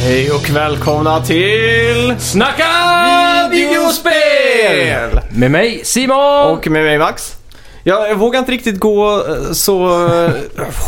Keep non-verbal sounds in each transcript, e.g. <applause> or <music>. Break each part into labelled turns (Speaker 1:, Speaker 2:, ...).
Speaker 1: Hej och välkomna till
Speaker 2: Snacka videospel!
Speaker 1: videospel!
Speaker 2: Med mig Simon!
Speaker 1: Och med mig Max. Jag, jag vågar inte riktigt gå eh, så eh,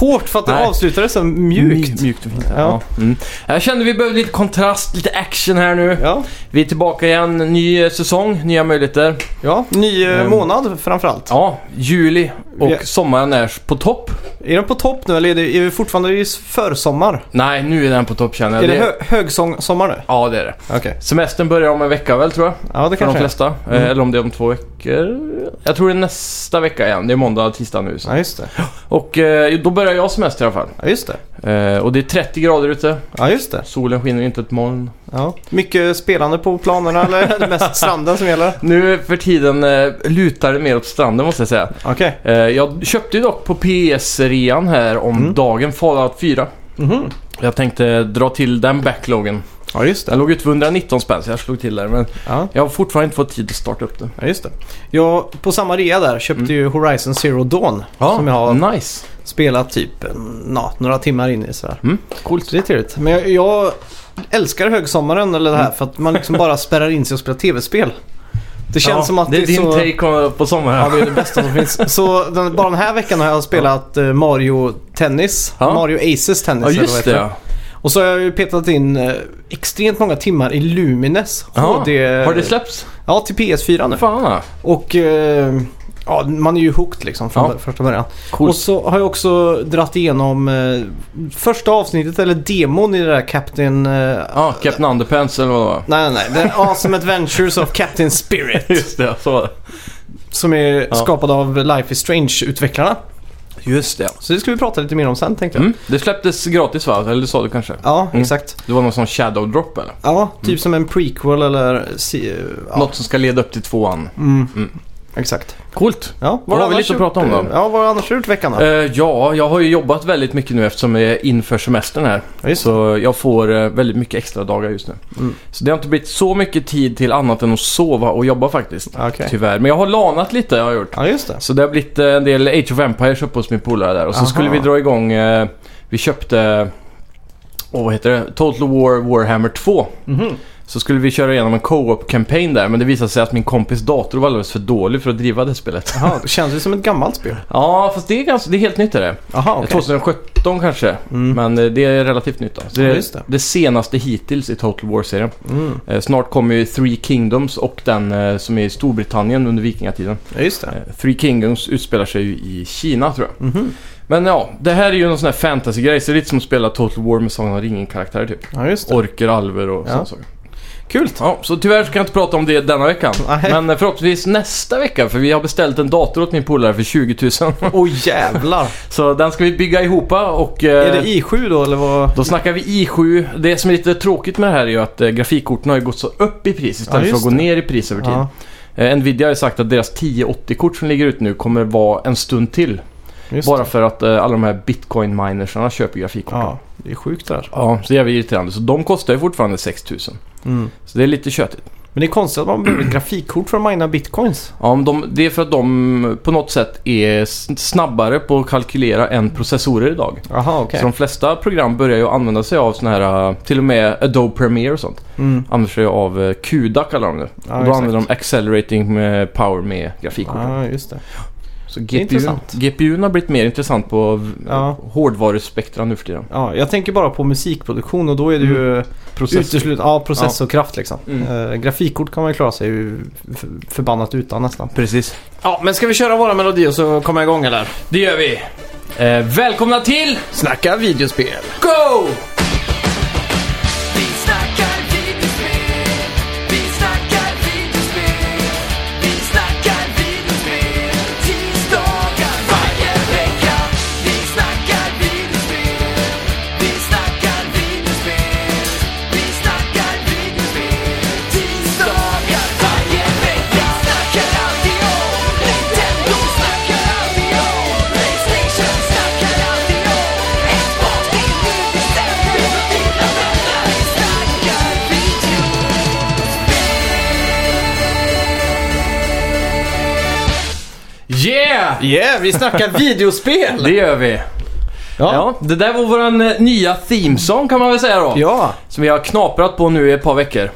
Speaker 1: hårt för att det
Speaker 2: Nej.
Speaker 1: avslutades så mjukt.
Speaker 2: Mjukt och fint.
Speaker 1: Ja.
Speaker 2: Ja. Mm. Jag kände vi behövde lite kontrast, lite action här nu.
Speaker 1: Ja,
Speaker 2: Vi är tillbaka igen, ny eh, säsong, nya möjligheter.
Speaker 1: ja. ny eh,
Speaker 2: Ehm.
Speaker 1: månad framförallt.
Speaker 2: Ja, juli och
Speaker 1: Ja.
Speaker 2: sommaren är på topp.
Speaker 1: Är den på topp nu eller är det, är det fortfarande i försommar?
Speaker 2: Nej, nu är den på topp känner jag.
Speaker 1: är det,
Speaker 2: Det-
Speaker 1: hö, högsommar nu?
Speaker 2: Ja, det är det.
Speaker 1: Okej.
Speaker 2: Semestern börjar om en vecka väl tror jag.
Speaker 1: Ja, det
Speaker 2: För de
Speaker 1: kanske är.
Speaker 2: flesta. Eh,
Speaker 1: Mm.
Speaker 2: Eller om det är om två veckor. Jag tror det är nästa vecka igen. Det är måndag och tisdag nu. Så.
Speaker 1: Ja, just det.
Speaker 2: Och eh, då börjar jag semester i alla fall.
Speaker 1: Ja, just det.
Speaker 2: Eh, och det är 30 grader ute.
Speaker 1: Ja, just det.
Speaker 2: Solen skiner inte ett moln.
Speaker 1: Ja. Mycket spelande på planerna eller är <laughs> det mest stranden som gäller?
Speaker 2: Nu för tiden eh, lutar det mer åt stranden måste jag säga.
Speaker 1: Okej.
Speaker 2: Eh, jag köpte ju dock på PS-rean här om
Speaker 1: Mm.
Speaker 2: dagen Fallout 4.
Speaker 1: Mhm.
Speaker 2: Jag tänkte dra till den backloggen.
Speaker 1: Ja, just
Speaker 2: Den
Speaker 1: det.
Speaker 2: låg ut för 119 spänn så jag slog till där. Men
Speaker 1: Ja.
Speaker 2: jag har fortfarande inte fått tid att starta upp den.
Speaker 1: Ja, just det. Jag, på samma rea där köpte
Speaker 2: Mm.
Speaker 1: ju Horizon Zero Dawn. som jag har
Speaker 2: Nice!
Speaker 1: spelat typ en- na, några timmar in i sådär.
Speaker 2: Mm. Coolt.
Speaker 1: Så det är trevligt. Men jag, jag älskar högsommaren eller det här
Speaker 2: Mm.
Speaker 1: för att man liksom bara spärrar in sig och spelar tv-spel. Det känns
Speaker 2: Ja,
Speaker 1: som att
Speaker 2: det är din
Speaker 1: så...
Speaker 2: take på sommaren.
Speaker 1: Ja, det är det bästa som finns. Så den, bara den här veckan har jag spelat eh, Mario Tennis.
Speaker 2: Ja.
Speaker 1: Mario Aces Tennis.
Speaker 2: <laughs> Ja,
Speaker 1: eller vad
Speaker 2: just
Speaker 1: heter
Speaker 2: det ja.
Speaker 1: Och så har jag ju petat in eh, extremt många timmar i Lumines.
Speaker 2: Ja,
Speaker 1: HD...
Speaker 2: Har det släppts?
Speaker 1: Ja, till PS4 nu.
Speaker 2: Fan ja.
Speaker 1: Och eh, ja, man är ju hooked liksom från
Speaker 2: Ja.
Speaker 1: bör- första början.
Speaker 2: Coolt.
Speaker 1: Och så har jag också dratt igenom eh, första avsnittet, eller demon i det där Captain... Eh,
Speaker 2: Ja, Captain Underpants eller vad det var.
Speaker 1: Nej, nej, nej. The Awesome Adventures of Captain Spirit.
Speaker 2: <laughs> Just det, så var det.
Speaker 1: Som är
Speaker 2: Ja.
Speaker 1: skapad av Life is Strange-utvecklarna.
Speaker 2: Just det.
Speaker 1: Så det ska vi prata lite mer om sen tänkte jag.
Speaker 2: Mm. Det släpptes gratis va? Eller det sa du kanske?
Speaker 1: Ja,
Speaker 2: Mm.
Speaker 1: exakt.
Speaker 2: Det var någon sån shadow drop eller?
Speaker 1: Ja, typ som en prequel eller... si- Ja.
Speaker 2: Något som ska leda upp till tvåan.
Speaker 1: Mm.
Speaker 2: Mm.
Speaker 1: Exakt.
Speaker 2: Coolt!
Speaker 1: Ja,
Speaker 2: Vad har vi
Speaker 1: annars
Speaker 2: lite att prata om
Speaker 1: gjort,
Speaker 2: då?
Speaker 1: Ja, vad har du annars gjort veckan då?
Speaker 2: Eh, ja, jag har ju jobbat väldigt mycket nu eftersom jag är inför semestern här.
Speaker 1: Ja, just det.
Speaker 2: Så jag får eh, väldigt mycket extra dagar just nu.
Speaker 1: Mm.
Speaker 2: Så det har inte blivit så mycket tid till annat än att sova och jobba faktiskt.
Speaker 1: Ja, Ah, Okej.
Speaker 2: Tyvärr. Men jag har lanat lite har jag gjort.
Speaker 1: Ja, just det.
Speaker 2: Så det har blivit eh, en del Age of Empires uppe hos min polare där. Och så
Speaker 1: Aha.
Speaker 2: skulle vi dra igång... eh, Vi köpte... Åh, vad heter det? Total War Warhammer 2.
Speaker 1: Mhm.
Speaker 2: Så skulle vi köra igenom en co-op campaign där men det visade sig att min kompis dator var alldeles för dålig för att driva det spelet.
Speaker 1: Jaha, det känns ju som ett gammalt spel.
Speaker 2: Ja, fast det är, ganska, det är helt nytt är det.
Speaker 1: Jaha, okej.
Speaker 2: 2017 kanske,
Speaker 1: Mm.
Speaker 2: men eh, det är relativt nytt då. Så det,
Speaker 1: Ja,
Speaker 2: är
Speaker 1: just det.
Speaker 2: det. senaste hittills i Total War-serien.
Speaker 1: Mm.
Speaker 2: Eh, snart kommer ju Three Kingdoms och den eh, som är i Storbritannien under vikingatiden.
Speaker 1: Ja, just det.
Speaker 2: Eh, Three Kingdoms utspelar sig ju i Kina tror jag.
Speaker 1: Mhm.
Speaker 2: Men ja, det här är ju någon sån här fantasy-grej så det är lite som att spela Total War med Sagan om ringen-karaktärer typ.
Speaker 1: Ja, just det.
Speaker 2: Orker, alver och
Speaker 1: Ja.
Speaker 2: sådana saker.
Speaker 1: Kul.
Speaker 2: Ja, så tyvärr så kan jag inte prata om det denna veckan.
Speaker 1: Nej.
Speaker 2: Men eh, förhoppningsvis nästa vecka, för vi har beställt en dator åt min polare för 20 000.
Speaker 1: Åh <laughs> jävlar!
Speaker 2: <laughs> Så den ska vi bygga ihop och...
Speaker 1: Är
Speaker 2: eh,
Speaker 1: det i7 då eller vad?
Speaker 2: Då snackar vi i7. Det som är lite tråkigt med det här är ju att eh, grafikkorten har ju gått så upp i pris istället
Speaker 1: Ja,
Speaker 2: för
Speaker 1: just
Speaker 2: att gå ner i pris över tid.
Speaker 1: Ja,
Speaker 2: Eh, Nvidia har ju sagt att deras 1080-kort som ligger ute nu kommer vara en stund till.
Speaker 1: just
Speaker 2: Bara
Speaker 1: det.
Speaker 2: för att eh, alla de här bitcoin-minersarna köper grafikkorten. Ja.
Speaker 1: Ja, det är sjukt det där.
Speaker 2: så jävla irriterande. Så de kostar ju fortfarande 6000.
Speaker 1: Mm.
Speaker 2: Så det är lite tjötigt.
Speaker 1: Men det är konstigt att man behöver ett grafikkort för att mina bitcoins.
Speaker 2: Ja, men de, det är för att de på något sätt är s- snabbare på att kalkylera än processorer idag.
Speaker 1: Jaha, okej.
Speaker 2: Så de flesta program börjar ju använda sig av såna här, eh, till och med Adobe Premiere och sånt.
Speaker 1: Mm.
Speaker 2: Använder sig av eh, CUDA kallar de det.
Speaker 1: Ja,
Speaker 2: och då
Speaker 1: exakt.
Speaker 2: använder de Accelerating med Power med grafikkorten.
Speaker 1: Ja, just det.
Speaker 2: Så
Speaker 1: är intressant.
Speaker 2: GPUn har blivit mer intressant på v-
Speaker 1: Ja.
Speaker 2: hårdvaruspektran nu för tiden.
Speaker 1: Ja, jag tänker bara på musikproduktion och då är det ju uteslutande ja, Mm. process och kraft liksom.
Speaker 2: Mm.
Speaker 1: Eh, grafikkort kan man ju klara sig ju f- förbannat utan nästan.
Speaker 2: Precis.
Speaker 1: Ja, men ska vi köra våra melodier så komma igång eller?
Speaker 2: Det gör vi. Eh, välkomna till
Speaker 1: Snacka videospel!
Speaker 2: Go!
Speaker 3: Vi snackar videospel, vi snackar videospel, vi snackar videospel, tisdagar varje vecka. Vi snackar videospel, vi snackar videospel, vi snackar videospel, tisdagar varje vecka. Snackar alltid om Nintendo, snackar alltid om Playstation, snackar alltid om Xbox, det är nu vi sätter dina vänner. Vi snackar videospel.
Speaker 2: Yeah!
Speaker 1: Yeah, vi snackar videospel!
Speaker 2: Det gör vi.
Speaker 1: <laughs> Ja. ja.
Speaker 2: Ja, det där var våran eh, nya themesong kan man väl säga då.
Speaker 1: Ja,
Speaker 2: Som vi har knaprat på nu i ett par veckor.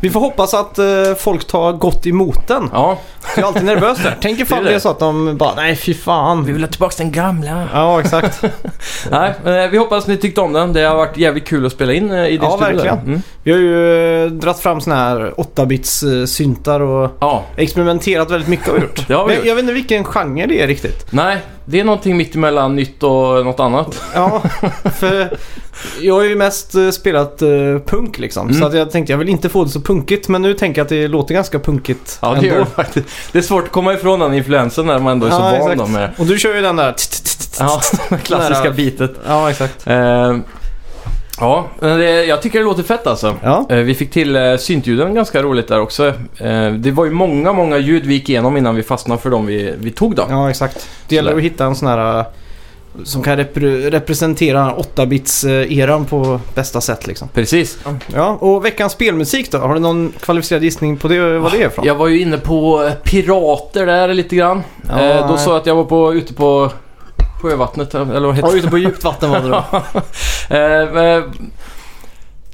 Speaker 1: vi får hoppas att eh, folk tar gott emot den.
Speaker 2: Ja.
Speaker 1: Jag är alltid nervös där. Tänk ifall
Speaker 2: Det är
Speaker 1: det är
Speaker 2: det.
Speaker 1: så att de bara, nej fy
Speaker 2: Vi
Speaker 1: fan.
Speaker 2: vill ha tillbaka den gamla.
Speaker 1: Ja, exakt.
Speaker 2: Nej, eh, vi hoppas ni tyckte om den. Det har varit jävligt kul att spela in eh, i din
Speaker 1: Ja,
Speaker 2: studio där.
Speaker 1: verkligen.
Speaker 2: Mm.
Speaker 1: Vi har ju eh, dratt fram såna här 8-bits eh, syntar och
Speaker 2: Ja,
Speaker 1: experimenterat väldigt mycket har vi gjort.
Speaker 2: Det <laughs> har vi
Speaker 1: Men
Speaker 2: gjort.
Speaker 1: Jag vet inte vilken genre det är riktigt.
Speaker 2: nej. Det är någonting mitt emellan nytt och något annat. <laughs>
Speaker 1: Ja, för jag har ju mest eh, spelat eh, punk liksom. Så
Speaker 2: Mm.
Speaker 1: att jag tänkte jag vill inte få det så punkigt. Men nu tänker jag att det låter ganska punkigt
Speaker 2: Ja, det,
Speaker 1: ändå.
Speaker 2: gör det, faktiskt. det är svårt att komma ifrån den influensen när man ändå är så
Speaker 1: Ja,
Speaker 2: van
Speaker 1: exakt.
Speaker 2: då med
Speaker 1: Och du kör ju den där... t- t- t- t-
Speaker 2: ja, <laughs> klassiska
Speaker 1: Nära.
Speaker 2: bitet.
Speaker 1: Ja, exakt.
Speaker 2: Eh, ja, men det, jag tycker det låter fett alltså.
Speaker 1: Ja,
Speaker 2: Eh, Vi fick till eh, syntljuden ganska roligt där också. Eh, Det var ju många, många ljud vi gick igenom innan vi fastnade för dem vi, vi tog då.
Speaker 1: ja exakt. Det gäller
Speaker 2: Sådär.
Speaker 1: att hitta en sån här eh, som kan repre- representera 8-bits-eran på bästa sätt liksom.
Speaker 2: Precis.
Speaker 1: Ja, och veckans spelmusik då? Har du någon kvalificerad gissning på det, vad det är ifrån?
Speaker 2: Jag var ju inne på eh, pirater där lite grann.
Speaker 1: Ja,
Speaker 2: Eh, Då
Speaker 1: nej.
Speaker 2: sa jag att jag var på, ute på sjövattnet, eller vad heter
Speaker 1: Ja,
Speaker 2: det?
Speaker 1: ute på djupt vatten var det då.
Speaker 2: <laughs> Eh, eh,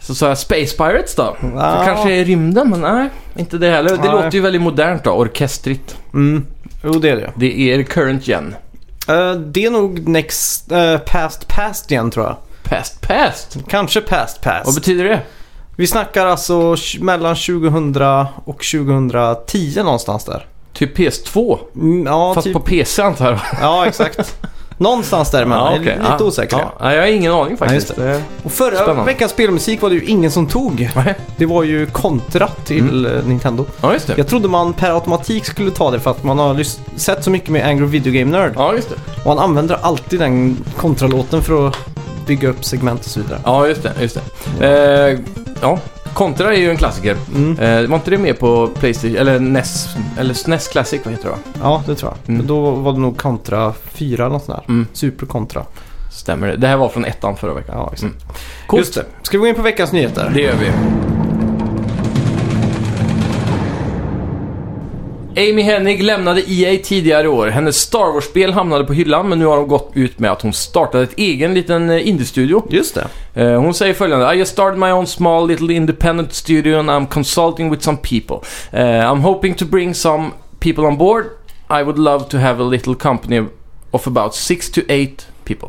Speaker 2: Så sa jag Space Pirates då.
Speaker 1: Ja.
Speaker 2: Det kanske är i rymden, men nej. Inte det heller. Det
Speaker 1: Nej.
Speaker 2: låter ju väldigt modernt då, orkestrigt.
Speaker 1: <laughs> Mm. Jo, det är det.
Speaker 2: Det är current gen.
Speaker 1: Eh, det är nog next, eh, past past igen tror jag.
Speaker 2: Past past.
Speaker 1: Kanske past
Speaker 2: Vad
Speaker 1: past.
Speaker 2: betyder det?
Speaker 1: Vi snackar alltså tj- mellan 2000 och 2010 någonstans där.
Speaker 2: Typ PS2?
Speaker 1: Mm, ja,
Speaker 2: Fast
Speaker 1: typ,
Speaker 2: på PC antar jag.
Speaker 1: ja,
Speaker 2: <laughs>
Speaker 1: exakt. någonstans där men
Speaker 2: Ja, okej.
Speaker 1: Lite
Speaker 2: Ja.
Speaker 1: osäker.
Speaker 2: Ja, nej, jag har ingen aning faktiskt.
Speaker 1: Ja, Och förra
Speaker 2: Spännande.
Speaker 1: veckans spelmusik var det ju ingen som tog.
Speaker 2: Nej.
Speaker 1: Det var ju kontra till
Speaker 2: Mm.
Speaker 1: eh, Nintendo.
Speaker 2: Ja, just det.
Speaker 1: Jag trodde man per automatik skulle ta det för att man har lys- sett så mycket med Angry Video Game Nerd.
Speaker 2: Ja, just det.
Speaker 1: Och han använder alltid den kontralåten för att bygga upp segment och så vidare.
Speaker 2: Ja, just det. Just det. Eh, ja, Contra är ju en klassiker.
Speaker 1: Mm.
Speaker 2: Eh, var inte det med på Playstation, eller NES, eller SNES Classic, vad heter det va?
Speaker 1: Ja, det tror jag.
Speaker 2: Mm.
Speaker 1: Men då var det nog kontra 4 eller något sånt där.
Speaker 2: Mm.
Speaker 1: Super kontra.
Speaker 2: Stämmer det. Det här var från ettan förra veckan.
Speaker 1: Ja, exakt.
Speaker 2: Mm.
Speaker 1: Just det. Ska vi gå in på veckans nyheter?
Speaker 2: Det gör vi. Amy Hennig lämnade EA tidigare i år. Hennes Star Wars-spel hamnade på hyllan, men nu har hon gått ut med att hon startade ett egen liten eh, indie-studio.
Speaker 1: Just det.
Speaker 2: Eh, Hon säger följande. I just started my own small little independent studio and I'm consulting with some people. Eh, I'm hoping to bring some people on board. I would love to have a little company of about six to eight people.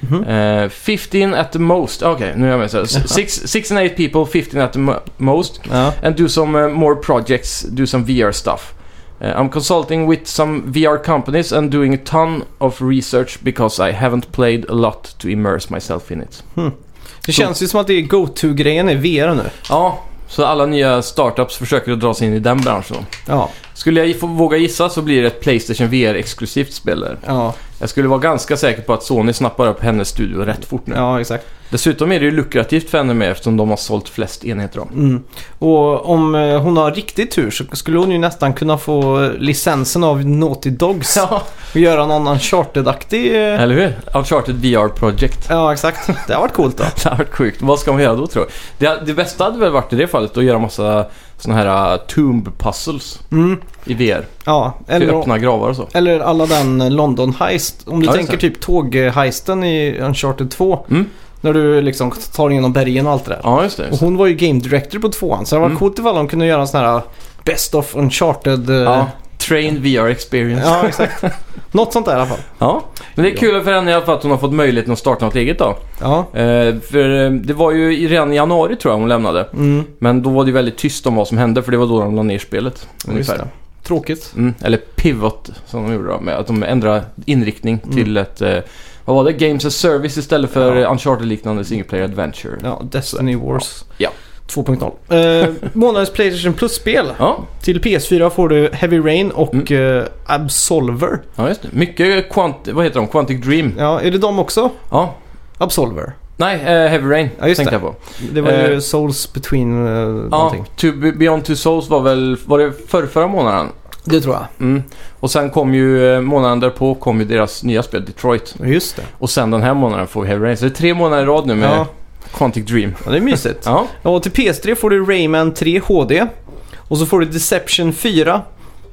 Speaker 1: Mhm.
Speaker 2: Eh, 15 at the most. Okej, nu är jag med. Så. Six, six and eight people, 15 at the mo- most.
Speaker 1: Ja.
Speaker 2: And do some uh, more projects, do some VR stuff. Uh, I'm consulting with some VR companies and doing a ton of research because I haven't played a lot to immerse myself in it.
Speaker 1: Det känns ju som att det är go-to-grejen i VR nu.
Speaker 2: Ja, så alla nya startups försöker att dra sig in i den branschen. då.
Speaker 1: Ja.
Speaker 2: Skulle jag få- våga gissa så blir det ett Playstation VR-exklusivt spel där.
Speaker 1: Ja,
Speaker 2: Jag skulle vara ganska säker på att Sony snappar upp hennes studio rätt fort nu.
Speaker 1: ja exakt.
Speaker 2: Dessutom är det ju lukrativt för henne med eftersom de har sålt flest enheter då.
Speaker 1: Mm. Och om eh, hon har riktigt tur så skulle hon ju nästan kunna få licensen av Naughty Dogs.
Speaker 2: Ja,
Speaker 1: Och göra någon uncharted-aktig... eh,
Speaker 2: eller hur? Uncharted VR Project. <laughs>
Speaker 1: Ja, exakt. Det har varit coolt då.
Speaker 2: Det hade varit sjukt. Vad ska man göra då tror jag? Det, det bästa hade väl varit i det fallet att göra massa såna här uh, tomb puzzles
Speaker 1: Mm.
Speaker 2: i VR.
Speaker 1: Ja,
Speaker 2: Till
Speaker 1: eller,
Speaker 2: öppna gravar och så.
Speaker 1: eller alla den London Heist. Om du
Speaker 2: Ja, just
Speaker 1: tänker
Speaker 2: det.
Speaker 1: typ tågheisten i Uncharted 2.
Speaker 2: Mm.
Speaker 1: När du liksom tar igenom bergen och allt det där.
Speaker 2: Ja, just det.
Speaker 1: Och
Speaker 2: Just det.
Speaker 1: hon var ju game director på tvåan. Så det var
Speaker 2: Mm.
Speaker 1: coolt ifall hon kunde göra en sån här Best of Uncharted. eh,
Speaker 2: Ja, train VR experience.
Speaker 1: ja
Speaker 2: <laughs>
Speaker 1: exakt. Något sånt där i alla fall.
Speaker 2: Ja, men det är kul för henne i alla fall att hon har fått möjligheten att starta något eget då.
Speaker 1: Ja.
Speaker 2: Eh, för eh, det var ju i- redan i januari tror jag hon lämnade.
Speaker 1: Mm.
Speaker 2: Men då var det ju väldigt tyst om vad som hände för det var då de la ner spelet.
Speaker 1: Just
Speaker 2: Ungefär.
Speaker 1: det. Tråkigt.
Speaker 2: Mm, eller pivot som de gjorde då, med att de ändrade inriktning
Speaker 1: Mm.
Speaker 2: till ett, eh, vad var det, Games as Service istället för
Speaker 1: Ja.
Speaker 2: eh, Uncharted-liknande single player adventure. Ja.
Speaker 1: Ja, Destiny Wars.
Speaker 2: Ja.
Speaker 1: 2.0. Eh, månadens Playstation Plus-spel.
Speaker 2: Ja,
Speaker 1: Till PS4 får du Heavy Rain och eh, Absolver.
Speaker 2: just det. Mycket Quant... Vad heter de? Quantic Dream?
Speaker 1: Ja, är det de också?
Speaker 2: Ja.
Speaker 1: Absolver.
Speaker 2: Nej, eh, Heavy Rain
Speaker 1: Ja, just
Speaker 2: tänkte
Speaker 1: det.
Speaker 2: jag på.
Speaker 1: Det var
Speaker 2: Eh,
Speaker 1: ju Souls Between eh,
Speaker 2: Ja,
Speaker 1: någonting.
Speaker 2: to Be- Beyond Two Souls var väl, var det förra, förra månaden?
Speaker 1: Det tror jag.
Speaker 2: Mm. Och sen kom ju eh, månaden därpå kom ju deras nya spel Detroit.
Speaker 1: Just det.
Speaker 2: Och sen den här månaden får vi Heavy Rain. Så det är tre månader i rad nu med
Speaker 1: Ja.
Speaker 2: Quantic Dream.
Speaker 1: <laughs> ja, det är mysigt.
Speaker 2: Ja,
Speaker 1: ja, och till PS3 får du Rayman 3 HD. Och så får du Deception 4.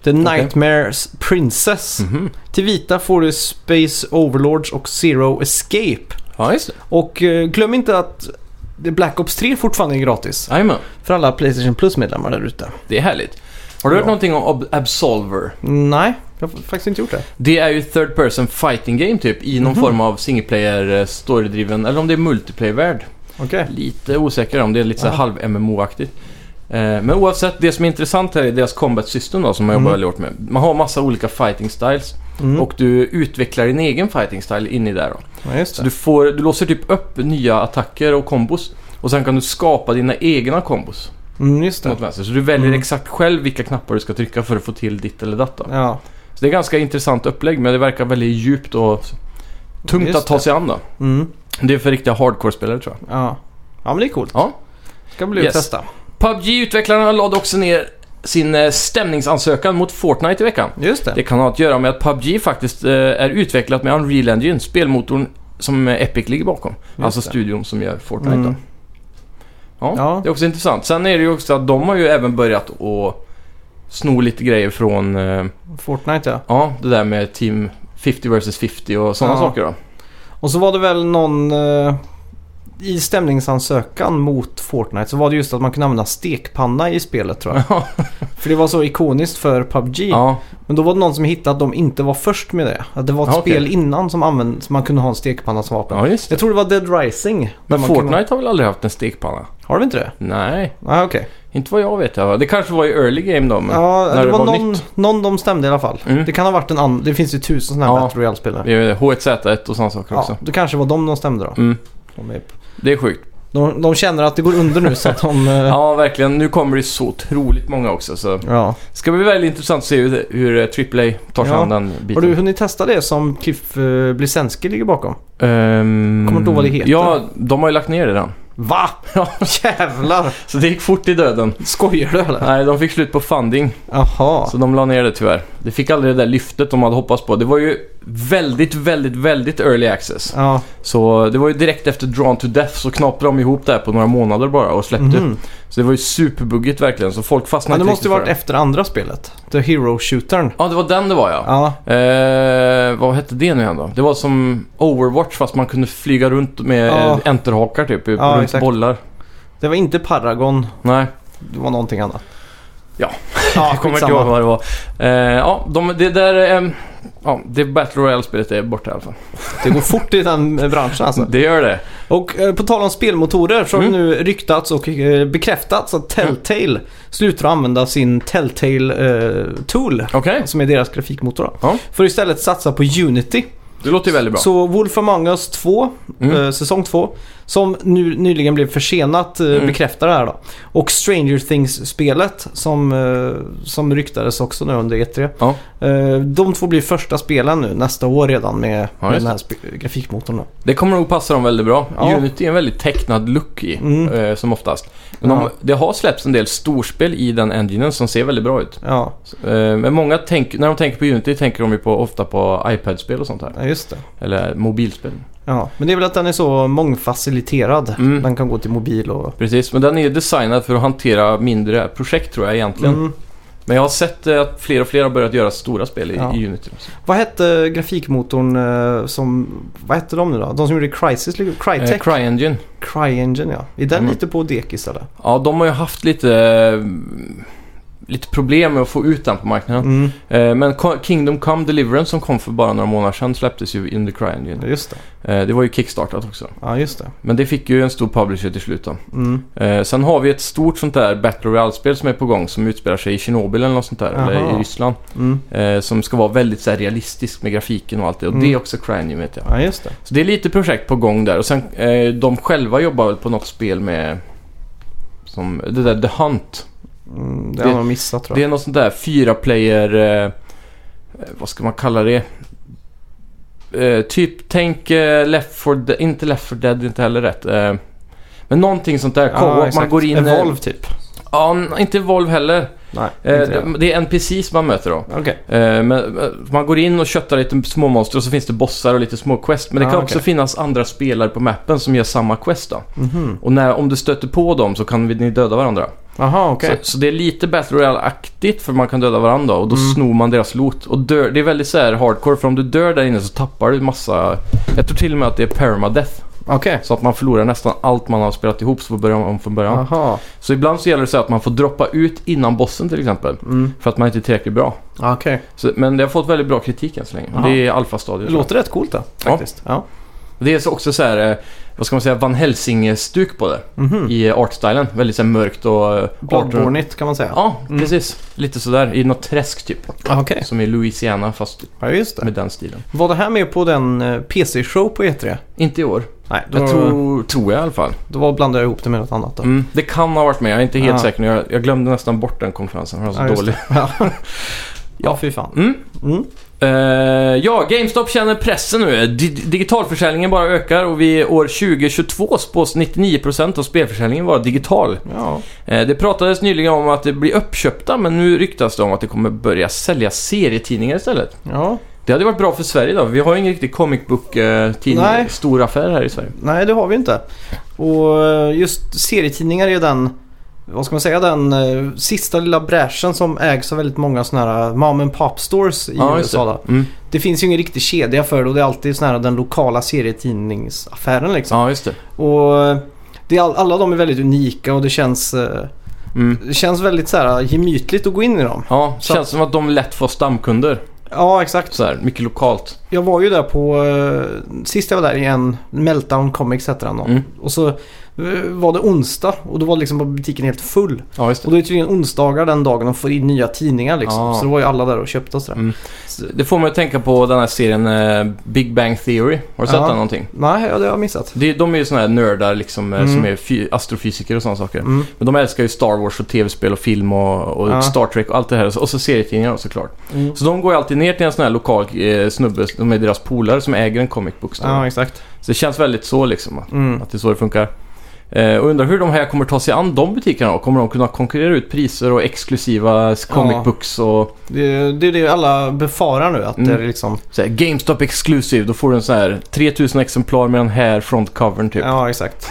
Speaker 1: The
Speaker 2: Okej.
Speaker 1: Nightmares Princess.
Speaker 2: Mhm.
Speaker 1: Till vita får du Space Overlords och Zero Escape.
Speaker 2: Ja, just det.
Speaker 1: Och eh, glöm inte att The Black Ops 3 fortfarande är gratis.
Speaker 2: Jajamän.
Speaker 1: För alla Playstation Plus-medlemmar där ute.
Speaker 2: Det är härligt. Har du
Speaker 1: Ja.
Speaker 2: hört någonting om Ob- Absolver?
Speaker 1: Nej, jag har faktiskt inte gjort det.
Speaker 2: Det är ju third person fighting game typ i någon
Speaker 1: Mhm.
Speaker 2: form av single player eh, storydriven eller om det är multiplayer-värld.
Speaker 1: Okej.
Speaker 2: Lite osäker om det är lite så här
Speaker 1: Ja.
Speaker 2: halv MMO-aktigt. Eh, Men oavsett, det som är intressant här är deras combat system då, som man jobbar
Speaker 1: Mhm.
Speaker 2: väldigt hårt med. Man har massa olika fighting styles
Speaker 1: Mm.
Speaker 2: och du utvecklar din egen fighting style in i där. Då.
Speaker 1: ja, just
Speaker 2: Så
Speaker 1: det.
Speaker 2: du, får, du låser typ upp nya attacker och kombos och sen kan du skapa dina egna kombos
Speaker 1: Mm, just
Speaker 2: mot
Speaker 1: det.
Speaker 2: vänster. Så du väljer
Speaker 1: Mm.
Speaker 2: exakt själv vilka knappar du ska trycka för att få till ditt eller datt. Då.
Speaker 1: Ja.
Speaker 2: Så det är ganska intressant upplägg men det verkar väldigt djupt och tungt
Speaker 1: Just
Speaker 2: att ta
Speaker 1: det.
Speaker 2: sig an då.
Speaker 1: Mm.
Speaker 2: Det är för riktiga hardcore-spelare tror jag.
Speaker 1: Ja. ja, men det är coolt.
Speaker 2: Ja.
Speaker 1: Ska bli
Speaker 2: Yes.
Speaker 1: att testa.
Speaker 2: PubG-utvecklarna lade också ner sin eh, stämningsansökan mot Fortnite i veckan.
Speaker 1: Just det.
Speaker 2: Det kan ha att göra med att PubG faktiskt eh, är utvecklat med Unreal Engine, spelmotorn som eh, Epic ligger bakom. alltså
Speaker 1: det.
Speaker 2: studion som gör Fortnite då.
Speaker 1: Mm.
Speaker 2: Ja,
Speaker 1: Ja.
Speaker 2: det är också intressant. Sen är det ju också att de har ju även börjat att sno lite grejer från eh,
Speaker 1: Fortnite ja.
Speaker 2: ja, det där med Team 50 vs 50 och sådana
Speaker 1: Ja.
Speaker 2: saker då.
Speaker 1: Och så var det väl någon... eh, I stämningsansökan mot Fortnite så var det just att man kunde använda stekpanna i spelet tror jag.
Speaker 2: Ja.
Speaker 1: För det var så ikoniskt för PubG.
Speaker 2: ja,
Speaker 1: Men då var det någon som hittade att de inte var först med det. Att det var ett
Speaker 2: Ja, okej.
Speaker 1: spel innan som använde, som man kunde ha en stekpanna som vapen.
Speaker 2: ja just det.
Speaker 1: Jag tror det var Dead Rising. där
Speaker 2: Men
Speaker 1: man kunde-
Speaker 2: Fortnite har väl aldrig haft en stekpanna?
Speaker 1: Har de inte det?
Speaker 2: Nej,
Speaker 1: Nej, okej.
Speaker 2: inte vad jag vet. i alla fall. Det kanske var i early game då, men...
Speaker 1: Ja,
Speaker 2: när
Speaker 1: det
Speaker 2: det
Speaker 1: var,
Speaker 2: var
Speaker 1: någon, någon de stämde i alla fall.
Speaker 2: Mm.
Speaker 1: Det kan ha varit en annan. Det finns ju tusen sådana här
Speaker 2: Ja.
Speaker 1: Battle Royale-spel nu.
Speaker 2: Det är H1Z1 och sådana saker
Speaker 1: Ja,
Speaker 2: också.
Speaker 1: det kanske var de de stämde då.
Speaker 2: Mm,
Speaker 1: De, är-
Speaker 2: det är sjukt.
Speaker 1: de, de känner att det går under nu så att de... eh,
Speaker 2: <laughs> Ja, verkligen. Nu kommer det så otroligt många också. Så det
Speaker 1: ja.
Speaker 2: ska bli väldigt intressant att se hur, hur eh, AAA tar sig
Speaker 1: Ja.
Speaker 2: an den biten.
Speaker 1: Har du hunnit testa det som Cliff uh, Blisensky ligger bakom?
Speaker 2: Ehm,
Speaker 1: Kommer inte ihåg vad det heter.
Speaker 2: Ja, de har ju lagt ner det redan.
Speaker 1: Va?
Speaker 2: Ja.
Speaker 1: <laughs> Jävlar!
Speaker 2: Så det gick fort i döden.
Speaker 1: Skojar du eller?
Speaker 2: Nej, de fick slut på funding.
Speaker 1: Jaha.
Speaker 2: Så de la ner det tyvärr. Det fick aldrig det där lyftet de hade hoppats på. Det var ju väldigt, väldigt, väldigt early access.
Speaker 1: Ja.
Speaker 2: Så det var ju direkt efter Drawn to Death så knaprade de ihop det här på några månader bara och släppte.
Speaker 1: Mhm.
Speaker 2: Så det var ju superbuggigt verkligen. Så folk fastnade
Speaker 1: Men det
Speaker 2: inte
Speaker 1: måste ju
Speaker 2: riktigt
Speaker 1: varit
Speaker 2: för det.
Speaker 1: efter andra spelet. The Hero Shootern.
Speaker 2: Ja, det var den det var ja.
Speaker 1: Ja.
Speaker 2: Eh, vad hette det nu igen då? Det var som Overwatch fast man kunde flyga runt med
Speaker 1: Ja.
Speaker 2: ja. enterhakar typ,
Speaker 1: Ja,
Speaker 2: runt
Speaker 1: exakt.
Speaker 2: bollar.
Speaker 1: Det var inte Paragon.
Speaker 2: Nej,
Speaker 1: Det var någonting annat.
Speaker 2: Ja.
Speaker 1: Ja,
Speaker 2: <laughs> jag kommer inte
Speaker 1: skitsamma.
Speaker 2: ihåg vad det var. Eh, ja, de, det där... ehm, ja, det Battle Royale-spelet är borta i alla fall.
Speaker 1: Det går fort i den eh, branschen alltså.
Speaker 2: Det gör det.
Speaker 1: Och eh, på tal om spelmotorer så har det
Speaker 2: Mm.
Speaker 1: nu ryktats och eh, bekräftats att Telltale slutar att använda sin Telltale eh, Tool.
Speaker 2: Okej,
Speaker 1: Som är deras grafikmotor då.
Speaker 2: Ja.
Speaker 1: För att istället satsa på Unity.
Speaker 2: det låter ju väldigt bra.
Speaker 1: Så Wolf Among Us 2,
Speaker 2: Mm.
Speaker 1: eh, säsong 2, som nu nyligen blev försenat eh,
Speaker 2: Mm.
Speaker 1: bekräftar det här då. Och Stranger Things-spelet som, eh, som ryktades också nu under E3.
Speaker 2: Ja.
Speaker 1: Eh, de två blir första spelen nu nästa år redan med,
Speaker 2: Ja,
Speaker 1: med
Speaker 2: just
Speaker 1: den här spe- grafikmotorn. Då.
Speaker 2: Det kommer nog passa dem väldigt bra.
Speaker 1: Ja.
Speaker 2: Unity är en väldigt tecknad look i,
Speaker 1: Mm.
Speaker 2: eh, som oftast. Men de,
Speaker 1: Ja.
Speaker 2: det har släppts en del storspel i den enginen som ser väldigt bra ut.
Speaker 1: Ja,
Speaker 2: Eh, men många tänker, när de tänker på Unity tänker de ju på, ofta på iPad-spel och sånt här.
Speaker 1: ja, just det.
Speaker 2: Eller mobilspel.
Speaker 1: Ja, men det är väl att den är så mångfaciliterad.
Speaker 2: Mm.
Speaker 1: Den kan gå till mobil och...
Speaker 2: Precis, men den är ju designad för att hantera mindre projekt tror jag egentligen.
Speaker 1: Mm.
Speaker 2: Men jag har sett eh, att fler och fler har börjat göra stora spel i,
Speaker 1: Ja.
Speaker 2: i Unity.
Speaker 1: Vad hette grafikmotorn eh, som... Vad hette de nu då? De som gjorde Crysis? Crytek?
Speaker 2: Eh, CryEngine.
Speaker 1: CryEngine ja. Är den
Speaker 2: Mm.
Speaker 1: lite på dekis eller?
Speaker 2: Ja, de har ju haft lite, eh, lite problem med att få ut den på marknaden.
Speaker 1: Mm,
Speaker 2: Eh, Men Ko- Kingdom Come Deliverance som kom för bara några månader sedan släpptes ju under CryEngine.
Speaker 1: just det.
Speaker 2: Eh, Det var ju kickstartat också.
Speaker 1: Ja, just det.
Speaker 2: Men det fick ju en stor publisher till slut då.
Speaker 1: Mm.
Speaker 2: Eh, Sen har vi ett stort sånt där Battle Royale-spel som är på gång som utspelar sig i Tjernobyl eller något sånt där. Eller i
Speaker 1: Aha.
Speaker 2: Ryssland.
Speaker 1: Mm.
Speaker 2: Eh, Som ska vara väldigt så här, realistisk med grafiken och allt det. Och
Speaker 1: Mm.
Speaker 2: det är också CryEngine vet jag.
Speaker 1: Ja, just det.
Speaker 2: Så det är lite projekt på gång där. Och sen eh, de själva jobbar väl på något spel med... Som, det där The Hunt.
Speaker 1: Mm, det
Speaker 2: Det-
Speaker 1: har man missat tror
Speaker 2: Det
Speaker 1: jag.
Speaker 2: är något sånt där fyra player... Eh, eh, vad ska man kalla det? Eh, typ, tänk eh, Left for Dead. Inte Left for Dead, inte heller rätt. Eh, men någonting sånt där.
Speaker 1: Ja,
Speaker 2: Ja, man
Speaker 1: exakt.
Speaker 2: går in... eh,
Speaker 1: Evolve typ.
Speaker 2: Ja, n- inte Evolve heller.
Speaker 1: Nej,
Speaker 2: Eh,
Speaker 1: inte det.
Speaker 2: det. är NPCs man möter då.
Speaker 1: Okej.
Speaker 2: Eh, men, eh, man går in och köttar lite småmonster och så finns det bossar och lite små quest. Men det
Speaker 1: Ah,
Speaker 2: kan
Speaker 1: okej.
Speaker 2: också finnas andra spelare på mappen som gör samma quest då.
Speaker 1: Mhm.
Speaker 2: Och när, om du stöter på dem så kan vi- ni döda varandra.
Speaker 1: Jaha, okej.
Speaker 2: Så, så det är lite Battle Royale-aktigt för man kan döda varandra och då
Speaker 1: Mm.
Speaker 2: snor man deras loot. Och dör, det är väldigt så här hardcore för om du dör där inne så tappar du massa... Jag tror till och med att det är permadeath.
Speaker 1: Okej.
Speaker 2: Så att man förlorar nästan allt man har spelat ihop så får börja om från början.
Speaker 1: Jaha.
Speaker 2: Så ibland så gäller det så här att man får droppa ut innan bossen till exempel.
Speaker 1: Mm.
Speaker 2: För att man inte är tillräckligt bra.
Speaker 1: Ja, Okej.
Speaker 2: Så, men det har fått väldigt bra kritik än så länge.
Speaker 1: Jaha.
Speaker 2: Det är
Speaker 1: Det
Speaker 2: alfastadiet. tror jag.
Speaker 1: låter rätt coolt då, faktiskt. Ja.
Speaker 2: Det är så också så här, eh, vad ska man säga, Van Helsing-stuk på det.
Speaker 1: Mhm.
Speaker 2: I eh, artstylen. Väldigt så här mörkt och... eh, 1800
Speaker 1: Bloodborne-igt kan man säga.
Speaker 2: Ja,
Speaker 1: Mm.
Speaker 2: precis. Lite sådär i något träsk typ.
Speaker 1: Ah, Okej,
Speaker 2: Som i Louisiana fast
Speaker 1: ja, just det.
Speaker 2: med den stilen.
Speaker 1: Var det här med på den eh, PC-show på E3?
Speaker 2: Inte i år.
Speaker 1: Nej, då,
Speaker 2: Jag tror, tror jag i alla fall.
Speaker 1: då var- blandade jag ihop det med något annat. Då.
Speaker 2: Mm. Det kan ha varit med, jag är inte helt
Speaker 1: Ja.
Speaker 2: säker. nu. Jag, jag glömde nästan bort den konferensen. Den var så
Speaker 1: Ah. Ja, just
Speaker 2: dålig.
Speaker 1: det. <laughs> Ja. ja, fy fan.
Speaker 2: Mm.
Speaker 1: Mm.
Speaker 2: Eh, ja, GameStop känner pressen nu. Di- digitalförsäljningen bara ökar och vi år 2022 spås 99% av spelförsäljningen vara digital.
Speaker 1: Ja.
Speaker 2: Eh, det pratades nyligen om att det blir uppköpta men nu ryktas det om att det kommer börja sälja serietidningar istället.
Speaker 1: ja,
Speaker 2: Det hade varit bra för Sverige då. Vi har ju ingen riktig comic book eh, tidning,
Speaker 1: Nej.
Speaker 2: stor affär här i Sverige.
Speaker 1: nej det har vi inte. Och eh, just serietidningar är ju den, vad ska man säga, den eh, sista lilla bräschen som ägs av väldigt många sådana här eh, mom and pop stores i
Speaker 2: just
Speaker 1: USA.
Speaker 2: det.
Speaker 1: Då.
Speaker 2: Mm.
Speaker 1: Det finns ju ingen riktig kedja för det och det är alltid sån här den lokala serietidningsaffären liksom.
Speaker 2: Ja, just det.
Speaker 1: Och eh, det är all, alla de är väldigt unika och det känns, eh,
Speaker 2: Mm.
Speaker 1: det känns väldigt så här eh, gemytligt att gå in i dem.
Speaker 2: Ja,
Speaker 1: Så-
Speaker 2: känns som att de lätt får stamkunder.
Speaker 1: Ja, exakt.
Speaker 2: Så här, mycket lokalt.
Speaker 1: Jag var ju där på, eh, sist jag var där i en Meltdown Comics hette den då.
Speaker 2: Mm.
Speaker 1: Och så eh, var det onsdag och då var liksom bara butiken helt full.
Speaker 2: Ja, just
Speaker 1: Och
Speaker 2: det.
Speaker 1: då är det tydligen onsdagar den dagen de får in nya tidningar liksom.
Speaker 2: Ah.
Speaker 1: Så då var ju alla där och köpte och sådär.
Speaker 2: Mm. Det får mig att tänka på den här serien eh, Big Bang Theory. Har du sett
Speaker 1: Ja.
Speaker 2: den någonting?
Speaker 1: Nej, ja, det har jag missat.
Speaker 2: Det, de är ju såna här nördar liksom, eh,
Speaker 1: Mm.
Speaker 2: som är fy- astrofysiker och sådana saker.
Speaker 1: Mm.
Speaker 2: Men de älskar ju Star Wars och tv-spel och film och, och
Speaker 1: Ja.
Speaker 2: Star Trek och allt det här. Och så serietidningar såklart.
Speaker 1: Mm.
Speaker 2: Så de går ju alltid ner till en sån här lokal eh, snubbe som är deras polare som äger en comic book store.
Speaker 1: Ja, exakt.
Speaker 2: Så det känns väldigt så liksom. Att,
Speaker 1: Mm.
Speaker 2: att det är så det funkar. Eh, och undrar hur de här kommer ta sig an de butikerna då? Kommer de kunna konkurrera ut priser och exklusiva comic
Speaker 1: Ja.
Speaker 2: books och
Speaker 1: Det, det är det alla befarar nu. Att
Speaker 2: Mm.
Speaker 1: det är liksom...
Speaker 2: så här, GameStop exclusive? Då får du en sån här 3000 exemplar med den här frontcovern typ.
Speaker 1: Ja,
Speaker 2: <laughs>
Speaker 1: exakt.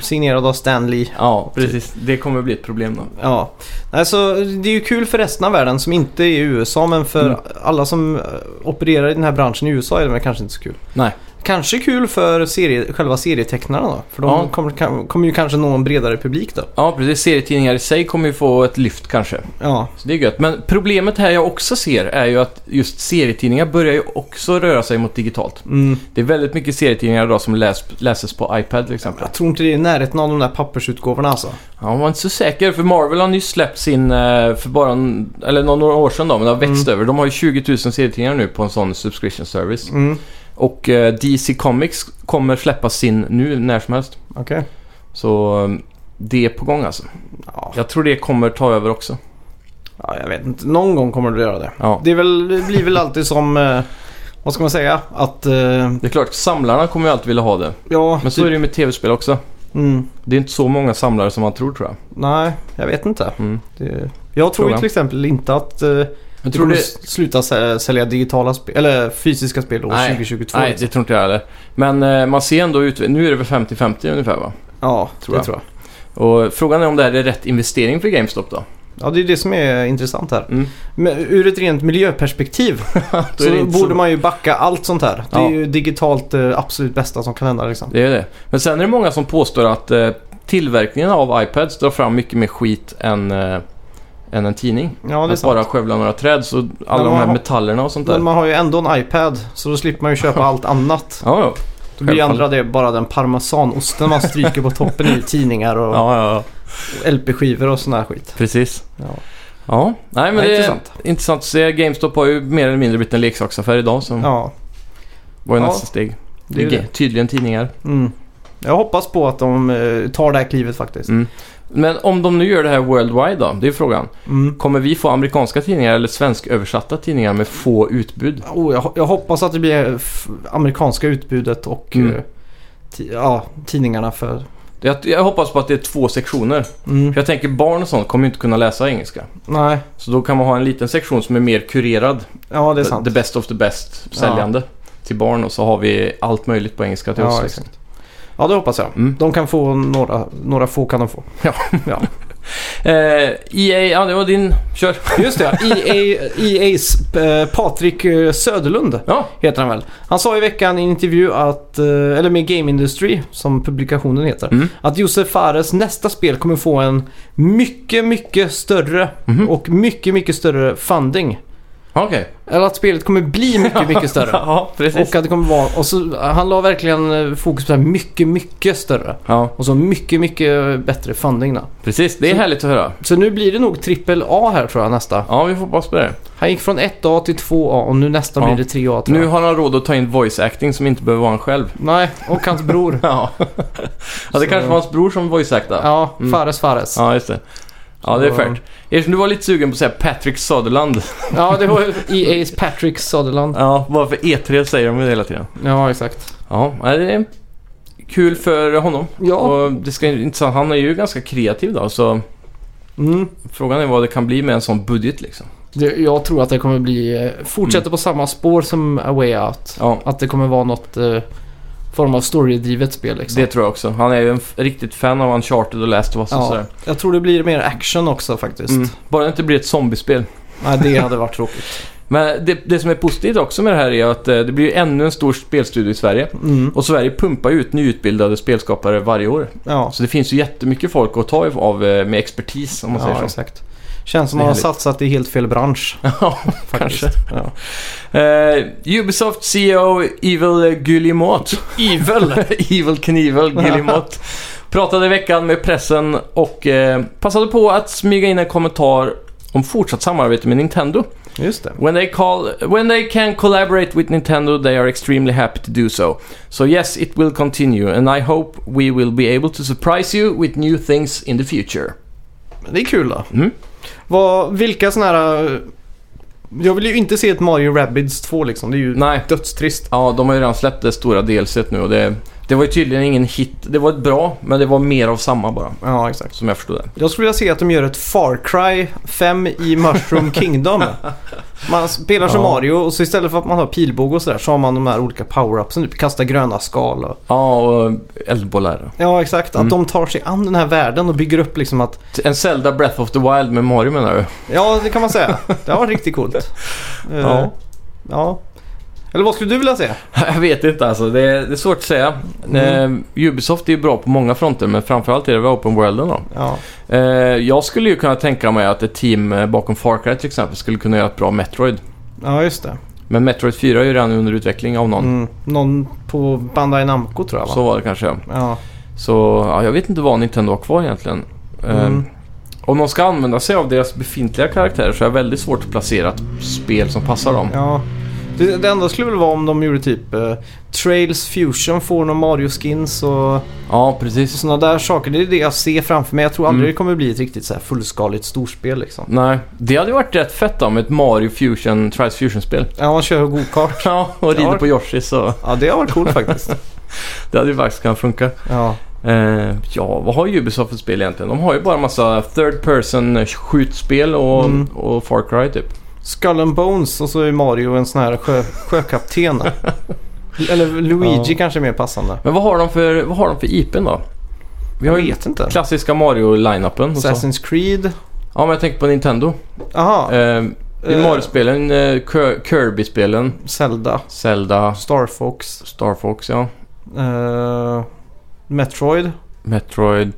Speaker 1: Signerad av Stan Lee.
Speaker 2: Ja, typ. precis. Det kommer bli ett problem då.
Speaker 1: Ja, alltså det är ju kul för resten av världen som inte är i USA men för
Speaker 2: Mm.
Speaker 1: alla som eh, opererar i den här branschen i USA är det väl kanske inte så kul.
Speaker 2: Nej.
Speaker 1: Kanske kul för serie, själva serietecknarna då, för de
Speaker 2: Ja.
Speaker 1: kommer, kan, kommer ju kanske nå en bredare publik då.
Speaker 2: Ja, precis. Serietidningar i sig kommer ju få ett lyft kanske.
Speaker 1: Ja,
Speaker 2: Så det är gött. Men problemet här jag också ser är ju att just serietidningar börjar ju också röra sig mot digitalt.
Speaker 1: mm.
Speaker 2: Det är väldigt mycket serietidningar idag som läs, läses på iPad till exempel.
Speaker 1: jag tror inte det är i närheten av de där pappersutgåvorna alltså.
Speaker 2: Ja, man var inte så säker för Marvel har nyss släppt sin, eh, för bara en, eller nå- några år sedan då, men det har växt över. De har ju 20 000 serietidningar nu på en sån subscription service.
Speaker 1: Mm.
Speaker 2: Och eh, DC Comics kommer släppa sin nu när som helst.
Speaker 1: Okej.
Speaker 2: Så eh, det är på gång alltså.
Speaker 1: Ja.
Speaker 2: Jag tror det kommer ta över också.
Speaker 1: ja, jag vet inte. Någon gång kommer du göra det.
Speaker 2: Ja.
Speaker 1: Det, är väl, det blir väl alltid som, eh, vad ska man säga, att eh,
Speaker 2: Det är klart, samlarna kommer ju alltid vilja ha det.
Speaker 1: ja, typ-
Speaker 2: Men så är det ju med tv-spel också.
Speaker 1: mm,
Speaker 2: Det är inte så många samlare som man tror tror jag.
Speaker 1: nej, jag vet inte.
Speaker 2: Mm.
Speaker 1: Det, jag tror ju
Speaker 2: Frågan.
Speaker 1: till exempel inte att eh,
Speaker 2: Jag
Speaker 1: Du
Speaker 2: tror
Speaker 1: kommer
Speaker 2: det...
Speaker 1: s- sluta sä- sälja digitala spe- eller fysiska spel år
Speaker 2: Nej.
Speaker 1: 2022.
Speaker 2: Nej, det
Speaker 1: liksom.
Speaker 2: tror inte jag heller. Men eh, man ser ändå ut... Nu är det väl 50-50 ungefär va?
Speaker 1: Ja,
Speaker 2: Tror
Speaker 1: det
Speaker 2: jag.
Speaker 1: tror jag.
Speaker 2: Och frågan är om det här är rätt investering för GameStop då?
Speaker 1: Ja, det är det som är intressant här.
Speaker 2: Mm.
Speaker 1: Men ur ett rent miljöperspektiv <laughs>
Speaker 2: Då är det
Speaker 1: så
Speaker 2: inte
Speaker 1: borde
Speaker 2: så-
Speaker 1: man ju backa allt sånt här. Det
Speaker 2: Ja.
Speaker 1: är ju digitalt eh, absolut bästa som kan hända liksom.
Speaker 2: Det är det. Men sen är det många som påstår att eh, tillverkningen av iPads drar fram mycket mer skit än, eh, än en tidning.
Speaker 1: Ja, det är
Speaker 2: att
Speaker 1: sant.
Speaker 2: bara skövla några träd så alla
Speaker 1: Men
Speaker 2: de
Speaker 1: man
Speaker 2: här
Speaker 1: har-
Speaker 2: metallerna och sånt där.
Speaker 1: Men man har ju ändå en iPad så då slipper man ju
Speaker 2: <laughs>
Speaker 1: köpa allt annat.
Speaker 2: Ja, ja.
Speaker 1: Då blir ju
Speaker 2: Självfallet.
Speaker 1: andra det bara den parmesanosten man stryker på toppen
Speaker 2: <laughs>
Speaker 1: i tidningar och
Speaker 2: ja, ja, ja.
Speaker 1: LP-skivor och sån här skit.
Speaker 2: Precis.
Speaker 1: Ja.
Speaker 2: Ja, nej men
Speaker 1: Ja,
Speaker 2: det är intressant.
Speaker 1: intressant.
Speaker 2: intressant att se. GameStop har ju mer eller mindre blivit en leksaksaffär idag så
Speaker 1: Ja,
Speaker 2: var ju
Speaker 1: Ja,
Speaker 2: nästa steg.
Speaker 1: det
Speaker 2: Det
Speaker 1: är
Speaker 2: är
Speaker 1: det.
Speaker 2: tydligen tidningar.
Speaker 1: Mm. Jag hoppas på att de eh, tar det här klivet faktiskt.
Speaker 2: Mm. Men om de nu gör det här worldwide då? Det är frågan.
Speaker 1: Mm.
Speaker 2: Kommer vi få amerikanska tidningar eller svensk översatta tidningar med få utbud?
Speaker 1: Oh, jag, jag hoppas att det blir eh, f- amerikanska utbudet och
Speaker 2: Mm.
Speaker 1: eh, ti- ja, tidningarna för...
Speaker 2: Jag, jag hoppas på att det är två sektioner.
Speaker 1: Mm.
Speaker 2: För jag tänker barn och sånt kommer ju inte kunna läsa engelska.
Speaker 1: Nej,
Speaker 2: Så då kan man ha en liten sektion som är mer kurerad.
Speaker 1: ja det är
Speaker 2: The-
Speaker 1: sant.
Speaker 2: The best of the best säljande till barn och så har vi allt möjligt på engelska till oss.
Speaker 1: ja,
Speaker 2: liksom.
Speaker 1: exakt. ja, det hoppas jag.
Speaker 2: Mm.
Speaker 1: De kan få några, några få kan de få.
Speaker 2: Ja. Eh, EA, ja det var din. Kör.
Speaker 4: Just det, E EA, EA's eh, Patrik eh, Söderlund
Speaker 2: Ja,
Speaker 4: heter han väl. Han sa i veckan i en intervju att, eh, eller med Game Industry som publikationen heter,
Speaker 2: Mm.
Speaker 4: att Josef Fares nästa spel kommer få en mycket, mycket större
Speaker 2: Mhm.
Speaker 4: och mycket, mycket större funding.
Speaker 2: okej.
Speaker 4: Eller att spelet kommer bli mycket, mycket <laughs> större.
Speaker 2: Ja, precis.
Speaker 4: Och att det kommer vara, och så, han la verkligen eh, fokus på det här mycket, mycket större.
Speaker 2: Ja,
Speaker 4: Och så mycket, mycket bättre funding då.
Speaker 2: precis. Det är härligt att höra.
Speaker 4: Så nu blir det nog trippel A här tror jag nästa.
Speaker 2: Ja, vi får hoppas på det.
Speaker 4: Han gick från 1A till 2A och nu nästan
Speaker 2: Ja.
Speaker 4: blir det 3A tror
Speaker 2: Nu
Speaker 4: jag.
Speaker 2: har han råd att ta in voice acting som inte behöver vara han själv.
Speaker 4: Nej, och hans bror.
Speaker 2: Ja, <laughs> ja det
Speaker 4: Så-
Speaker 2: kanske var hans bror som voice actade.
Speaker 4: Ja,
Speaker 2: Mm.
Speaker 4: Fares Fares. Ja,
Speaker 2: Ja, just det. Ja, det är
Speaker 4: Så-
Speaker 2: fairt. Eftersom du var lite sugen på att säga Patrick Söderland.
Speaker 4: det var EA's Patrick Sutherland.
Speaker 2: Ja, varför E3 säger de ju hela tiden.
Speaker 4: Ja, exakt.
Speaker 2: Ja, nej, det är kul för honom.
Speaker 4: Ja,
Speaker 2: Och det ska inte så- han är ju ganska kreativ då, så
Speaker 4: mm.
Speaker 2: frågan är vad det kan bli med en sån budget liksom.
Speaker 4: det, jag tror att det kommer bli... eh, Fortsätter på samma spår som A Way Out.
Speaker 2: Ja,
Speaker 4: Att det kommer vara något eh, form av storydrivet spel liksom.
Speaker 2: det tror jag också. Han är ju en f- riktigt fan av Uncharted och Last of Us och
Speaker 4: ja,
Speaker 2: sådär.
Speaker 4: jag tror det blir mer action också faktiskt.
Speaker 2: Mm. Bara det inte blir ett zombiespel.
Speaker 4: Nej, det hade varit tråkigt.
Speaker 2: Men det, det som är positivt också med det här är att eh, det blir ju ännu en stor spelstudio i Sverige.
Speaker 4: Mm.
Speaker 2: Och Sverige pumpar ju ut nyutbildade spelskapare varje år.
Speaker 4: Ja,
Speaker 2: Så det finns ju jättemycket folk att ta av eh, med expertis om man
Speaker 4: ja
Speaker 2: säger så.
Speaker 4: exakt. Känns som
Speaker 2: Det är
Speaker 4: man
Speaker 2: härligt.
Speaker 4: har satsat i helt fel bransch.
Speaker 2: <laughs> Ja,
Speaker 4: Faktiskt.
Speaker 2: kanske.
Speaker 4: Ja.
Speaker 2: Eh, Ubisoft CEO Evil eh, Guillemot. Evil? <laughs> Evil Knievel Guillemot. Pratade i veckan med pressen och eh, passade på att smyga in en kommentar om fortsatt samarbete med Nintendo.
Speaker 4: Just det.
Speaker 2: When they call, when they can collaborate with Nintendo, they are extremely happy to do so. So yes, it will continue, and I hope we will be able to surprise you with new things in the future.
Speaker 4: Men Det är kul då.
Speaker 2: Mm.
Speaker 4: Vad, vilka sådana här... eh, Jag vill ju inte se ett Mario Rabbids 2 liksom. Det är ju
Speaker 2: Nej,
Speaker 4: dödstrist.
Speaker 2: ja, de har ju redan släppt det stora delset nu och det, det var ju tydligen ingen hit. Det var ett bra, men det var mer av samma bara,
Speaker 4: Ja, exakt.
Speaker 2: som jag förstod det.
Speaker 4: Jag skulle vilja se att de gör ett Far Cry 5
Speaker 2: <laughs>
Speaker 4: i Mushroom Kingdom. Man spelar som
Speaker 2: Ja.
Speaker 4: Mario och så istället för att man har pilbåge och sådär så har man de här olika power-upsen. Typ kasta gröna skal och...
Speaker 2: Ja, och eldbollar.
Speaker 4: Ja, exakt. Att
Speaker 2: Mm.
Speaker 4: de tar sig an den här världen och bygger upp liksom att...
Speaker 2: En Zelda Breath of the Wild med Mario menar du?
Speaker 4: Ja, det kan
Speaker 2: <laughs>
Speaker 4: man säga. Det har varit riktigt coolt. Eh,
Speaker 2: Ja.
Speaker 4: ja. Eller vad skulle du vilja se?
Speaker 2: <laughs> Jag vet inte alltså, det är, det är svårt att säga.
Speaker 4: Mm.
Speaker 2: Eh, Ubisoft är ju bra på många fronter, men framförallt är det väl Open Worlden då.
Speaker 4: Ja.
Speaker 2: Eh, jag skulle ju kunna tänka mig att ett team eh, bakom Far Cry till exempel skulle kunna göra ett bra Metroid.
Speaker 4: Ja, just det.
Speaker 2: Men Metroid 4 är ju redan under utveckling av någon.
Speaker 4: Mm. Någon på Bandai Namco tror jag va?
Speaker 2: Så var det kanske. ja.
Speaker 4: Ja.
Speaker 2: Så ja, jag vet inte vad Nintendo har kvar egentligen. Eh,
Speaker 4: Mm.
Speaker 2: om de ska använda sig av deras befintliga karaktärer så är det väldigt svårt att placera ett spel som passar dem.
Speaker 4: ja. Det, det enda skulle väl vara om de gjorde typ eh, Trails Fusion får någon Mario-skins och
Speaker 2: Ja, precis.
Speaker 4: sådana där saker. Det är det jag ser framför mig. Jag tror aldrig
Speaker 2: Mm.
Speaker 4: det kommer bli ett riktigt så här fullskaligt storspel liksom.
Speaker 2: Nej, det hade ju varit rätt fett om ett Mario Fusion, Trials Fusion-spel. <laughs>
Speaker 4: Ja, man kör go-kart.
Speaker 2: Ja, och rider
Speaker 4: Ja.
Speaker 2: på Yoshi så
Speaker 4: Ja, det har varit coolt faktiskt.
Speaker 2: det hade ju faktiskt kunnat funka.
Speaker 4: Ja.
Speaker 2: Eh, ja, vad har Ubisoft för spel egentligen? De har ju bara massa third person skjutspel och,
Speaker 4: Mm.
Speaker 2: och Far Cry typ.
Speaker 4: Skull and Bones och så är Mario en sån här sjö, sjökapten. Eller Luigi
Speaker 2: Ja.
Speaker 4: kanske är mer passande.
Speaker 2: Men vad har de för, vad har de för IPn då? Vi har
Speaker 4: Jag
Speaker 2: ju
Speaker 4: vet inte.
Speaker 2: klassiska Mario-line-upen och så.
Speaker 4: Assassin's Creed.
Speaker 2: Ja, men jag tänker på Nintendo.
Speaker 4: Aha.
Speaker 2: Eh, det är
Speaker 4: eh,
Speaker 2: Mario-spelen, eh, Ker- Kirby-spelen,
Speaker 4: Zelda.
Speaker 2: Zelda,
Speaker 4: Star Fox.
Speaker 2: Star Fox ja,
Speaker 4: Eh, Metroid.
Speaker 2: Metroid.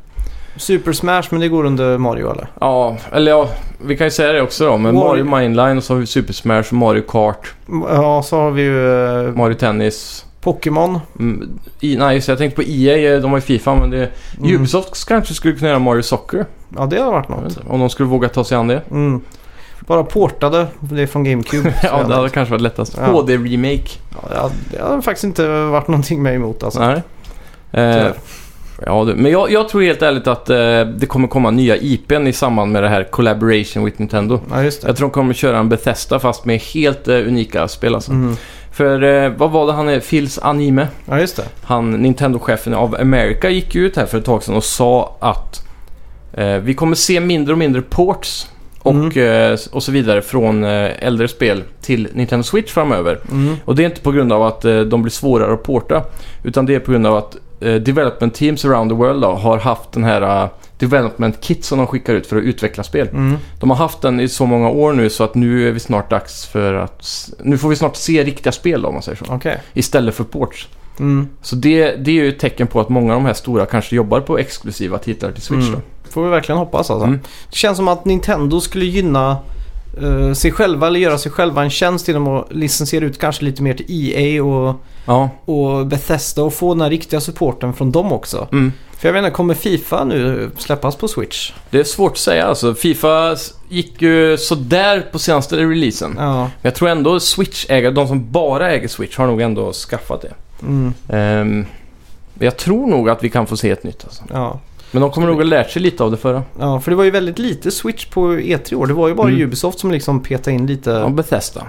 Speaker 4: Super Smash, men det går under Mario eller?
Speaker 2: Ja, eller ja, vi kan ju säga det också då. Men Mario
Speaker 4: Mario-
Speaker 2: Mindline och så har vi Super Smash, Mario Kart,
Speaker 4: M- Ja, så har vi ju eh,
Speaker 2: Mario Tennis.
Speaker 4: Pokémon.
Speaker 2: Mm, I, nej, just det, jag tänkte på EA, eh, de har ju Fifa men det
Speaker 4: Mm.
Speaker 2: Ubisoft kanske skulle kunna göra Mario Soccer.
Speaker 4: Ja, det har varit
Speaker 2: Jag vet
Speaker 4: något.
Speaker 2: inte, Om de skulle våga ta sig an det.
Speaker 4: Mm. Bara portade det från GameCube.
Speaker 2: <laughs>
Speaker 4: Så
Speaker 2: ja,
Speaker 4: jag-
Speaker 2: det hade kanske varit lättast.
Speaker 4: Ja.
Speaker 2: HD-remake.
Speaker 4: ja, det har faktiskt inte varit någonting med emot alltså.
Speaker 2: Nej. Eh,
Speaker 4: Tyvärr.
Speaker 2: ja, du, men jag, jag tror helt ärligt att eh, det kommer komma nya IPn i samband med det här Collaboration with Nintendo.
Speaker 4: Ja, just det.
Speaker 2: Jag tror de kommer köra en Bethesda fast med helt eh, unika spel alltså.
Speaker 4: Mm.
Speaker 2: För eh, vad var det han är? Phils Anime.
Speaker 4: Ja, just det.
Speaker 2: han, Nintendo-chefen av America gick ju ut här för ett tag sedan och sa att eh, vi kommer se mindre och mindre ports och, eh, och så vidare från eh, äldre spel till Nintendo Switch framöver.
Speaker 4: Mm.
Speaker 2: Och det är inte på grund av att eh, de blir svårare att porta utan det är på grund av att eh, development teams around the world då, har haft den här eh, development kit som de skickar ut för att utveckla spel.
Speaker 4: Mm.
Speaker 2: De har haft den i så många år nu så att nu är vi snart dags för att... s- Nu får vi snart se riktiga spel då, om man säger så.
Speaker 4: Okej.
Speaker 2: Istället för ports.
Speaker 4: Mm.
Speaker 2: Så det, det är ju ett tecken på att många av de här stora kanske jobbar på exklusiva titlar till Switch
Speaker 4: Mm.
Speaker 2: då.
Speaker 4: Får vi verkligen hoppas alltså.
Speaker 2: Mm.
Speaker 4: Det känns som att Nintendo skulle gynna eh, sig själva eller göra sig själva en tjänst genom att licensiera ut kanske lite mer till EA och,
Speaker 2: Ja.
Speaker 4: och Bethesda och få den här riktiga supporten från dem också.
Speaker 2: Mm.
Speaker 4: För jag vet inte, kommer Fifa nu släppas på Switch?
Speaker 2: Det är svårt att säga alltså. Fifa s- gick ju sådär på senaste releasen. Men
Speaker 4: Ja.
Speaker 2: jag tror ändå Switch-ägare, de som bara äger Switch, har nog ändå skaffat det.
Speaker 4: Mm.
Speaker 2: Ehm, men jag tror nog att vi kan få se ett nytt alltså.
Speaker 4: ja.
Speaker 2: Men de kommer nog ha lärt sig lite av det förra.
Speaker 4: Ja, för det var ju väldigt lite Switch på E3 i år. Det var ju bara
Speaker 2: Mm.
Speaker 4: Ubisoft som liksom petade in lite.
Speaker 2: Ja,
Speaker 4: Ja,
Speaker 2: Bethesda.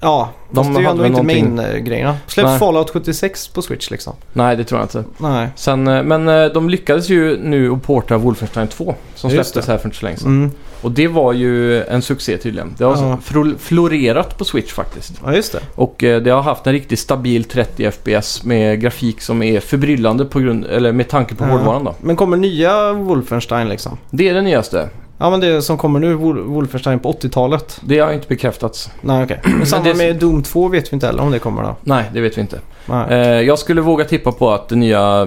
Speaker 4: de fast det är
Speaker 2: hade
Speaker 4: ju ändå
Speaker 2: väl
Speaker 4: inte
Speaker 2: någonting-
Speaker 4: main-grejerna. Släpp
Speaker 2: Nej.
Speaker 4: Fallout 76 på Switch liksom.
Speaker 2: Nej, det tror jag inte.
Speaker 4: Nej.
Speaker 2: Sen, eh, men eh, de lyckades ju nu att porta Wolfenstein 2 som
Speaker 4: Just
Speaker 2: släpptes här för inte så länge sedan.
Speaker 4: Mm.
Speaker 2: Och det var ju en succé tydligen. Det har
Speaker 4: Ja.
Speaker 2: fro- florerat på Switch faktiskt.
Speaker 4: Ja, just det.
Speaker 2: Och eh, det har haft en riktigt stabil 30 FPS med grafik som är förbryllande på grund, eller med tanke på
Speaker 4: Ja.
Speaker 2: hårdvaran då.
Speaker 4: Men kommer nya Wolfenstein liksom?
Speaker 2: Det är det nyaste.
Speaker 4: Ja men det som kommer nu, Wol- Wolfenstein på 80-talet.
Speaker 2: Det har inte bekräftats. <clears throat>
Speaker 4: Nej okej. Men samma
Speaker 2: det-
Speaker 4: med Doom 2 vet vi inte heller om det kommer då.
Speaker 2: Nej, det vet vi inte.
Speaker 4: Nej.
Speaker 2: Eh, jag skulle våga tippa på att det nya,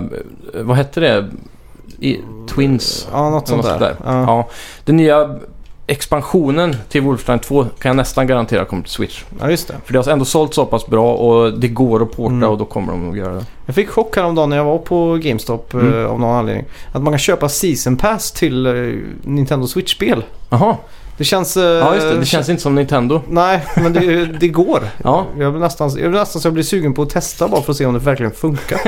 Speaker 2: eh, vad hette det? I, Twins?
Speaker 4: Ja något sånt där.
Speaker 2: något sånt
Speaker 4: Ja.
Speaker 2: Ja. Den nya expansionen till Wolfenstein 2 kan jag nästan garantera kommer till Switch.
Speaker 4: ja just det.
Speaker 2: För det har ändå sålt så pass bra och det går att porta
Speaker 4: Mm.
Speaker 2: och då kommer de att göra det.
Speaker 4: Jag fick chock häromdagen när jag var på GameStop eh,
Speaker 2: Mm.
Speaker 4: av någon anledning. Att man kan köpa Season Pass till eh, Nintendo Switch-spel.
Speaker 2: Jaha,
Speaker 4: Det känns... eh,
Speaker 2: ja just det. Det känns inte som Nintendo.
Speaker 4: Nej,
Speaker 2: <laughs>
Speaker 4: men det, det går.
Speaker 2: Ja.
Speaker 4: Jag blir nästan, jag blir nästan så jag blir sugen på att testa bara för att se om det
Speaker 2: <laughs>
Speaker 4: verkligen funkar.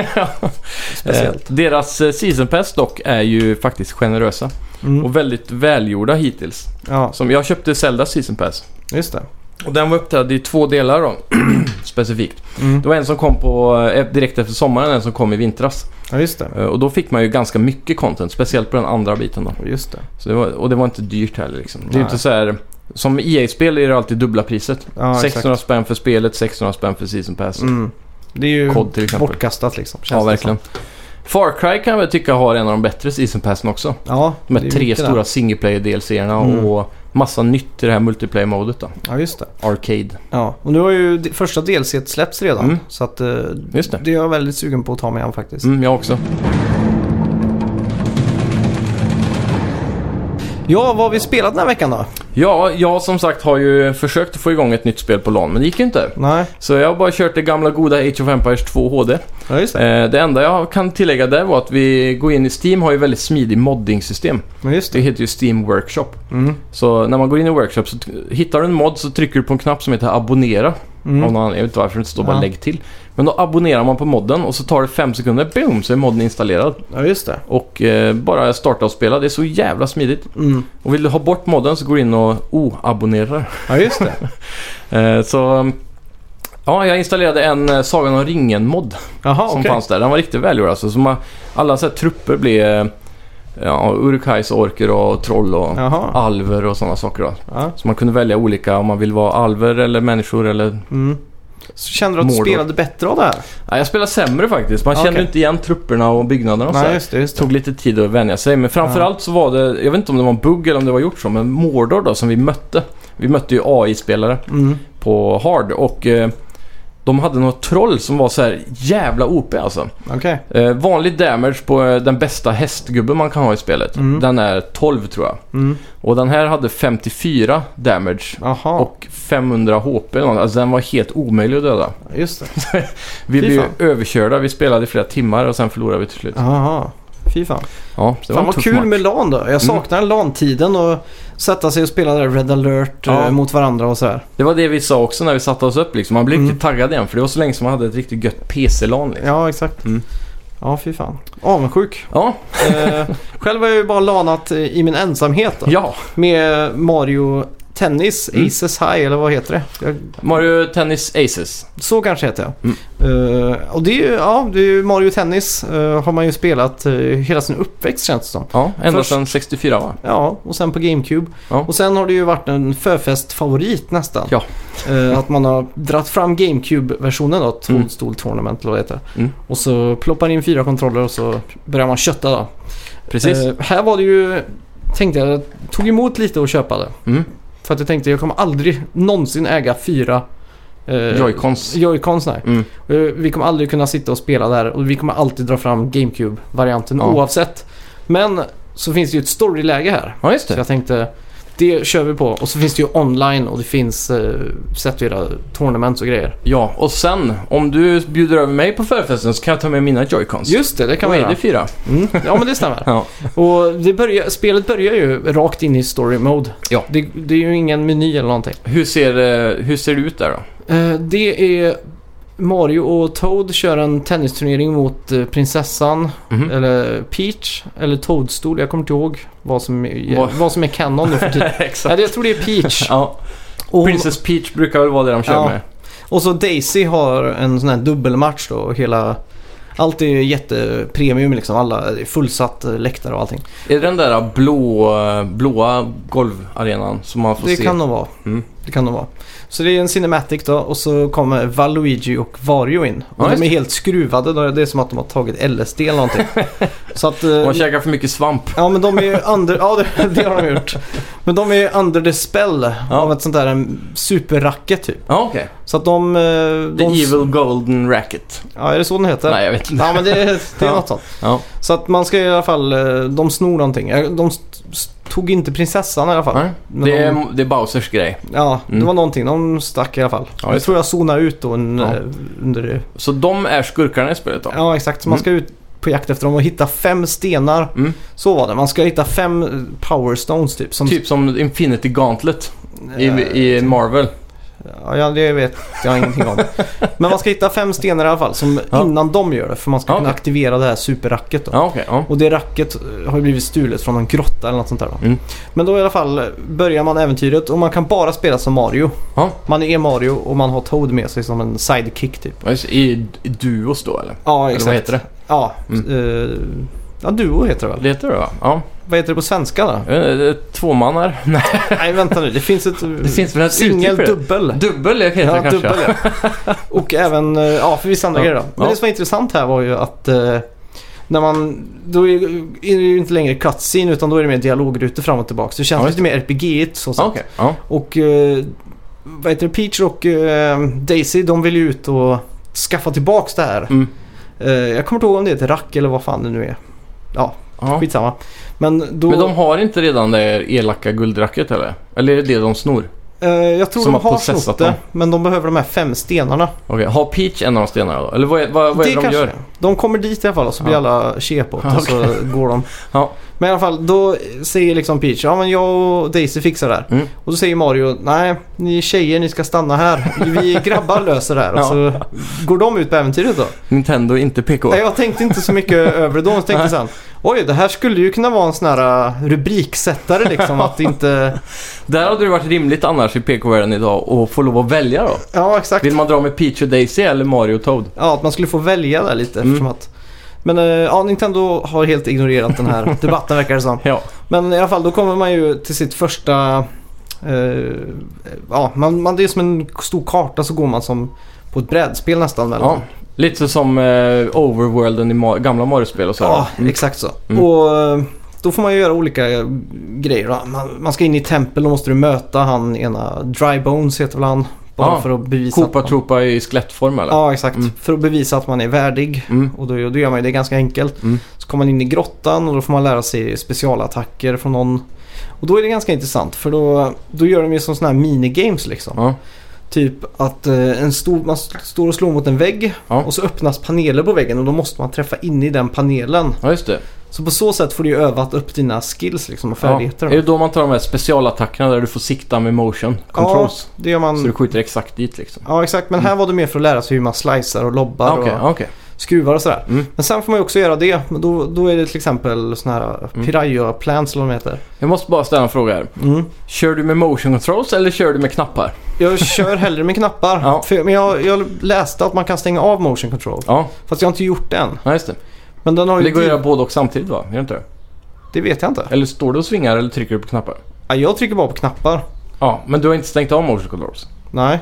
Speaker 4: Speciellt.
Speaker 2: Eh, deras eh, season pass dock är ju faktiskt generösa
Speaker 4: Mm.
Speaker 2: och väldigt välgjorda hittills.
Speaker 4: Ja,
Speaker 2: Som jag köpte Zelda season pass
Speaker 4: just det.
Speaker 2: och den var uppdelad i två delar då, <clears throat> specifikt.
Speaker 4: Mm.
Speaker 2: Det var en som kom på, eh, direkt efter sommaren och en som kom i vintras.
Speaker 4: Ja, just det.
Speaker 2: Eh, Och då fick man ju ganska mycket content, speciellt på den andra biten då.
Speaker 4: Just det.
Speaker 2: Så det var, och det var inte dyrt heller liksom. Det är ju
Speaker 4: Nej.
Speaker 2: inte så här, som EA-spel är det alltid dubbla priset.
Speaker 4: Ja, exakt.
Speaker 2: 600 spänn för spelet, 600 spänn för season pass.
Speaker 4: Mm. Det är ju
Speaker 2: Kod till exempel.
Speaker 4: bortkastat liksom. känns
Speaker 2: Ja,
Speaker 4: det
Speaker 2: verkligen. Far Cry kan jag väl tycka har en av de bättre season passen också.
Speaker 4: som. Ja,
Speaker 2: De
Speaker 4: det
Speaker 2: här
Speaker 4: är
Speaker 2: tre
Speaker 4: mycket
Speaker 2: stora
Speaker 4: där.
Speaker 2: singleplayer DLC-erna
Speaker 4: Mm.
Speaker 2: och massa nytt i det här multiplayer-modet då.
Speaker 4: Ja, just det.
Speaker 2: Arcade.
Speaker 4: Ja, och nu har ju d- första delset släppts redan.
Speaker 2: Mm.
Speaker 4: Så att eh,
Speaker 2: Just det.
Speaker 4: det är jag väldigt sugen på att ta mig an faktiskt.
Speaker 2: Mm, jag också.
Speaker 4: Ja, vad har vi spelat den här veckan då?
Speaker 2: Ja, jag som sagt har ju försökt att få igång ett nytt spel på LAN, men det gick ju inte.
Speaker 4: Nej,
Speaker 2: Så jag har bara kört det gamla goda Age of Empires 2 HD. Eh,
Speaker 4: ja just det.
Speaker 2: det enda jag kan tillägga där var att vi går in i Steam har ju väldigt smidig modding-system.
Speaker 4: Men just
Speaker 2: Det
Speaker 4: det.
Speaker 2: heter ju Steam Workshop.
Speaker 4: Mm.
Speaker 2: Så när man går in i Workshop så t- hittar du en mod så trycker du på en knapp som heter abonnera. Av
Speaker 4: Mm.
Speaker 2: någon anledning, jag vet inte varför det inte står bara
Speaker 4: Ja.
Speaker 2: lägg till. Men då abonnerar man på modden och så tar det fem sekunder, boom, så är modden installerad.
Speaker 4: Ja, just det.
Speaker 2: Och eh, bara starta och spela, det är så jävla smidigt.
Speaker 4: Mm.
Speaker 2: Och vill du ha bort modden så går du in och oabonnerar.
Speaker 4: Ja, just
Speaker 2: <laughs>
Speaker 4: det.
Speaker 2: Eh, så... Ja, jag installerade en eh, Sagan om ringen-mod
Speaker 4: Jaha,
Speaker 2: som
Speaker 4: Ah, okej.
Speaker 2: fanns där. Den var riktigt välgjord alltså. Så man, alla så här trupper blev... eh, Ja, Urukais orker och troll och
Speaker 4: Jaha.
Speaker 2: alver och sådana saker då.
Speaker 4: Ja.
Speaker 2: Så man kunde välja olika om man vill vara alver eller människor eller...
Speaker 4: Mm. Så kände du att du
Speaker 2: Mordor.
Speaker 4: spelade bättre av det här?
Speaker 2: Nej, jag spelar sämre faktiskt. Man
Speaker 4: Okej.
Speaker 2: kände inte igen trupperna och byggnaderna och så
Speaker 4: Nej,
Speaker 2: här.
Speaker 4: just det. Just
Speaker 2: Det
Speaker 4: det.
Speaker 2: tog lite tid att vänja sig, men framförallt så var det, jag vet inte om det var en bugg eller om det var gjort så, men Mordor då som vi mötte. Vi mötte ju AI-spelare
Speaker 4: Mm.
Speaker 2: på Hard och eh, de hade något troll som var så här jävla OP alltså.
Speaker 4: Okej.
Speaker 2: Eh, vanlig damage på eh, den bästa hästgubben man kan ha i spelet,
Speaker 4: Mm.
Speaker 2: den är 12 tror jag.
Speaker 4: Mm.
Speaker 2: Och den här hade 54 damage
Speaker 4: Jaha,
Speaker 2: och 500 HP eller något. Alltså den var helt omöjlig att döda.
Speaker 4: just det.
Speaker 2: Vi
Speaker 4: Fy
Speaker 2: blev
Speaker 4: fan.
Speaker 2: överkörda, vi spelade i flera timmar och sen förlorade vi till slut.
Speaker 4: Jaha. Fy fan.
Speaker 2: Ja, så det var
Speaker 4: fan
Speaker 2: en
Speaker 4: vad
Speaker 2: tuff
Speaker 4: kul
Speaker 2: match. Mm.
Speaker 4: med LAN då. Jag saknar LAN-tiden och sätta sig och spela där Red alert
Speaker 2: Ja.
Speaker 4: eh, mot varandra och sådär.
Speaker 2: Det var det vi sa också när vi satte oss upp liksom. Man blev
Speaker 4: Mm.
Speaker 2: riktigt taggad igen för det var så länge som man hade ett riktigt gött PC-LAN liksom.
Speaker 4: Ja, exakt.
Speaker 2: Mm.
Speaker 4: Ja, fy fan.
Speaker 2: <laughs>
Speaker 4: Avundsjuk.
Speaker 2: Ja,
Speaker 4: eh, själv har jag ju bara lanat eh, i min ensamhet då,
Speaker 2: ja,
Speaker 4: med Mario Tennis,
Speaker 2: Mm.
Speaker 4: Aces High eller vad heter det? Jag,
Speaker 2: Mario Tennis Aces.
Speaker 4: så kanske heter jag.
Speaker 2: Mm.
Speaker 4: Eh, och det är ju, ja, det är ju Mario Tennis eh, har man ju spelat eh, hela sin uppväxt känns det som.
Speaker 2: Ja, ända
Speaker 4: Först-
Speaker 2: sedan 64 va?
Speaker 4: Ja, och sen på GameCube.
Speaker 2: Ja.
Speaker 4: Och sen har det ju varit en förfestfavorit nästan.
Speaker 2: Ja.
Speaker 4: Eh, att man har dratt fram GameCube-versionen då, Toad
Speaker 2: Mm.
Speaker 4: Stool Tournament eller vad det heter.
Speaker 2: Mm.
Speaker 4: Och så ploppar in fyra kontroller och så börjar man kötta då.
Speaker 2: Precis.
Speaker 4: Eh, här var det ju, tänkte jag, det tog emot lite att köpa det.
Speaker 2: Mm.
Speaker 4: För att jag tänkte jag kommer aldrig någonsin äga fyra eh,
Speaker 2: Joy-Cons.
Speaker 4: Joy-Cons. nej.
Speaker 2: Mm.
Speaker 4: Eh, Vi kommer aldrig kunna sitta och spela där och vi kommer alltid dra fram GameCube-varianten
Speaker 2: Ja.
Speaker 4: oavsett. Men så finns det ju ett storyläge här.
Speaker 2: Ja, just
Speaker 4: Så
Speaker 2: det.
Speaker 4: jag tänkte, det kör vi på. Och så finns det ju online och det finns eh, sätt att göra tournaments och grejer.
Speaker 2: Ja, och sen om du bjuder över mig på förfesten så kan jag ta med mina Joy-Cons.
Speaker 4: Just det, det kan
Speaker 2: Då
Speaker 4: man
Speaker 2: är
Speaker 4: göra.
Speaker 2: det fyra.
Speaker 4: Mm. <laughs> Ja, men det stämmer.
Speaker 2: Ja.
Speaker 4: och det börjar, spelet börjar ju rakt in i story mode.
Speaker 2: Ja.
Speaker 4: Det, det är ju ingen meny eller någonting.
Speaker 2: Hur ser, eh, hur ser det ut där då?
Speaker 4: Eh, det är Mario och Toad kör en tennisturnering mot eh, prinsessan
Speaker 2: Mhm.
Speaker 4: eller Peach eller Toadstool. Jag kommer inte ihåg vad som är,
Speaker 2: Vad-
Speaker 4: vad som är kanon nu för <laughs> tiden.
Speaker 2: Exakt.
Speaker 4: Nej, jag tror det är <laughs> Peach.
Speaker 2: Ja.
Speaker 4: Och, hon-
Speaker 2: Princess Peach brukar väl vara det de kör
Speaker 4: Ja.
Speaker 2: med.
Speaker 4: och så Daisy har en sån här dubbelmatch då. och Hela, allt är ju jättepremium liksom. Alla det är fullsatt eh, läktare och allting.
Speaker 2: Är det den där blå, blåa golvarenan som man får
Speaker 4: Det
Speaker 2: se?
Speaker 4: kan nog vara.
Speaker 2: Mm.
Speaker 4: Det kan nog vara. Så det är en cinematic då och så kommer Valuigi och Wario in.
Speaker 2: Ja,
Speaker 4: Och
Speaker 2: just
Speaker 4: de är
Speaker 2: det.
Speaker 4: helt skruvade. då. Det är som att de har tagit LSD
Speaker 2: <laughs>
Speaker 4: eller någonting. så att, eh,
Speaker 2: Man käkar för mycket svamp.
Speaker 4: Ja men de är ju under, ja det, <laughs> det har de gjort. Men de är ju under the spell
Speaker 2: Ja.
Speaker 4: av ett sånt där en superracke typ.
Speaker 2: Ja, okej.
Speaker 4: Så att de... eh, de
Speaker 2: The Evil Golden Racket.
Speaker 4: Ja är det så den heter?
Speaker 2: Nej, jag vet inte.
Speaker 4: Ja men det, det är
Speaker 2: Ja.
Speaker 4: något sånt.
Speaker 2: Ja.
Speaker 4: Så att man ska i alla fall, eh, de snor någonting. Eh, De st- st- tog inte prinsessan i alla fall.
Speaker 2: Nej.
Speaker 4: Men
Speaker 2: Det
Speaker 4: de,
Speaker 2: är, det är Bowsers grej.
Speaker 4: ja, det
Speaker 2: Mm.
Speaker 4: var någonting. De stack i alla fall.
Speaker 2: Ja,
Speaker 4: jag
Speaker 2: just
Speaker 4: tror jag zonade ut då en,
Speaker 2: Ja. Mm.
Speaker 4: eh, under...
Speaker 2: Så de är skurkarna i spelet då?
Speaker 4: Ja exakt, så man ska ut på jakt efter dem och hitta fem stenar.
Speaker 2: Mm.
Speaker 4: Så var det. Man ska hitta fem eh, power stones typ. Som,
Speaker 2: Typ som Infinity Gauntlet i,
Speaker 4: eh,
Speaker 2: i Marvel.
Speaker 4: Ja, ja, det vet jag ingenting om. Men man ska hitta fem stenar i alla fall som
Speaker 2: Ja.
Speaker 4: innan de gör det. För man ska
Speaker 2: Ja,
Speaker 4: kunna
Speaker 2: okej.
Speaker 4: aktivera det här superracket då.
Speaker 2: Ja, okej. ja.
Speaker 4: Och det racket eh, har ju blivit stulet från någon grotta eller något sånt där då.
Speaker 2: Mm.
Speaker 4: Men då i alla fall eh, börjar man äventyret och man kan bara spela som Mario.
Speaker 2: Ja.
Speaker 4: Man är Mario och man har Toad med sig som en sidekick typ.
Speaker 2: Ja, just det. I, I duos då eller?
Speaker 4: Ja,
Speaker 2: Eller
Speaker 4: exakt.
Speaker 2: vad heter det?
Speaker 4: Ja,
Speaker 2: Mm.
Speaker 4: eh, ja, Duo heter det väl?
Speaker 2: Det heter det va? Ja.
Speaker 4: Vad heter det på
Speaker 2: <laughs>
Speaker 4: svenska då?
Speaker 2: Jag vet inte, Tvåmannar? <laughs> Nej,
Speaker 4: Nej, vänta nu. Det finns ett...
Speaker 2: det finns väl ett
Speaker 4: Singel,
Speaker 2: uttryck för det?
Speaker 4: dubbel.
Speaker 2: Dubbel heter det
Speaker 4: Ja,
Speaker 2: kanske?
Speaker 4: dubbel ja.
Speaker 2: <laughs>
Speaker 4: Och även, eh, ja för vissa andra
Speaker 2: Ja.
Speaker 4: grejer då. Men
Speaker 2: Ja.
Speaker 4: det som var intressant här var ju att eh, när man, då är är det ju inte längre cutscene utan då är det mer dialogrutor fram och tillbaka. Så det känns
Speaker 2: Ja, just
Speaker 4: lite mer RPG-igt så
Speaker 2: Ja,
Speaker 4: sett.
Speaker 2: Okej. Ja.
Speaker 4: Och eh, vad heter det, Peach och eh, Daisy de vill ju ut och skaffa tillbaks det här.
Speaker 2: Mm.
Speaker 4: Eh, jag kommer inte ihåg om det heter rack eller vad fan det nu är.
Speaker 2: Ja.
Speaker 4: Skitsamma. Men då,
Speaker 2: Men de har inte redan det elaka guldracket eller? Eller är det det de snor?
Speaker 4: eh, jag tror
Speaker 2: som
Speaker 4: de
Speaker 2: har
Speaker 4: har
Speaker 2: processat
Speaker 4: snott det.
Speaker 2: dem.
Speaker 4: Men de behöver de här fem stenarna.
Speaker 2: Okej, har Peach en av de stenarna då? Eller vad är, vad, vad är det, de
Speaker 4: kanske
Speaker 2: gör?
Speaker 4: är. De kommer dit i alla fall och så blir
Speaker 2: Ja.
Speaker 4: alla chepa
Speaker 2: Ja, <laughs>
Speaker 4: och så går de.
Speaker 2: Ja.
Speaker 4: Men i alla fall, då säger liksom Peach, ja men jag och Daisy fixar det här.
Speaker 2: Mm.
Speaker 4: Och då säger Mario, nej ni tjejer ni ska stanna här. Vi
Speaker 2: <laughs>
Speaker 4: grabbar löser det här. Och
Speaker 2: Ja.
Speaker 4: så går de ut på äventyret då.
Speaker 2: Nintendo är inte PK.
Speaker 4: Nej, jag tänkte inte så mycket
Speaker 2: <laughs>
Speaker 4: över det då. Jag tänkte sen, oj det här skulle ju kunna vara en sån här äh,
Speaker 2: <laughs>
Speaker 4: rubriksättare liksom. Att inte...
Speaker 2: Där hade det varit rimligt annars i PK-världen idag att få lov att välja då.
Speaker 4: Ja exakt.
Speaker 2: Vill man dra med Peach och Daisy eller Mario och Toad?
Speaker 4: Ja, att man skulle få välja där lite.
Speaker 2: Mm.
Speaker 4: Eftersom att... Men eh, ja, Nintendo har helt ignorerat
Speaker 2: <laughs>
Speaker 4: den här debatten verkar det som.
Speaker 2: Ja.
Speaker 4: Men i alla fall, då kommer man ju till sitt första... Eh, ja, man, man, det är som en stor karta så går man som på ett brädspel nästan. mellan-
Speaker 2: ja. Lite som eh, Overworlden i Ma- gamla Mario-spel och så. här.
Speaker 4: ja
Speaker 2: Mm.
Speaker 4: exakt så.
Speaker 2: Mm.
Speaker 4: Och eh, då får man ju göra olika eh, grejer. då. Man, man ska in i tempel, då måste du möta han ena... Dry Bones heter väl han? Bara
Speaker 2: Ja,
Speaker 4: för att bevisa...
Speaker 2: Koopa
Speaker 4: att man,
Speaker 2: Troopa i skelettform eller?
Speaker 4: Ja, exakt.
Speaker 2: Mm.
Speaker 4: För att bevisa att man är värdig.
Speaker 2: Mm.
Speaker 4: Och då, då gör man ju det ganska enkelt.
Speaker 2: Mm.
Speaker 4: Så kommer man in i grottan och då får man lära sig specialattacker från någon. Och då är det ganska intressant för då, då gör de ju som sådana här minigames liksom.
Speaker 2: Ja.
Speaker 4: Typ att eh, en stor, man st- står och slår mot en vägg
Speaker 2: Ja.
Speaker 4: och så öppnas paneler på väggen och då måste man träffa in i den panelen.
Speaker 2: ja, just det.
Speaker 4: Så på så sätt får du ju övat upp dina skills liksom och
Speaker 2: Ja.
Speaker 4: färdigheter.
Speaker 2: Är det då man tar de här specialattackerna där du får sikta med motion controls?
Speaker 4: det gör
Speaker 2: Så du
Speaker 4: man.
Speaker 2: skjuter exakt dit liksom?
Speaker 4: Ja exakt men här var det mer för att lära sig hur man slicear och lobbar.
Speaker 2: Ah, Okej,
Speaker 4: och...
Speaker 2: ah, okej.
Speaker 4: skruvar och sådär.
Speaker 2: Mm.
Speaker 4: Men sen får man ju också göra det. Men då, då är det till exempel sådana här
Speaker 2: Mm.
Speaker 4: piraya plants eller vad de heter.
Speaker 2: Jag måste bara ställa en fråga här.
Speaker 4: Mm.
Speaker 2: Kör du med motion controls eller kör du med knappar?
Speaker 4: Jag kör hellre med knappar.
Speaker 2: <laughs> Ja.
Speaker 4: För, men jag, jag läste att man kan stänga av motion control.
Speaker 2: Ja,
Speaker 4: Fast jag har inte gjort det än.
Speaker 2: ja, just det.
Speaker 4: Men den har
Speaker 2: Men
Speaker 4: ju...
Speaker 2: det går att
Speaker 4: tid-
Speaker 2: göra både och samtidigt va? Gör det inte det?
Speaker 4: det vet jag inte.
Speaker 2: Eller står du och svingar eller trycker du på knappar?
Speaker 4: Ja, jag trycker bara på knappar.
Speaker 2: Ja, men du har inte stängt av motion controls.
Speaker 4: Nej.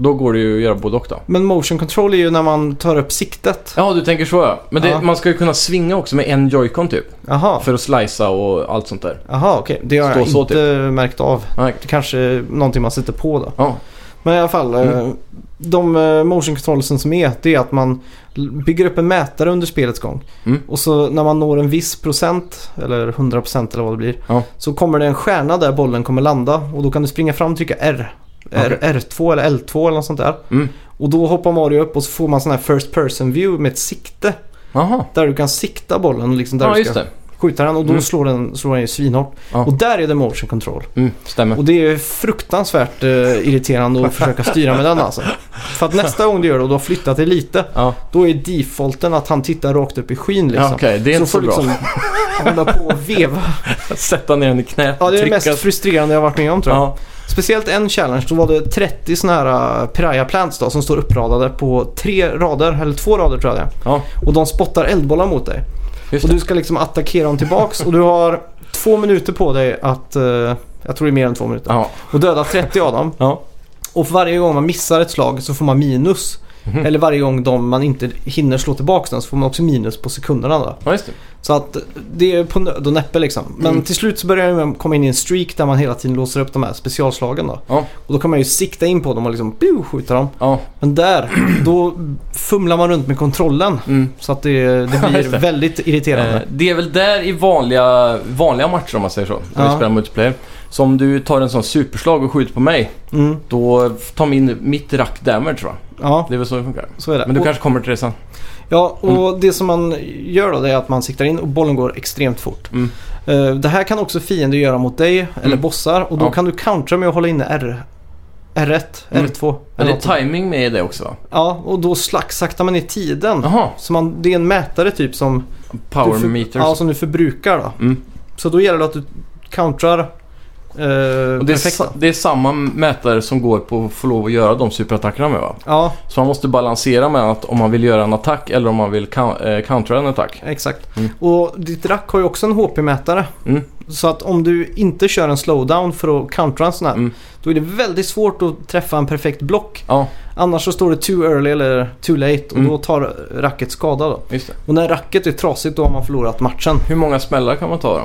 Speaker 2: Då går det ju att göra både och då.
Speaker 4: Men motion control är ju när man tar upp siktet.
Speaker 2: Ja, du tänker så ja. Men det,
Speaker 4: Ja.
Speaker 2: man ska ju kunna svinga också med en joycon typ.
Speaker 4: Jaha,
Speaker 2: För att slicea och allt sånt där.
Speaker 4: Jaha okej. Det har
Speaker 2: Stå
Speaker 4: jag
Speaker 2: så, typ.
Speaker 4: inte märkt av.
Speaker 2: Nej.
Speaker 4: Det kanske är någonting man sätter på då.
Speaker 2: Ja,
Speaker 4: Men i alla fall,
Speaker 2: Mm.
Speaker 4: eh, de eh, motion controlsen som är, det är att man l- bygger upp en mätare under spelets gång.
Speaker 2: Mm.
Speaker 4: Och så när man når en viss procent, eller 100 procent eller vad det blir,
Speaker 2: Ja.
Speaker 4: så kommer det en stjärna där bollen kommer landa. Och då kan du springa fram och trycka R. R R2 eller L2 eller något sånt där.
Speaker 2: Mm.
Speaker 4: Och då hoppar Mario upp och så får man sån här first person view med ett sikte.
Speaker 2: Jaha.
Speaker 4: Där du kan sikta bollen liksom där
Speaker 2: Ja,
Speaker 4: du
Speaker 2: just
Speaker 4: ska
Speaker 2: det.
Speaker 4: skjuta den och då
Speaker 2: Mm.
Speaker 4: slår den, slår den ju svinhårt.
Speaker 2: Ja.
Speaker 4: Och där är det motion control.
Speaker 2: Mm, stämmer.
Speaker 4: Och det är fruktansvärt eh, irriterande att försöka styra med den alltså. För att nästa gång du gör det och du har flyttat dig lite,
Speaker 2: Ja,
Speaker 4: då är defaulten att han tittar rakt upp i skyn liksom.
Speaker 2: ja okej. Det är inte så,
Speaker 4: får du
Speaker 2: bra.
Speaker 4: liksom hålla på
Speaker 2: <laughs>
Speaker 4: och veva.
Speaker 2: Sätta ner den i knät
Speaker 4: Ja, det är det
Speaker 2: trycka.
Speaker 4: mest frustrerande jag har varit med om tror jag.
Speaker 2: Ja,
Speaker 4: Speciellt en challenge, då var det 30 sådana här eh, piraya plants då, som står uppradade på tre rader, eller två rader tror jag det
Speaker 2: ja,
Speaker 4: är. Och de spottar eldbollar mot dig.
Speaker 2: just
Speaker 4: Och
Speaker 2: det.
Speaker 4: du ska liksom attackera dem tillbaks och du har två minuter på dig att, eh, jag tror det är mer än två minuter,
Speaker 2: Ja,
Speaker 4: och döda 30 av dem.
Speaker 2: ja.
Speaker 4: Och för varje gång man missar ett slag så får man minus.
Speaker 2: Mhm.
Speaker 4: Eller varje gång de man inte hinner slå tillbaka den så får man också minus på sekunderna då.
Speaker 2: ja, just det.
Speaker 4: Så att det är på nöd och näppe liksom. Men
Speaker 2: Mm.
Speaker 4: till slut så börjar man komma in i en streak där man hela tiden låser upp de här specialslagen då.
Speaker 2: Ja.
Speaker 4: Och då kan man ju sikta in på dem och liksom pju, skjuta dem.
Speaker 2: Ja,
Speaker 4: Men där, då fumlar man runt med kontrollen.
Speaker 2: mm.
Speaker 4: Så att det, det blir
Speaker 2: Just det.
Speaker 4: väldigt irriterande.
Speaker 2: Eh, Det är väl där i vanliga, vanliga matcher om man säger så, när vi
Speaker 4: Ja.
Speaker 2: spelar multiplayer. Så om du tar en sån superslag och skjuter på mig,
Speaker 4: Mm,
Speaker 2: då tar min, mitt rack damage va?
Speaker 4: ja,
Speaker 2: Det är väl så det funkar.
Speaker 4: så är det.
Speaker 2: Men du
Speaker 4: Och-
Speaker 2: kanske kommer till det sen?
Speaker 4: Ja, och
Speaker 2: Mm.
Speaker 4: det som man gör då det är att man siktar in och bollen går extremt fort.
Speaker 2: Mm.
Speaker 4: Eh, Det här kan också fiender göra mot dig eller
Speaker 2: Mm.
Speaker 4: bossar och då
Speaker 2: Ja.
Speaker 4: kan du countra med att hålla inne R, R1,
Speaker 2: Mm.
Speaker 4: R2.
Speaker 2: Men
Speaker 4: eller
Speaker 2: det
Speaker 4: något sånt.
Speaker 2: är timing med i det också va?
Speaker 4: Ja, och då slack, saktar man ner tiden.
Speaker 2: Jaha,
Speaker 4: Så man, det är en mätare typ som,
Speaker 2: power
Speaker 4: du för-
Speaker 2: meters.
Speaker 4: ja, som du förbrukar då.
Speaker 2: Mm.
Speaker 4: Så då gäller det att du countrar. Eh,
Speaker 2: och det, är
Speaker 4: perfekt.
Speaker 2: sa- det är samma mätare som går på att få lov att göra de superattackerna med va?
Speaker 4: Ja,
Speaker 2: Så man måste balansera med att om man vill göra en attack eller om man vill coun- eh, countera en attack.
Speaker 4: exakt.
Speaker 2: Mm.
Speaker 4: Och ditt rack har ju också en HP-mätare.
Speaker 2: Mm.
Speaker 4: Så att om du inte kör en slowdown för att countera en sån här,
Speaker 2: Mm.
Speaker 4: då är det väldigt svårt att träffa en perfekt block.
Speaker 2: Ja,
Speaker 4: Annars så står det too early eller too late och
Speaker 2: Mm.
Speaker 4: då tar racket skada då.
Speaker 2: just det.
Speaker 4: Och när racket är trasigt då har man förlorat matchen.
Speaker 2: Hur många smällar kan man ta då?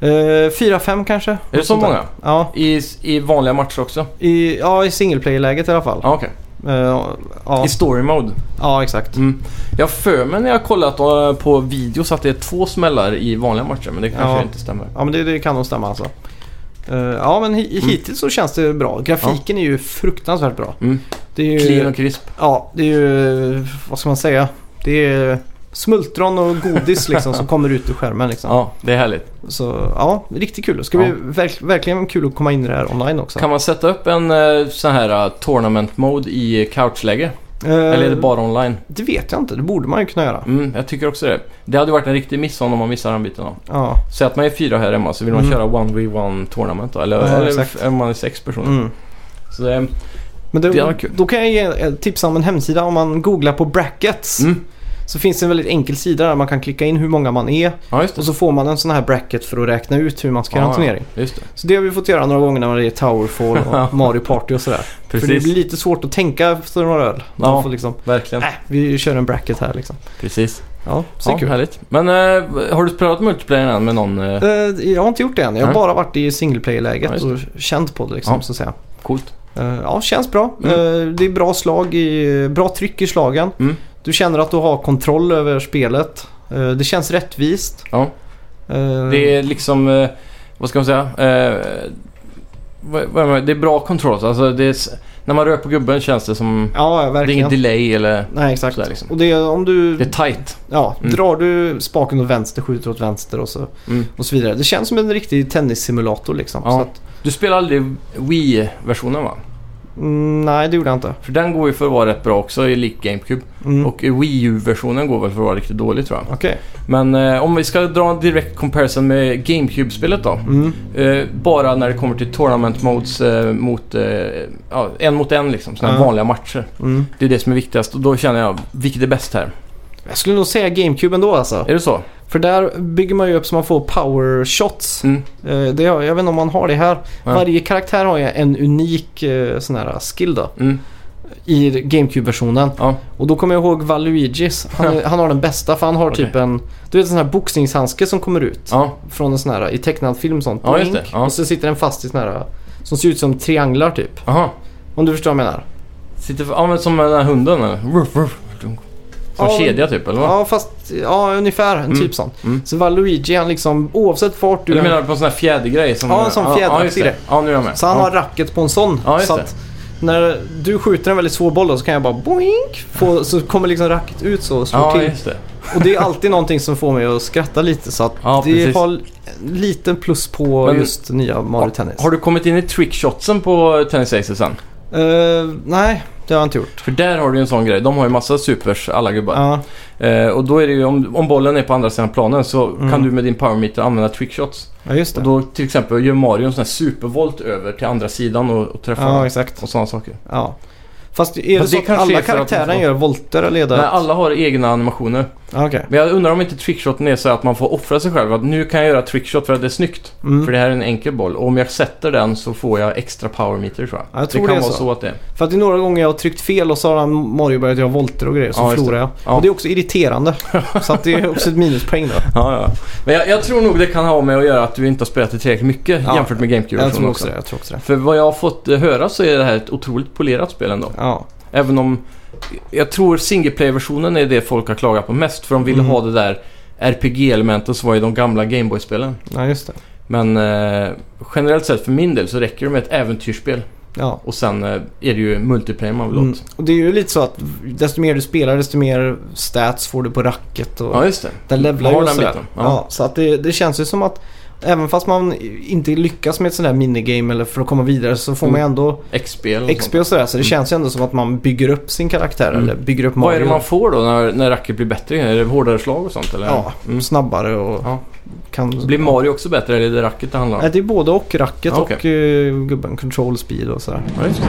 Speaker 4: Eh, 4-5 kanske.
Speaker 2: Är det så
Speaker 4: Sånt där.
Speaker 2: många?
Speaker 4: Ja,
Speaker 2: I, i vanliga matcher också?
Speaker 4: i, ja, i single player-läget i alla fall.
Speaker 2: Ja, okej.
Speaker 4: Eh, ja,
Speaker 2: I story mode?
Speaker 4: ja, exakt.
Speaker 2: Mm. Jag har för mig när jag kollat eh, på videos att det är två smällar i vanliga matcher, men det kanske
Speaker 4: Ja.
Speaker 2: inte stämmer.
Speaker 4: Ja, men det, det kan nog stämma alltså. Eh, ja, men hi- hittills så känns det bra. Grafiken är ju fruktansvärt bra.
Speaker 2: Mm.
Speaker 4: Det är ju...
Speaker 2: Clean och crisp.
Speaker 4: Ja, det är ju, vad ska man säga? Det är smultron och
Speaker 2: <laughs>
Speaker 4: godis liksom som kommer ut ur skärmen liksom.
Speaker 2: Ja, det är härligt.
Speaker 4: Så ja, riktigt kul. Det ska
Speaker 2: Ja.
Speaker 4: bli verk, verkligen kul att komma in i det här online också.
Speaker 2: Kan man sätta upp en eh, sån här eh, tournament mode i couchläge?
Speaker 4: Eh,
Speaker 2: Eller är det bara online?
Speaker 4: det vet jag inte. Det borde man ju kunna göra.
Speaker 2: Mm, jag tycker också det. Det hade varit en riktig miss om man missar den biten då.
Speaker 4: Ja.
Speaker 2: Säg att man är fyra här hemma så vill
Speaker 4: Mm.
Speaker 2: man köra 1v1 tournament då, eller,
Speaker 4: Ja,
Speaker 2: eller
Speaker 4: exakt.
Speaker 2: f- om man är sex personer.
Speaker 4: Mm.
Speaker 2: Så eh, det,
Speaker 4: Men det,
Speaker 2: Det var kul.
Speaker 4: då kan jag ge ett tips om en hemsida. Om man googlar på brackets
Speaker 2: mm.
Speaker 4: så finns det en väldigt enkel sida där man kan klicka in hur många man är
Speaker 2: Ja, just det.
Speaker 4: och så får man en sån här bracket för att räkna ut hur man ska göra en
Speaker 2: Ja,
Speaker 4: turnering.
Speaker 2: Just det.
Speaker 4: Så det har vi fått göra några gånger när det är Towerfall
Speaker 2: <laughs>
Speaker 4: och Mario Party och sådär. För det
Speaker 2: Precis.
Speaker 4: blir lite svårt att tänka efter några öl. Man
Speaker 2: Ja.
Speaker 4: får liksom,
Speaker 2: Verkligen.
Speaker 4: äh, vi kör en bracket här liksom.
Speaker 2: Precis.
Speaker 4: Ja, så
Speaker 2: Ja,
Speaker 4: kul.
Speaker 2: härligt. Men eh, har du spelat multiplayer än med någon? eh,
Speaker 4: Eh, jag har inte gjort det än. Jag har
Speaker 2: Nej.
Speaker 4: bara varit i
Speaker 2: Ja,
Speaker 4: singleplayer-läget
Speaker 2: just
Speaker 4: och känt på det liksom,
Speaker 2: Ja.
Speaker 4: så att säga.
Speaker 2: Coolt.
Speaker 4: Eh, ja, känns bra.
Speaker 2: Mm.
Speaker 4: Eh, det är bra slag, i, bra tryck i slagen.
Speaker 2: Mm.
Speaker 4: Du känner att du har kontroll över spelet. Eh, det känns rättvist.
Speaker 2: Ja.
Speaker 4: Eh,
Speaker 2: Det är liksom, eh, vad ska man säga? Eh, vad, vad, vad- det är bra controls. Alltså det är, s- när man rör på gubben känns det som...
Speaker 4: Ja, ja,
Speaker 2: Det är
Speaker 4: verkligen.
Speaker 2: ingen delay eller...
Speaker 4: Nej, exakt.
Speaker 2: sådär liksom.
Speaker 4: Och det är om du...
Speaker 2: Det är tight.
Speaker 4: Ja,
Speaker 2: Mm.
Speaker 4: drar du spaken åt vänster, skjuter åt vänster och så,
Speaker 2: Mm.
Speaker 4: och så vidare. Det känns som en riktig tennissimulator liksom.
Speaker 2: Ja.
Speaker 4: Så att,
Speaker 2: Du spelar aldrig Wii-versionen va?
Speaker 4: Mm, nej, det gjorde jag inte.
Speaker 2: För den går ju för att vara rätt bra också, i lik GameCube.
Speaker 4: Mm.
Speaker 2: Och Wii U-versionen går väl för att vara riktigt dålig tror jag.
Speaker 4: Okej.
Speaker 2: Men eh, om vi ska dra en direkt comparison med GameCube-spelet då.
Speaker 4: Mm.
Speaker 2: Eh, bara när det kommer till tournament modes eh, mot, eh, ja, en mot en liksom. Sådana
Speaker 4: Ja.
Speaker 2: vanliga matcher.
Speaker 4: Mm.
Speaker 2: Det är det som är viktigast och då känner jag, vilket är bäst här?
Speaker 4: Jag skulle nog säga GameCube ändå alltså.
Speaker 2: Är det så?
Speaker 4: För där bygger man ju upp så man får power shots.
Speaker 2: Mm.
Speaker 4: Eh, Det, har- jag vet inte om man har det här.
Speaker 2: Ja.
Speaker 4: Varje karaktär har ju en unik eh, sån här skill då.
Speaker 2: Mm.
Speaker 4: I GameCube-versionen.
Speaker 2: Ja.
Speaker 4: Och då kommer jag ihåg Valuigis. Han, är- han har den bästa för han har typ en... Du vet en sån här boxningshandske som kommer ut.
Speaker 2: Ja.
Speaker 4: Från en sån här i tecknad film sånt.
Speaker 2: Ja, just
Speaker 4: Boink.
Speaker 2: det. Ja.
Speaker 4: Och så sitter den fast i sån här... Som ser ut som trianglar typ.
Speaker 2: Aha.
Speaker 4: Om du förstår vad jag menar.
Speaker 2: Sitter, ja men som den här hunden eller? Ruff, ruff. Som
Speaker 4: Ja,
Speaker 2: kedja typ eller vad?
Speaker 4: Ja fast... Ja ungefär. En typ sån.
Speaker 2: Mm.
Speaker 4: Så Valuigi han liksom oavsett vart du...
Speaker 2: Eller menar du på en sån här fjädergrej? Som,
Speaker 4: Ja, en sån
Speaker 2: ja, just
Speaker 4: fjäderaktig
Speaker 2: det.
Speaker 4: grej.
Speaker 2: ja, nu är jag med.
Speaker 4: Så han
Speaker 2: ja.
Speaker 4: har racket på en sån.
Speaker 2: Ja, just
Speaker 4: så
Speaker 2: det.
Speaker 4: att när du skjuter en väldigt svår boll då, så kan jag bara boink. Få, så kommer liksom racket ut så och slår
Speaker 2: Ja,
Speaker 4: till.
Speaker 2: just det.
Speaker 4: Och det är alltid någonting som får mig att skratta lite. Så att
Speaker 2: Ja,
Speaker 4: det
Speaker 2: precis.
Speaker 4: har en liten plus på
Speaker 2: Men-
Speaker 4: just nya Mario Tennis.
Speaker 2: Har du kommit in i trickshotsen på Tennis Aces sen?
Speaker 4: Eh, nej, det har jag inte gjort.
Speaker 2: För där har du ju en sån grej. De har ju massa supers, alla gubbar.
Speaker 4: Ja,
Speaker 2: Eh, och då är det ju, om, om bollen är på andra sidan planen så
Speaker 4: Mm.
Speaker 2: kan du med din powermeter använda trickshots.
Speaker 4: ja, just
Speaker 2: Och
Speaker 4: det.
Speaker 2: då till exempel gör Mario en sån här supervolt över till andra sidan och, och träffar
Speaker 4: Ja,
Speaker 2: den.
Speaker 4: exakt.
Speaker 2: och sådana saker.
Speaker 4: Ja. Fast är det,
Speaker 2: det
Speaker 4: så att
Speaker 2: kanske
Speaker 4: alla
Speaker 2: är för att de
Speaker 4: karaktärer
Speaker 2: får-
Speaker 4: gör volter eller är
Speaker 2: Nej,
Speaker 4: det...
Speaker 2: alla har egna animationer.
Speaker 4: Ja, Okej.
Speaker 2: Men jag undrar om inte trickshoten är så att man får offra sig själv. Att nu kan jag göra trickshot för att det är snyggt.
Speaker 4: Mm.
Speaker 2: För det här är en enkel boll. Och om jag sätter den så får jag extra powermeter tror jag.
Speaker 4: Ja, jag tror
Speaker 2: det
Speaker 4: det
Speaker 2: kan
Speaker 4: är
Speaker 2: vara
Speaker 4: så.
Speaker 2: så. att det är.
Speaker 4: För att det är några gånger jag har tryckt fel och så har Mario börjat göra volter och grejer så
Speaker 2: Ja, just det.
Speaker 4: förlorar jag.
Speaker 2: Ja.
Speaker 4: Och det är också irriterande. så att det är också
Speaker 2: <laughs>
Speaker 4: ett minuspoäng då.
Speaker 2: Ja, ja. Men jag, jag tror nog det kan ha med att göra att du inte har spelat det tillräckligt mycket
Speaker 4: Ja,
Speaker 2: jämfört med GameCube.
Speaker 4: Jag tror också det. Jag tror också det.
Speaker 2: För vad jag har fått eh, höra så är det här ett otroligt polerat spel ändå.
Speaker 4: Ja.
Speaker 2: Även om jag tror singleplayer-versionen är det folk har klagat på mest. För de ville
Speaker 4: Mm.
Speaker 2: ha det där RPG-elementet som var i de gamla Gameboy-spelen.
Speaker 4: ja, just det.
Speaker 2: Men eh, generellt sett för min del så räcker det med ett äventyrsspel.
Speaker 4: Ja.
Speaker 2: Och sen eh, är det ju multiplayer man vill åt.
Speaker 4: Mm. Och det är ju lite så att desto mer du spelar desto mer stats får du på racket. Och
Speaker 2: Ja, just det.
Speaker 4: Den levlar ju
Speaker 2: Har
Speaker 4: och
Speaker 2: den
Speaker 4: sådär.
Speaker 2: biten.
Speaker 4: Ja.
Speaker 2: Ja.
Speaker 4: så att det, det känns ju som att även fast man inte lyckas med ett sånt här minigame eller för att komma vidare så får
Speaker 2: Mm.
Speaker 4: man ju ändå
Speaker 2: X-spel och
Speaker 4: XP
Speaker 2: sånt.
Speaker 4: och sådär. Så det känns ju ändå som att man bygger upp sin karaktär
Speaker 2: Mm.
Speaker 4: eller bygger upp Mario.
Speaker 2: Vad är det man får då när, när racket blir bättre? Är det hårdare slag och sånt eller?
Speaker 4: Ja,
Speaker 2: Mm.
Speaker 4: snabbare och
Speaker 2: Ja.
Speaker 4: kan...
Speaker 2: Blir Mario också bättre eller är det racket det handlar om?
Speaker 4: Nej, det är både och racket
Speaker 2: Okej.
Speaker 4: och eh, gubben control speed och sådär.
Speaker 2: Ja, just det.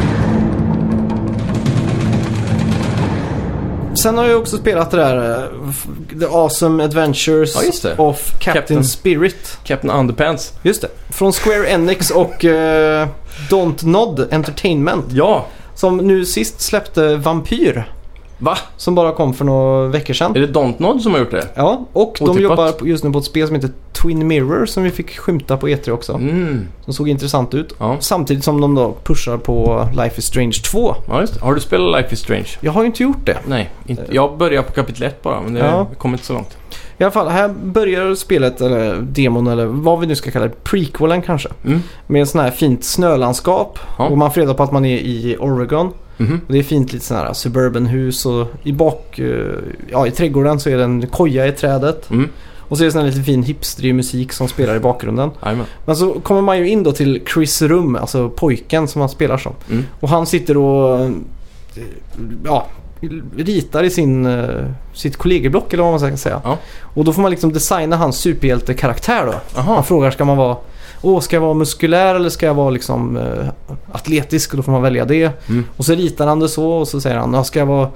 Speaker 4: Sen har jag också spelat det där eh, f- The Awesome Adventures
Speaker 2: Ja, just det.
Speaker 4: of Captain,
Speaker 2: Captain.
Speaker 4: Spirit.
Speaker 2: Captain Underpants.
Speaker 4: Just det. Från Square Enix <laughs> och eh, Don't Nod Entertainment.
Speaker 2: Ja!
Speaker 4: Som nu sist släppte Vampyr.
Speaker 2: Va?
Speaker 4: Som bara kom för några veckor sedan.
Speaker 2: Är det Dontnod som har gjort det?
Speaker 4: Ja, och de
Speaker 2: Otippat.
Speaker 4: jobbar på- just nu på ett spel som heter Twin Mirror som vi fick skymta på E3 också.
Speaker 2: Mm.
Speaker 4: Som såg intressant ut.
Speaker 2: Ja.
Speaker 4: Samtidigt som de då pushar på Life is Strange 2.
Speaker 2: ja, just det. Har du spelat Life is Strange?
Speaker 4: Jag har ju inte gjort det.
Speaker 2: Nej, inte. jag börjar på kapitel 1 bara, men det
Speaker 4: Ja.
Speaker 2: kom inte så långt.
Speaker 4: I alla fall, här börjar spelet, eller demon eller vad vi nu ska kalla det, prequelen kanske.
Speaker 2: Mm.
Speaker 4: Med sån här fint snölandskap.
Speaker 2: Ja.
Speaker 4: Och man får reda på att man är i Oregon.
Speaker 2: Mhm.
Speaker 4: Och det är fint lite sådana här suburbanhus och i bak, eh, ja i trädgården så är det en koja i trädet.
Speaker 2: Mm.
Speaker 4: Och så är det sån här lite fin hipstrig musik som spelar i bakgrunden.
Speaker 2: Jajamän.
Speaker 4: Men så kommer man ju in då till Chris Rum, alltså pojken som han spelar som.
Speaker 2: Mm.
Speaker 4: Och han sitter och eh, ja, ritar i sin, eh, sitt kollegieblock eller vad man ska säga.
Speaker 2: Ja.
Speaker 4: Och då får man liksom designa hans superhjältekaraktär då. Han
Speaker 2: Aha.
Speaker 4: frågar ska man vara Åh, ska jag vara muskulär eller ska jag vara liksom eh, atletisk? Och då får man välja det.
Speaker 2: Mm.
Speaker 4: Och så ritar han det så och så säger han, "Ja, ska jag vara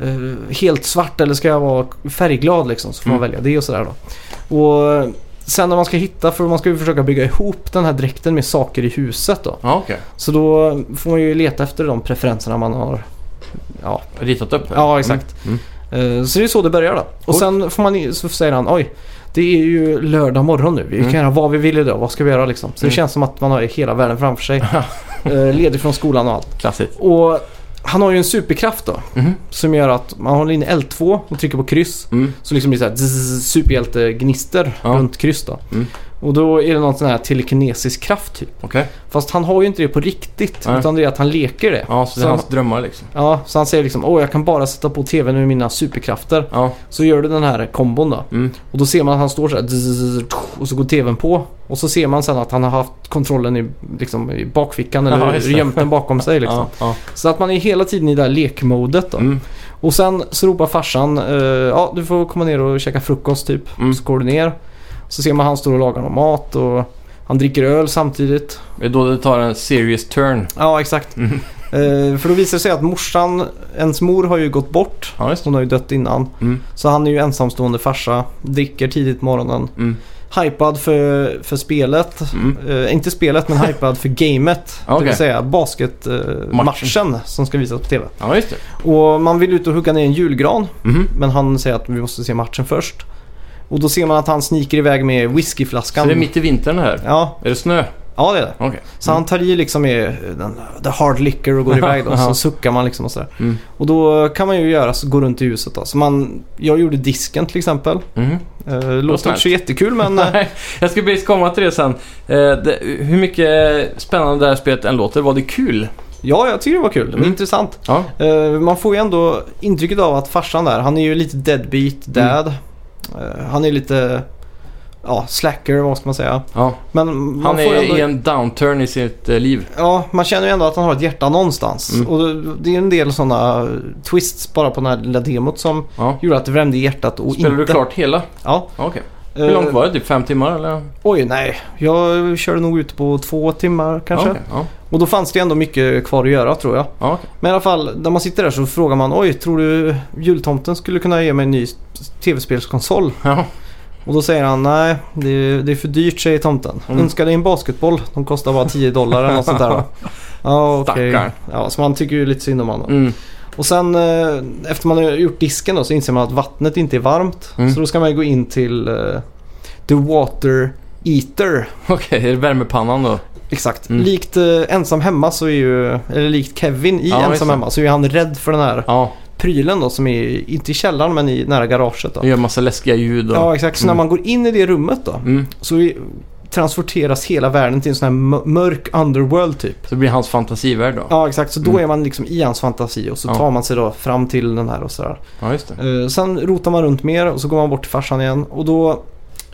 Speaker 4: eh, helt svart eller ska jag vara färgglad liksom? Så får man
Speaker 2: Mm.
Speaker 4: välja det och sådär då. Och eh, sen när man ska hitta, för man ska ju försöka bygga ihop den här dräkten med saker i huset då.
Speaker 2: Ja, okej.
Speaker 4: Så då får man ju leta efter de preferenserna man har. Ja,
Speaker 2: Ritat upp det?
Speaker 4: ja exakt.
Speaker 2: Mm.
Speaker 4: Eh, Så det är så det börjar då.
Speaker 2: Oj.
Speaker 4: Och sen får man, i- så säger han oj, det är ju lördag morgon nu. Vi kan
Speaker 2: Mm.
Speaker 4: göra vad vi vill idag. Vad ska vi göra liksom? Så det
Speaker 2: Mm.
Speaker 4: känns som att man har hela världen
Speaker 2: <laughs>
Speaker 4: framför sig. Eh, Ledig från skolan och allt.
Speaker 2: Klassiskt.
Speaker 4: Och han har ju en superkraft då.
Speaker 2: Mhm.
Speaker 4: Som gör att man håller in L2 och trycker på kryss.
Speaker 2: Mm.
Speaker 4: Så liksom blir det så här zzz, superhjältegnister
Speaker 2: Ja.
Speaker 4: runt kryss då.
Speaker 2: Mm.
Speaker 4: Och då är det någon sån här telekinesisk kraft typ.
Speaker 2: Okej.
Speaker 4: Fast han har ju inte det på riktigt.
Speaker 2: Nej.
Speaker 4: Utan det är att han leker det.
Speaker 2: Ja, så det är
Speaker 4: Så-
Speaker 2: hans drömmar liksom.
Speaker 4: Ja, så han säger liksom åh jag kan bara sätta på tvn med mina superkrafter.
Speaker 2: Ja.
Speaker 4: Så gör du den här kombon då.
Speaker 2: Mm.
Speaker 4: Och då ser man att han står så här dzz, och så går tvn på. Och så ser man sen att han har haft kontrollen i, liksom, i bakfickan
Speaker 2: Ja,
Speaker 4: eller
Speaker 2: just det.
Speaker 4: gömt den bakom sig liksom.
Speaker 2: <laughs> Ja, ja.
Speaker 4: Så att man är hela tiden i det här lekmodet då.
Speaker 2: Mm.
Speaker 4: Och sen så ropar farsan eh, ja du får komma ner och käka frukost typ.
Speaker 2: Mm.
Speaker 4: Så går du ner. Så ser man han står och lagar någon mat och han dricker öl samtidigt.
Speaker 2: Det är då det tar en serious turn.
Speaker 4: Ja exakt.
Speaker 2: Mm.
Speaker 4: Eh, för då visar det sig att morsan, ens mor har ju gått bort.
Speaker 2: Ja, just det.
Speaker 4: Hon har ju dött innan.
Speaker 2: Mm.
Speaker 4: Så han är ju ensamstående farsa. Dricker tidigt på morgonen.
Speaker 2: Mm.
Speaker 4: Hypad för, för spelet.
Speaker 2: Mm.
Speaker 4: Eh, inte spelet men hypad
Speaker 2: <laughs>
Speaker 4: för gamet. Det
Speaker 2: Okej.
Speaker 4: vill säga basketmatchen
Speaker 2: Matchen.
Speaker 4: eh, matchen som ska visas på TV.
Speaker 2: Ja, just det.
Speaker 4: Och man vill ut och hugga ner en julgran.
Speaker 2: Mhm.
Speaker 4: Men han säger att vi måste se matchen först. Och då ser man att han sniker iväg med
Speaker 2: Så
Speaker 4: whiskyflaskan.
Speaker 2: det är mitt Mm. i vintern här?
Speaker 4: Ja,
Speaker 2: Är det snö?
Speaker 4: ja det är det.
Speaker 2: Okej.
Speaker 4: Så han tar i liksom i den, the hard liquor och går
Speaker 2: <laughs>
Speaker 4: iväg då.
Speaker 2: Aha.
Speaker 4: Så suckar man liksom och sådär.
Speaker 2: Mm.
Speaker 4: Och då kan man ju göra så, gå runt i huset då. Så man, jag gjorde disken till exempel.
Speaker 2: Mhm.
Speaker 4: Eh, låter
Speaker 2: snällt.
Speaker 4: inte så jättekul
Speaker 2: <laughs>
Speaker 4: men eh,
Speaker 2: Nej, jag ska precis komma till det sen. Eh, det, hur mycket eh, spännande det här spelet än låter, var det kul?
Speaker 4: ja, jag tycker det var kul. Det var
Speaker 2: Mm.
Speaker 4: intressant.
Speaker 2: Ja.
Speaker 4: Eh, man får ju ändå intrycket av att farsan där, han är ju lite deadbeat
Speaker 2: Mm.
Speaker 4: dad. Eh, han är lite, ja, slacker vad ska man säga.
Speaker 2: ja.
Speaker 4: Men man
Speaker 2: Han
Speaker 4: får
Speaker 2: är
Speaker 4: ändå...
Speaker 2: i en downturn i sitt eh, liv.
Speaker 4: Ja, man känner ju ändå att han har ett hjärta någonstans.
Speaker 2: Mm.
Speaker 4: Och det är en del sådana twists bara på den här lilla demot som
Speaker 2: Ja.
Speaker 4: gjorde att det vrämde i hjärtat och
Speaker 2: Spelade
Speaker 4: inte... Eh,
Speaker 2: du klart hela?
Speaker 4: Ja.
Speaker 2: Ja, Okej. Hur långt var det? Typ fem timmar eller?
Speaker 4: Oj, nej. Jag körde nog ut på två timmar kanske.
Speaker 2: Ja, okej. ja.
Speaker 4: Och då fanns det ändå mycket kvar att göra tror jag.
Speaker 2: ja okej.
Speaker 4: Men i alla fall, när man sitter där så frågar man oj, tror du jultomten skulle kunna ge mig en ny s- tv-spelskonsol?
Speaker 2: ja.
Speaker 4: Och då säger han nej, det är, det är för dyrt säger tomten.
Speaker 2: Mm.
Speaker 4: Önskar dig en basketboll, de kostar bara 10 dollar eller något
Speaker 2: <laughs>
Speaker 4: sånt där. va?" Ja, okej.
Speaker 2: Stackarn.
Speaker 4: Ja, så man tycker ju lite synd om honom.
Speaker 2: Mm.
Speaker 4: Och sen eh, efter man har gjort disken då, så inser man att vattnet inte är varmt.
Speaker 2: Mm.
Speaker 4: Så då ska man ju gå in till eh, The Water Eater.
Speaker 2: Okej, är det värmepannan då?
Speaker 4: Exakt.
Speaker 2: Mm.
Speaker 4: Likt eh, Ensam Hemma så är ju, eller likt Kevin i
Speaker 2: Ja, just
Speaker 4: Ensam
Speaker 2: det.
Speaker 4: Hemma så är han rädd för den här
Speaker 2: Ja,
Speaker 4: prylen då som är, i- inte i källaren men i nära garaget då.
Speaker 2: det gör massa läskiga ljud och...
Speaker 4: Ja exakt, så
Speaker 2: Mm.
Speaker 4: när man går in i det rummet då
Speaker 2: Mm.
Speaker 4: så i- transporteras hela världen till en sån här mö- mörk underworld typ.
Speaker 2: Så det blir hans fantasivärld då?
Speaker 4: Ja exakt, så då
Speaker 2: Mm.
Speaker 4: är man liksom i hans fantasi och så
Speaker 2: Ja.
Speaker 4: tar man sig då fram till den här och sådär.
Speaker 2: Ja, just det.
Speaker 4: Eh, sen rotar man runt mer och så går man bort till farsan igen och då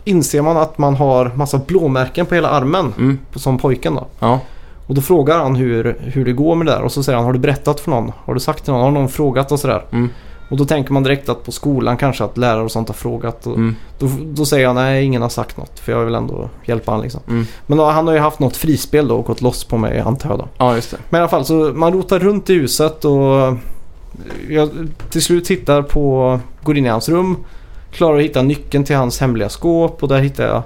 Speaker 4: inser man att man har massa blåmärken på hela armen
Speaker 2: Mm.
Speaker 4: som pojken då.
Speaker 2: Ja.
Speaker 4: Och då frågar han hur, hur det går med det där och så säger han har du berättat för någon? Har du sagt till någon? Har någon frågat och sådär?
Speaker 2: Mm.
Speaker 4: Och då tänker man direkt att på skolan kanske att lärare och sånt har frågat. Och
Speaker 2: Mm.
Speaker 4: då, då säger han nej ingen har sagt något för jag vill ändå hjälpa han liksom.
Speaker 2: Mm.
Speaker 4: Men då, han har ju haft något frispel då och gått loss på mig antar jag då.
Speaker 2: Ja, just det.
Speaker 4: Men i alla fall så man rotar runt i huset och jag till slut hittar på, går in i hans rum, klarar att hitta nyckeln till hans hemliga skåp och där hittar jag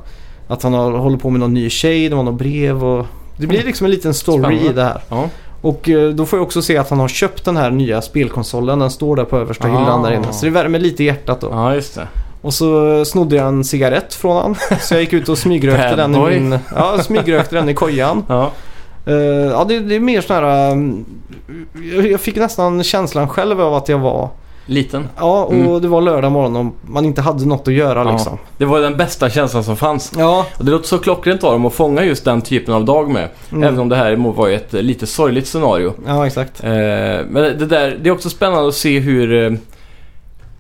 Speaker 4: att han har, håller på med någon ny tjej, det var något brev och det blir liksom en liten story i
Speaker 2: Mm. Spännande.
Speaker 4: det här.
Speaker 2: Ja.
Speaker 4: Och eh, då får jag också se att han har köpt den här nya spelkonsolen. Den står där på översta
Speaker 2: Ah.
Speaker 4: hyllan där inne. Så det värmer lite i hjärtat då.
Speaker 2: Ja, just det.
Speaker 4: Och så eh, snodde jag en cigarett från han. <laughs> Så jag gick ut och smygrökte
Speaker 2: Bad
Speaker 4: den i
Speaker 2: boy.
Speaker 4: min... Ja, smygrökte den i kojan.
Speaker 2: Ja.
Speaker 4: Eh, ja, det, det är mer sån här... mm, jag- jag fick nästan känslan själv av att jag var...
Speaker 2: Liten.
Speaker 4: Ja, och
Speaker 2: Mm.
Speaker 4: det var lördag morgon och man inte hade något att göra
Speaker 2: Ja.
Speaker 4: liksom.
Speaker 2: Det var den bästa känslan som fanns.
Speaker 4: Ja,
Speaker 2: Och det låter så klockrent av dem att fånga just den typen av dag med.
Speaker 4: Mm.
Speaker 2: Även om det här må- var ju ett eh, lite sorgligt scenario.
Speaker 4: ja exakt.
Speaker 2: Eh, men det, där, det är också spännande att se hur, eh,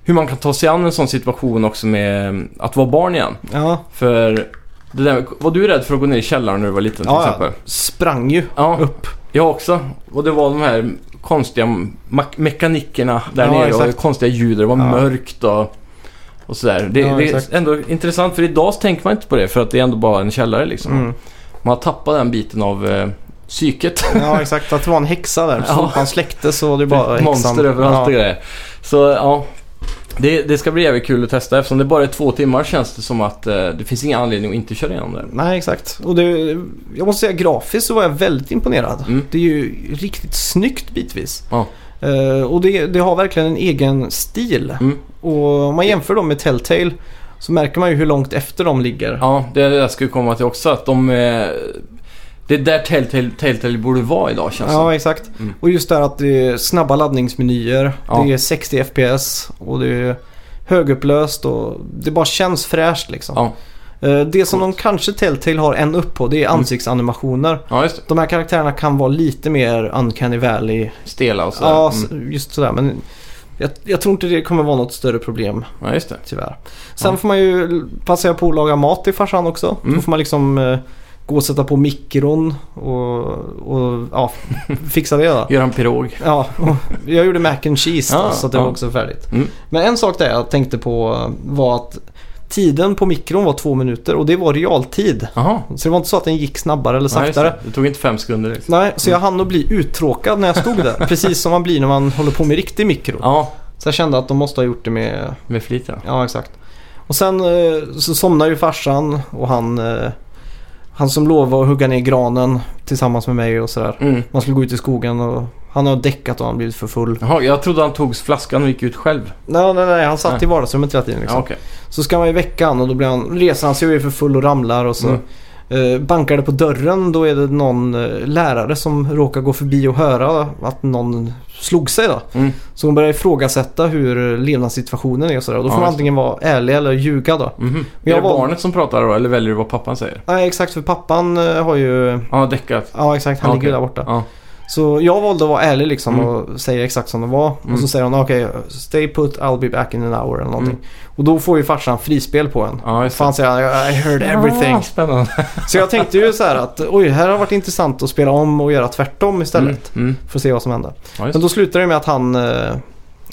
Speaker 2: hur man kan ta sig an en sån situation också med eh, att vara barn igen.
Speaker 4: Ja,
Speaker 2: För det där, var du rädd för att gå ner i källaren när du var liten till
Speaker 4: ja jag
Speaker 2: exempel?
Speaker 4: sprang ju.
Speaker 2: Ja, upp. Jag också. Och det var de här konstiga mak- mekanikerna där
Speaker 4: Ja,
Speaker 2: nere och
Speaker 4: exakt.
Speaker 2: konstiga ljud och det var
Speaker 4: Ja.
Speaker 2: mörkt och, och sådär. Det,
Speaker 4: Ja,
Speaker 2: det
Speaker 4: exakt.
Speaker 2: är ändå intressant för idag så tänker man inte på det för att det är ändå bara en källare liksom.
Speaker 4: Mm.
Speaker 2: Man har tappat den biten av eh, psyket.
Speaker 4: Ja, exakt. Att det var en häxa där. Så
Speaker 2: Ja.
Speaker 4: fort man släckte så var det bara
Speaker 2: <laughs>
Speaker 4: häxan.
Speaker 2: Monster överallt och
Speaker 4: ja.
Speaker 2: grejer. Så ja, det, det ska bli jävligt kul att testa eftersom det bara är två timmar känns det som att eh, det finns ingen anledning att inte köra igenom det.
Speaker 4: Nej, exakt. Och det, jag måste säga grafiskt så var jag väldigt imponerad.
Speaker 2: Mm.
Speaker 4: Det är ju riktigt snyggt bitvis.
Speaker 2: Ja.
Speaker 4: Eh, och det, det har verkligen en egen stil.
Speaker 2: Mm.
Speaker 4: Och om man jämför dem med Telltale så märker man ju hur långt efter de ligger.
Speaker 2: Ja, det är det jag skulle komma till också. Att de... eh, Det är där Telltale, Telltale borde vara idag känns det
Speaker 4: Ja, exakt.
Speaker 2: Mm.
Speaker 4: Och just det här att det är snabba laddningsmenyer,
Speaker 2: Ja.
Speaker 4: det är 60 FPS och det är högupplöst och det bara känns fräscht liksom.
Speaker 2: Ja.
Speaker 4: Eh, Det som de kanske Telltale har en upp på det är
Speaker 2: Mm.
Speaker 4: ansiktsanimationer.
Speaker 2: Ja, just det.
Speaker 4: De här karaktärerna kan vara lite mer Uncanny Valley.
Speaker 2: Stela och sådär.
Speaker 4: Ja,
Speaker 2: Mm.
Speaker 4: s- just sådär. Men jag, jag tror inte det kommer vara något större problem
Speaker 2: ja, just det.
Speaker 4: tyvärr. Sen får man ju passa på att laga mat till farsan också.
Speaker 2: Mm.
Speaker 4: Då får man liksom eh, gå och sätta på mikron och, och ja, <laughs> fixa det då.
Speaker 2: Gör en pirog.
Speaker 4: Ja, och jag gjorde mac and cheese då,
Speaker 2: Ah,
Speaker 4: så att det
Speaker 2: ah.
Speaker 4: var också färdigt.
Speaker 2: Mm.
Speaker 4: Men en sak där jag tänkte på var att tiden på mikron var två minuter och det var realtid.
Speaker 2: Jaha.
Speaker 4: Så det var inte så att den gick snabbare eller
Speaker 2: Ja, just
Speaker 4: saktare.
Speaker 2: det. det tog inte fem sekunder. liksom.
Speaker 4: Nej, så jag hann att bli uttråkad när jag stod
Speaker 2: <laughs>
Speaker 4: där. Precis som man blir när man håller på med riktig mikro.
Speaker 2: Ja,
Speaker 4: Så jag kände att de måste ha gjort det med
Speaker 2: med flit ja.
Speaker 4: Ja, exakt. Och sen eh, så somnar ju farsan och han, eh, han som lovade att hugga ner granen tillsammans med mig och sådär.
Speaker 2: Mm.
Speaker 4: Man skulle gå ut i skogen och han har däckat och han har blivit för full.
Speaker 2: Jaha, jag trodde han tog flaskan och gick ut själv.
Speaker 4: Nej, nej, nej. Han satt
Speaker 2: Nej.
Speaker 4: i vardagsrummet hela tiden liksom.
Speaker 2: Ja, okej.
Speaker 4: Så ska man ju väcka han och då blir han, reser han sig och är för full och ramlar och så
Speaker 2: Mm.
Speaker 4: eh, bankar det på dörren. Då är det någon eh, lärare som råkar gå förbi och höra att någon slog sig då.
Speaker 2: Mm.
Speaker 4: Så hon börjar ifrågasätta hur levnadssituationen är och sådär. Och Då
Speaker 2: Ja,
Speaker 4: får man
Speaker 2: just det.
Speaker 4: antingen vara ärlig eller ljuga då.
Speaker 2: Mhm.
Speaker 4: jag
Speaker 2: Är det
Speaker 4: var-
Speaker 2: barnet som pratar då, eller väljer du vad pappan säger?
Speaker 4: Nej exakt för pappan eh, har ju...
Speaker 2: Han har däckat.
Speaker 4: Ja exakt, han
Speaker 2: Ja,
Speaker 4: ligger
Speaker 2: okej.
Speaker 4: där borta.
Speaker 2: Ja.
Speaker 4: Så jag valde att vara ärlig liksom
Speaker 2: Mm.
Speaker 4: och säga exakt som det var. Och
Speaker 2: Mm. Mm.
Speaker 4: så säger hon okej, stay put, I'll be back in an hour eller någonting. Och då får ju farsan frispel på en.
Speaker 2: Ja, just
Speaker 4: Fan säger han, I heard everything.
Speaker 2: Ah, spännande.
Speaker 4: Så jag tänkte ju så här att oj, här har varit intressant att spela om och göra tvärtom istället.
Speaker 2: Mm. Mm.
Speaker 4: För att se vad som händer.
Speaker 2: Ja, just
Speaker 4: Men då slutar det med att han, eh,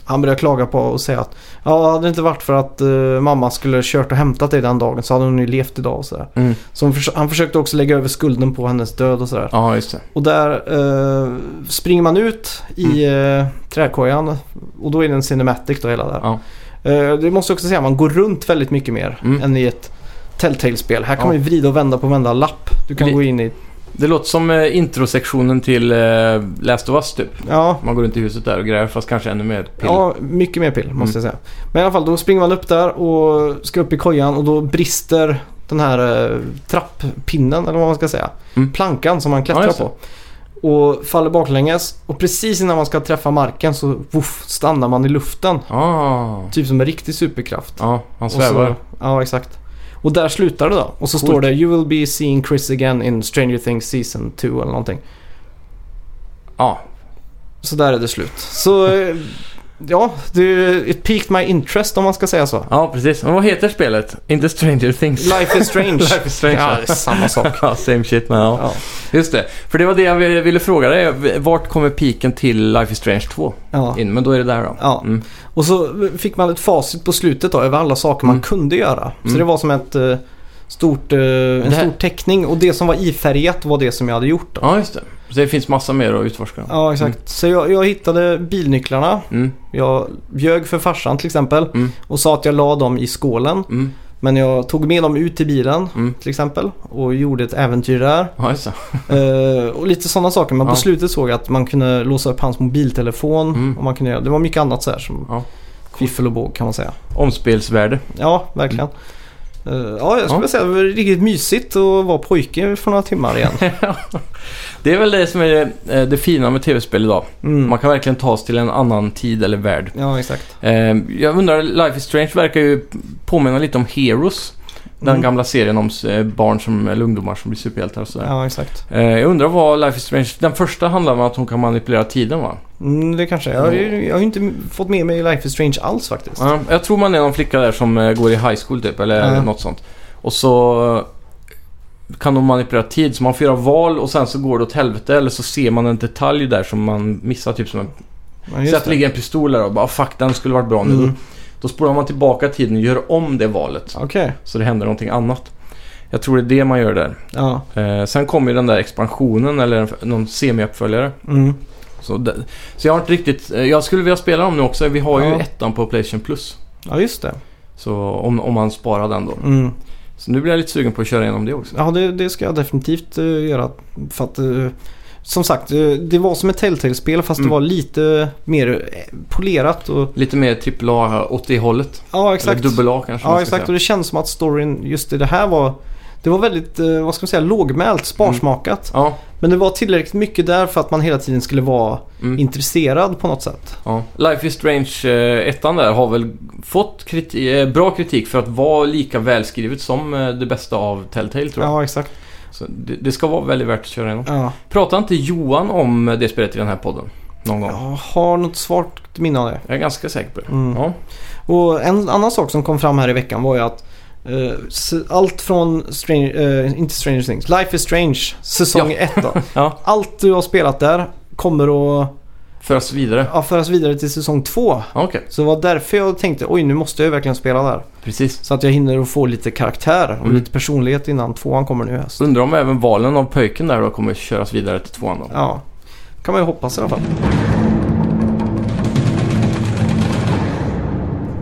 Speaker 4: han börjar klaga på och säga att ja, hade det inte varit för att eh, mamma skulle kört och hämtat dig den dagen så hade hon ju levt idag och sådär.
Speaker 2: det. Mm.
Speaker 4: Så hon förs- han försökte också lägga över skulden på hennes död och sådär.
Speaker 2: Ja, just det.
Speaker 4: Och där eh, springer man ut i eh, trädkojan och då är det en cinematic då hela där.
Speaker 2: Mm. Ja.
Speaker 4: Eh, det måste jag också säga, man går runt väldigt mycket mer
Speaker 2: Mm.
Speaker 4: än i ett Telltale-spel. Här kan
Speaker 2: Ja.
Speaker 4: man ju vrida och vända på vända lapp. Du kan
Speaker 2: Li-
Speaker 4: gå in i...
Speaker 2: Det låter som eh, introsektionen till eh, Last of Us typ.
Speaker 4: Ja,
Speaker 2: Man går runt i huset där och gräver fast kanske ännu mer pill. Mm.
Speaker 4: ja, mycket mer pill måste jag säga. Men i alla fall, då springer man upp där och ska upp i kojan och då brister den här eh, trapppinnen eller vad man ska säga.
Speaker 2: Mm.
Speaker 4: Plankan som man klättrar
Speaker 2: Ja, just det.
Speaker 4: på. Och faller baklänges och precis innan man ska träffa marken så woof, stannar man i luften.
Speaker 2: Ah.
Speaker 4: Typ som en riktig superkraft.
Speaker 2: Ja, han
Speaker 4: Och så,
Speaker 2: svävar.
Speaker 4: ja, exakt. Och där slutar det då. Och så
Speaker 2: Coolt.
Speaker 4: står det “You will be seeing Chris again in Stranger Things Season 2” eller någonting.
Speaker 2: Ja,
Speaker 4: Så där är det slut. Så eh, ja, det, it peaked my interest om man ska säga så.
Speaker 2: ja precis. Men vad heter spelet? Inte Stranger Things. <laughs>
Speaker 4: Life is strange.
Speaker 2: Life is strange.
Speaker 4: Ja, det är samma sak.
Speaker 2: <laughs> Ja, Same shit men ja.
Speaker 4: Ja.
Speaker 2: Just det. För det var det jag ville ville fråga dig. Vart kommer piken till Life is Strange 2
Speaker 4: Ja.
Speaker 2: in? Men då är det där då.
Speaker 4: Ja.
Speaker 2: Mm.
Speaker 4: Och så fick man ett facit på slutet då över alla saker man
Speaker 2: Mm.
Speaker 4: kunde göra. Så
Speaker 2: Mm.
Speaker 4: det var som ett eh, stort, eh, en
Speaker 2: Det här-
Speaker 4: stor teckning och det som var ifärgat var det som jag hade gjort. Då.
Speaker 2: Ja, just det. Så det finns massa mer att utforska. då.
Speaker 4: Ja, exakt. Så jag, jag hittade bilnycklarna.
Speaker 2: Mm.
Speaker 4: Jag ljög för farsan till exempel
Speaker 2: Mm.
Speaker 4: och sa att jag la dem i skålen.
Speaker 2: Mm.
Speaker 4: Men jag tog med dem ut till bilen
Speaker 2: Mm.
Speaker 4: till exempel och gjorde ett äventyr där.
Speaker 2: Ja, just det.
Speaker 4: Eh, och lite sådana saker. Men
Speaker 2: Ja.
Speaker 4: på slutet såg jag att man kunde låsa upp hans mobiltelefon.
Speaker 2: Mm.
Speaker 4: Och man kunde göra, det var mycket annat så här som
Speaker 2: Ja.
Speaker 4: fiffel och båg kan man säga.
Speaker 2: Omspelsvärde. <laughs>
Speaker 4: Ja, verkligen. Eh, ja, jag skulle
Speaker 2: Mm. Ja.
Speaker 4: säga att det var riktigt mysigt att vara pojke för några timmar
Speaker 2: <laughs>
Speaker 4: igen.
Speaker 2: Det är väl det som är eh, det fina med tv-spel idag.
Speaker 4: Mm.
Speaker 2: Man kan verkligen ta sig till en annan tid eller värld.
Speaker 4: Ja, exakt.
Speaker 2: Eh, jag undrar, Life is Strange verkar ju påminna lite om Heroes. Den
Speaker 4: Mm.
Speaker 2: gamla serien om eh, barn som, eller ungdomar som blir superhjältar och sådär.
Speaker 4: Ja, exakt.
Speaker 2: Eh, jag undrar vad Life is Strange... Den första handlar om att hon kan manipulera tiden va?
Speaker 4: Mm, det kanske är. Jag, har ju- jag har ju inte fått med mig Life is Strange alls faktiskt.
Speaker 2: Ja, jag tror man är någon flicka där som eh, går i high school typ, eller
Speaker 4: Ja.
Speaker 2: något sånt. Och så eh, kan de manipulera tid, så man får göra val och sen så går det åt helvete eller så ser man en detalj där som man missar. Typ som en...
Speaker 4: Ja, just
Speaker 2: Så att det
Speaker 4: det.
Speaker 2: ligger en pistol där och bara "Ah, fuck den skulle varit bra nu.
Speaker 4: Mm.
Speaker 2: Då spolar man tillbaka tiden och gör om det valet.
Speaker 4: Okej,
Speaker 2: Så det händer någonting annat. Jag tror det är det man gör där.
Speaker 4: ja.
Speaker 2: Eh, sen kommer ju den där expansionen eller en- någon semiuppföljare.
Speaker 4: Mm.
Speaker 2: Så, det, så jag har inte riktigt... eh, Jag skulle vilja spela dem nu också. Vi har ju
Speaker 4: Ja.
Speaker 2: ettan på Playstation Plus.
Speaker 4: ja, just det.
Speaker 2: Så om, om man sparar den då.
Speaker 4: Mm.
Speaker 2: Så nu blir jag lite sugen på att köra igenom det också.
Speaker 4: Ja, det, det ska jag definitivt eh, göra. För att, eh, som sagt, eh, det var som ett Telltale-spel fast
Speaker 2: Mm.
Speaker 4: det var lite mer eh, polerat. Och,
Speaker 2: Lite mer AAA åt det hållet.
Speaker 4: ja, exakt.
Speaker 2: Eller dubbel A kanske man
Speaker 4: Ja,
Speaker 2: ska
Speaker 4: exakt. Och
Speaker 2: säga.
Speaker 4: det känns som att storyn just i det här var... Det var väldigt, eh, vad ska man säga,
Speaker 2: Mm.
Speaker 4: lågmält, sparsmakat.
Speaker 2: Ja,
Speaker 4: Men det var tillräckligt mycket där för att man hela tiden skulle vara
Speaker 2: mm.
Speaker 4: intresserad på något sätt.
Speaker 2: Ja. Life is Strange eh, ettan där har väl fått kriti- eh, bra kritik för att vara lika välskrivet som eh, det bästa av Telltale tror jag.
Speaker 4: Ja, exakt.
Speaker 2: Så det, det ska vara väldigt värt att köra igenom.
Speaker 4: Ja.
Speaker 2: Pratar inte Johan om det spelet i den här podden? Någon gång?
Speaker 4: Jag har något svart minne av det.
Speaker 2: Jag är ganska säker på det.
Speaker 4: Mm.
Speaker 2: Ja.
Speaker 4: Och en annan sak som kom fram här i veckan var ju att eh, s- allt från, Strange, eh, inte Stranger Things, Life is Strange säsong 1 då.
Speaker 2: <laughs> Ja.
Speaker 4: Allt du har spelat där kommer att
Speaker 2: Föras vidare.
Speaker 4: ja, föras vidare till säsong 2.
Speaker 2: Ja, Okej,
Speaker 4: Så det var därför jag tänkte oj nu måste jag ju verkligen spela där.
Speaker 2: precis.
Speaker 4: Så att jag hinner att få lite karaktär och
Speaker 2: Mm.
Speaker 4: lite personlighet innan tvåan kommer nu i höst.
Speaker 2: Undrar om även valen av pöjken där då kommer köras vidare till tvåan då.
Speaker 4: Ja, kan man ju hoppas i alla fall.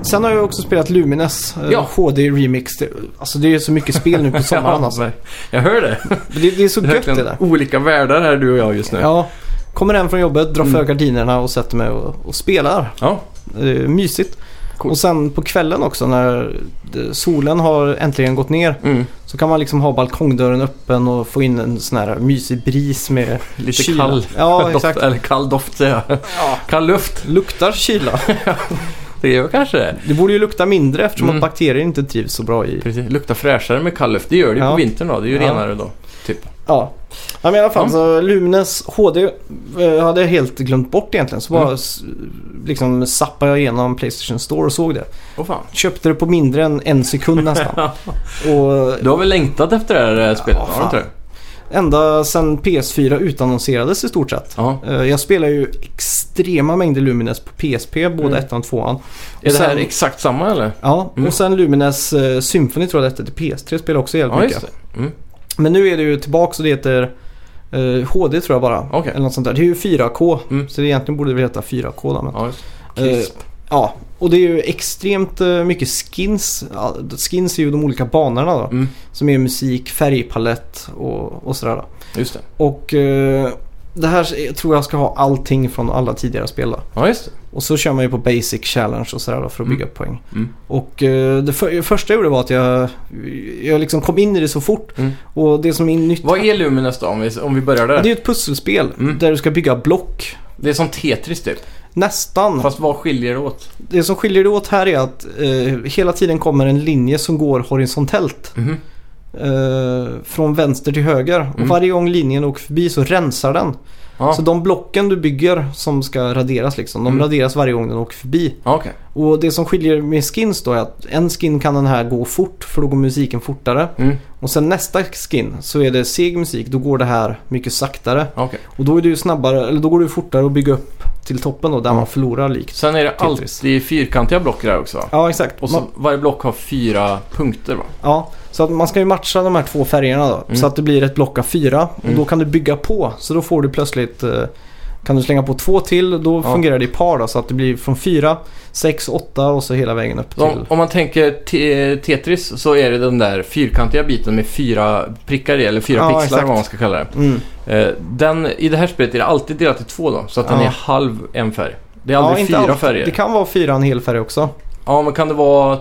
Speaker 4: Sen har jag också spelat Lumines eh,
Speaker 2: Ja.
Speaker 4: HD Remix. Det- Alltså det är ju så mycket
Speaker 2: <laughs>
Speaker 4: spel nu på sommaren alltså.
Speaker 2: Jag hör det.
Speaker 4: Men Det, det är så
Speaker 2: Det är
Speaker 4: gött det
Speaker 2: verkligen
Speaker 4: där.
Speaker 2: olika världar här du och jag just nu.
Speaker 4: Ja, kommer hem från jobbet, drar för
Speaker 2: Mm.
Speaker 4: gardinerna och sätter mig och, och spelar.
Speaker 2: Ja.
Speaker 4: Det är mysigt.
Speaker 2: Coolt.
Speaker 4: Och sen på kvällen också när eh, solen har äntligen gått ner
Speaker 2: Mm.
Speaker 4: så kan man liksom ha balkongdörren öppen och få in en sån här mysig bris med
Speaker 2: Lite
Speaker 4: kyla.
Speaker 2: kall
Speaker 4: Ja,
Speaker 2: <laughs> doft,
Speaker 4: exakt.
Speaker 2: eller kall doft säger jag.
Speaker 4: Ja.
Speaker 2: Kall luft.
Speaker 4: Luktar kyla.
Speaker 2: Det gör kanske det.
Speaker 4: Det borde ju lukta mindre eftersom
Speaker 2: Mm.
Speaker 4: att bakterier inte trivs så bra i...
Speaker 2: Precis. Luktar fräschare med kall luft. Det gör det ju
Speaker 4: Ja.
Speaker 2: på vintern då. Det är ju
Speaker 4: Ja.
Speaker 2: renare då.
Speaker 4: Ja. ja men i alla fall
Speaker 2: Ja.
Speaker 4: så Lumines HD eh, hade jag helt glömt bort egentligen. Så bara
Speaker 2: Mm.
Speaker 4: s- liksom zappade jag igenom Playstation Store och såg det.
Speaker 2: Åh fan.
Speaker 4: Köpte det på mindre än en
Speaker 2: <laughs>
Speaker 4: sekund nästan. och
Speaker 2: Du har väl längtat efter det här eh, spelet?
Speaker 4: Ja,
Speaker 2: har du inte det?
Speaker 4: ända sedan PS4 utannonserades i stort sett.
Speaker 2: Ja.
Speaker 4: Eh, Jag spelar ju extrema mängder Lumines på PSP, både
Speaker 2: Mm.
Speaker 4: ettan och tvåan.
Speaker 2: Är det här
Speaker 4: sen-
Speaker 2: exakt samma eller?
Speaker 4: Ja,
Speaker 2: Mm.
Speaker 4: och sen Lumines eh, Symphony tror jag det hette till PS3 spelar också jävligt
Speaker 2: Ja,
Speaker 4: mycket.
Speaker 2: just det. Mm.
Speaker 4: Men nu är det ju tillbaka och det heter eh, HD tror jag bara.
Speaker 2: Okej.
Speaker 4: Eller något sånt där. Det är ju 4K.
Speaker 2: Mm.
Speaker 4: Så det egentligen borde det väl heta 4K då. Men,
Speaker 2: Ja, just det.
Speaker 4: eh,
Speaker 2: Crisp.
Speaker 4: ja, och det är ju extremt eh, mycket skins. Ja, Skins är ju de olika banorna då.
Speaker 2: Mm.
Speaker 4: Som är musik, färgpalett och, och sådär. Då.
Speaker 2: Just det.
Speaker 4: Och eh, det här är- tror jag ska ha allting från alla tidigare spel då.
Speaker 2: Ja, just det.
Speaker 4: Och så kör man ju på basic challenge och sådär då för att
Speaker 2: Mm.
Speaker 4: bygga upp poäng.
Speaker 2: Mm.
Speaker 4: Och eh, det för, första jag gjorde var att jag, jag liksom kom in i det så fort.
Speaker 2: Mm.
Speaker 4: Och det som är nytt
Speaker 2: Vad är Lumines då, om vi, om vi börjar
Speaker 4: Det är
Speaker 2: där?
Speaker 4: ju ett pusselspel
Speaker 2: Mm.
Speaker 4: där du ska bygga block.
Speaker 2: Det är som Tetris typ.
Speaker 4: Nästan.
Speaker 2: Fast vad skiljer det åt?
Speaker 4: Det som skiljer det åt här är att eh, hela tiden kommer en linje som går horisontellt.
Speaker 2: Mhm.
Speaker 4: Eh, från vänster till höger.
Speaker 2: Mm.
Speaker 4: Och varje gång linjen åker förbi så rensar den.
Speaker 2: Ja,
Speaker 4: Så de blocken du bygger som ska raderas liksom, de
Speaker 2: Mm.
Speaker 4: raderas varje gång den åker förbi.
Speaker 2: ja okej.
Speaker 4: Och det som skiljer med skins då är att en skin kan den här gå fort för då går musiken fortare.
Speaker 2: Mm.
Speaker 4: Och sen nästa skin så är det seg musik, då går det här mycket saktare.
Speaker 2: Ja, okej.
Speaker 4: Och då är det ju snabbare, eller då går det ju fortare att bygga upp till toppen då, där man förlorar likt.
Speaker 2: Sen är det
Speaker 4: Tetris.
Speaker 2: alltid fyrkantiga block där också va?
Speaker 4: Ja, exakt.
Speaker 2: Och så
Speaker 4: Man,
Speaker 2: varje block har fyra punkter va?
Speaker 4: ja, så att man ska ju matcha de här två färgerna då.
Speaker 2: Mm.
Speaker 4: Så att det blir ett block av fyra.
Speaker 2: Mm.
Speaker 4: Och då kan du bygga på. Så då får du plötsligt, eh, kan du slänga på två till. Då
Speaker 2: Ja.
Speaker 4: fungerar det i par då. Så att det blir från fyra, sex, åtta och så hela vägen upp
Speaker 2: Så
Speaker 4: till.
Speaker 2: Om, om man tänker te- Tetris så är det den där fyrkantiga biten med fyra prickar i, eller fyra
Speaker 4: Ja,
Speaker 2: pixlar
Speaker 4: exakt.
Speaker 2: vad man ska kalla det.
Speaker 4: Mm.
Speaker 2: Eh, den, I det här spelet är det alltid delat i två då, så att den
Speaker 4: Ja.
Speaker 2: är halv en färg. Det är aldrig fyra
Speaker 4: alltid.
Speaker 2: färger.
Speaker 4: Det kan vara fyra en hel färg också.
Speaker 2: Ja, men kan det vara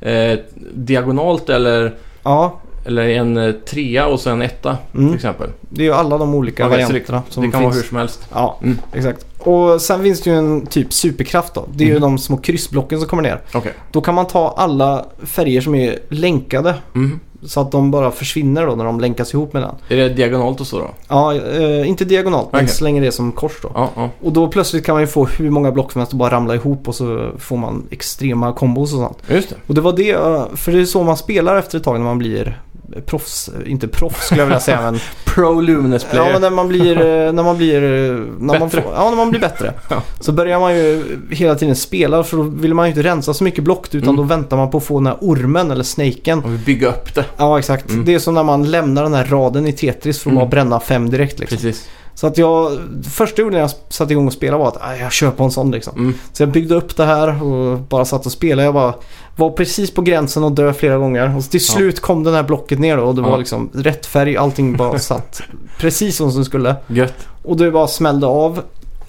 Speaker 2: eh, diagonalt eller,
Speaker 4: Ja,
Speaker 2: eller en eh, trea och så en etta till
Speaker 4: mm.
Speaker 2: exempel?
Speaker 4: det är ju alla de olika
Speaker 2: Ja, det är så
Speaker 4: varianterna som
Speaker 2: det kan
Speaker 4: finns.
Speaker 2: vara hur som helst.
Speaker 4: Ja,
Speaker 2: Mm.
Speaker 4: exakt. Och sen finns det ju en typ superkraft då. Det är ju
Speaker 2: Mm.
Speaker 4: de små kryssblocken som kommer ner.
Speaker 2: Okej.
Speaker 4: Då kan man ta alla färger som är länkade
Speaker 2: Mhm.
Speaker 4: så att de bara försvinner då när de länkas ihop med den.
Speaker 2: Är det diagonalt och så då?
Speaker 4: Ja, eh, inte diagonalt men
Speaker 2: Okej.
Speaker 4: så länge det är som kors då.
Speaker 2: Ja, ja.
Speaker 4: Och då plötsligt kan man ju få hur många block som helst att bara ramla ihop och så får man extrema kombos och sånt.
Speaker 2: Just det.
Speaker 4: Och det var det, eh, för det är så man spelar efter ett tag när man blir proffs, eh, inte proffs skulle jag
Speaker 2: <laughs>
Speaker 4: vilja säga men,
Speaker 2: Pro Luminous
Speaker 4: ja,
Speaker 2: Player.
Speaker 4: men när man blir, eh, när man blir, eh, när man
Speaker 2: Bättre.
Speaker 4: får, ja när man blir bättre.
Speaker 2: <laughs> Ja.
Speaker 4: Så börjar man ju hela tiden spela för då vill man ju inte rensa så mycket block utan
Speaker 2: Mm.
Speaker 4: då väntar man på att få den här ormen eller snaken.
Speaker 2: Om vi bygger upp det.
Speaker 4: Ja, exakt.
Speaker 2: Mm.
Speaker 4: Det är som när man lämnar den här raden i Tetris för att
Speaker 2: Mm.
Speaker 4: bara bränna fem direkt. Liksom.
Speaker 2: Precis.
Speaker 4: Så att jag, första jag gjorde när jag satte igång och spelade var att "Aj, jag kör på en sån liksom.
Speaker 2: Mm.
Speaker 4: Så jag byggde upp det här och bara satt och spelade. Jag bara, var precis på gränsen att dö flera gånger. Och till
Speaker 2: Ja.
Speaker 4: slut kom den här blocket ner då och det
Speaker 2: Ja.
Speaker 4: var liksom
Speaker 2: <laughs>
Speaker 4: rätt färg. Allting bara satt precis som det skulle.
Speaker 2: Gött.
Speaker 4: Och det bara smällde av.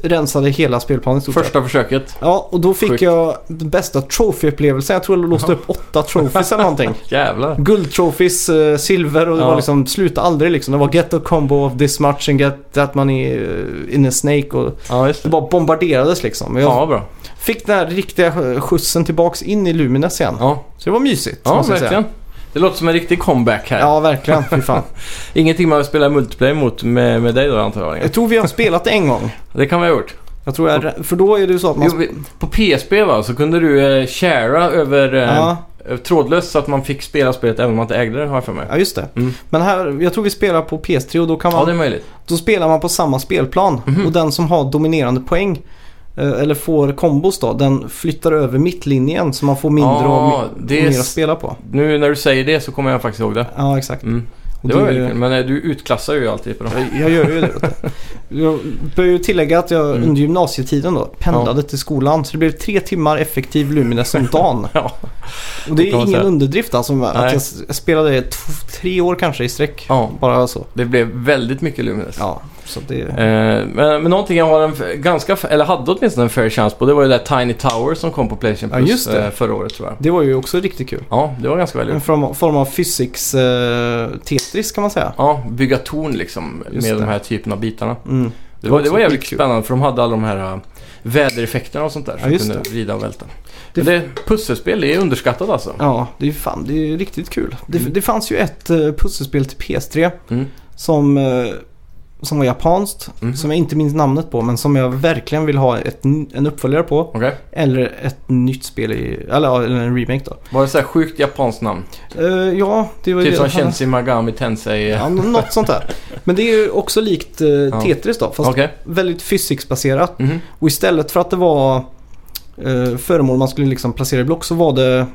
Speaker 4: rensade hela spelplanen i stort sett.
Speaker 2: Första försöket.
Speaker 4: Ja, och då fick
Speaker 2: Sjukt.
Speaker 4: jag den bästa trophy-upplevelsen. Jag tror jag låste upp åtta trophies eller
Speaker 2: <laughs>
Speaker 4: någonting.
Speaker 2: Jävlar.
Speaker 4: Guldtrophies, eh, silver och det
Speaker 2: Ja.
Speaker 4: var liksom, sluta aldrig liksom. Det var get the combo of this much and get that money eh, in a snake och
Speaker 2: Ja, just
Speaker 4: det
Speaker 2: det.
Speaker 4: bara bombarderades liksom. Jag
Speaker 2: Ja, bra.
Speaker 4: fick den här riktiga skjutsen tillbaks in i Lumines igen.
Speaker 2: Ja,
Speaker 4: Så det var mysigt.
Speaker 2: ja
Speaker 4: måste jag säga.
Speaker 2: verkligen. Det låter som en riktig comeback här.
Speaker 4: Ja, verkligen. Fy fan.
Speaker 2: Ingenting man vill spela multiplayer mot med, med dig då antar jag.
Speaker 4: Jag tror vi har spelat det en gång.
Speaker 2: Det kan vi ha gjort.
Speaker 4: Jag tror jag, för då är det ju så att man...
Speaker 2: Jo, vi- på PSP va, så kunde du eh, sharea över eh,
Speaker 4: ja,
Speaker 2: eh, trådlöst så att man fick spela spelet även om man inte ägde det, har jag för mig.
Speaker 4: ja, just det.
Speaker 2: Mm.
Speaker 4: Men här, jag tror vi spelar på PS3 och då kan man...
Speaker 2: Ja, det är möjligt.
Speaker 4: Då spelar man på samma spelplan
Speaker 2: Mhm.
Speaker 4: och den som har dominerande poäng eh, eller får kombos då, den flyttar över mittlinjen så man får mindre
Speaker 2: Ja,
Speaker 4: och, mi-
Speaker 2: det
Speaker 4: och
Speaker 2: är
Speaker 4: mer att
Speaker 2: s-
Speaker 4: spela på.
Speaker 2: Nu när du säger det så kommer jag faktiskt ihåg det.
Speaker 4: Ja, exakt.
Speaker 2: Mm.
Speaker 4: Och
Speaker 2: Det var
Speaker 4: du-
Speaker 2: väldigt kul, men eh, du utklassar ju alltid på dem.
Speaker 4: Jag gör ju det. vet du. Jag bör ju tillägga att jag
Speaker 2: Mm.
Speaker 4: under gymnasietiden då pendlade till skolan så det blev tre timmar effektiv Lumines om dagen.
Speaker 2: <laughs> Ja.
Speaker 4: Och det
Speaker 2: kan man
Speaker 4: är ingen
Speaker 2: säga.
Speaker 4: underdrift alltså med att
Speaker 2: Nej.
Speaker 4: jag s- jag spelade t- tre år kanske i sträck.
Speaker 2: Ja.
Speaker 4: Bara så.
Speaker 2: Det blev väldigt mycket Lumines.
Speaker 4: Ja, så det...
Speaker 2: Eh, men, men någonting jag har en f- ganska, f- eller hade åtminstone en fair chance på, det var ju det där Tiny Tower som kom på Playstation
Speaker 4: Ja,
Speaker 2: Plus
Speaker 4: just det.
Speaker 2: eh, förra året tror jag.
Speaker 4: Det var ju också riktigt kul.
Speaker 2: Ja, det var ganska
Speaker 4: En
Speaker 2: välgjort.
Speaker 4: form, form av physics eh, Tetris kan man säga.
Speaker 2: Ja, bygga torn liksom
Speaker 4: Just
Speaker 2: med
Speaker 4: det.
Speaker 2: de här typen av bitarna.
Speaker 4: Mm.
Speaker 2: Det var, det var
Speaker 4: också
Speaker 2: jävligt
Speaker 4: skitkul.
Speaker 2: spännande för de hade alla de här äh, vädereffekterna och sånt där
Speaker 4: Ja,
Speaker 2: som
Speaker 4: just
Speaker 2: kunde vrida och välta.
Speaker 4: Det-
Speaker 2: Men det, pusselspel det är underskattat alltså.
Speaker 4: Ja, det är ju fan, det är riktigt kul. Det,
Speaker 2: Mm.
Speaker 4: det fanns ju ett eh, pusselspel till PS3
Speaker 2: Mm.
Speaker 4: som, eh, som var japanskt.
Speaker 2: Mhm.
Speaker 4: Som jag inte minns namnet på men som jag verkligen vill ha ett, n- en uppföljare på.
Speaker 2: Okej.
Speaker 4: Eller ett nytt spel i, eller, ja, eller en remake då.
Speaker 2: Var det så här sjukt japanskt namn?
Speaker 4: Eh, ja, det var ju
Speaker 2: Typ
Speaker 4: det.
Speaker 2: som Shensi Magami Tensei. eh,
Speaker 4: Ja, något sånt där. Men det är ju också likt <laughs> eh, Tetris då. Fast
Speaker 2: Okej.
Speaker 4: väldigt fysiksbaserat.
Speaker 2: Mhm.
Speaker 4: Och istället för att det var eh, föremål man skulle liksom placera i block så var det eh,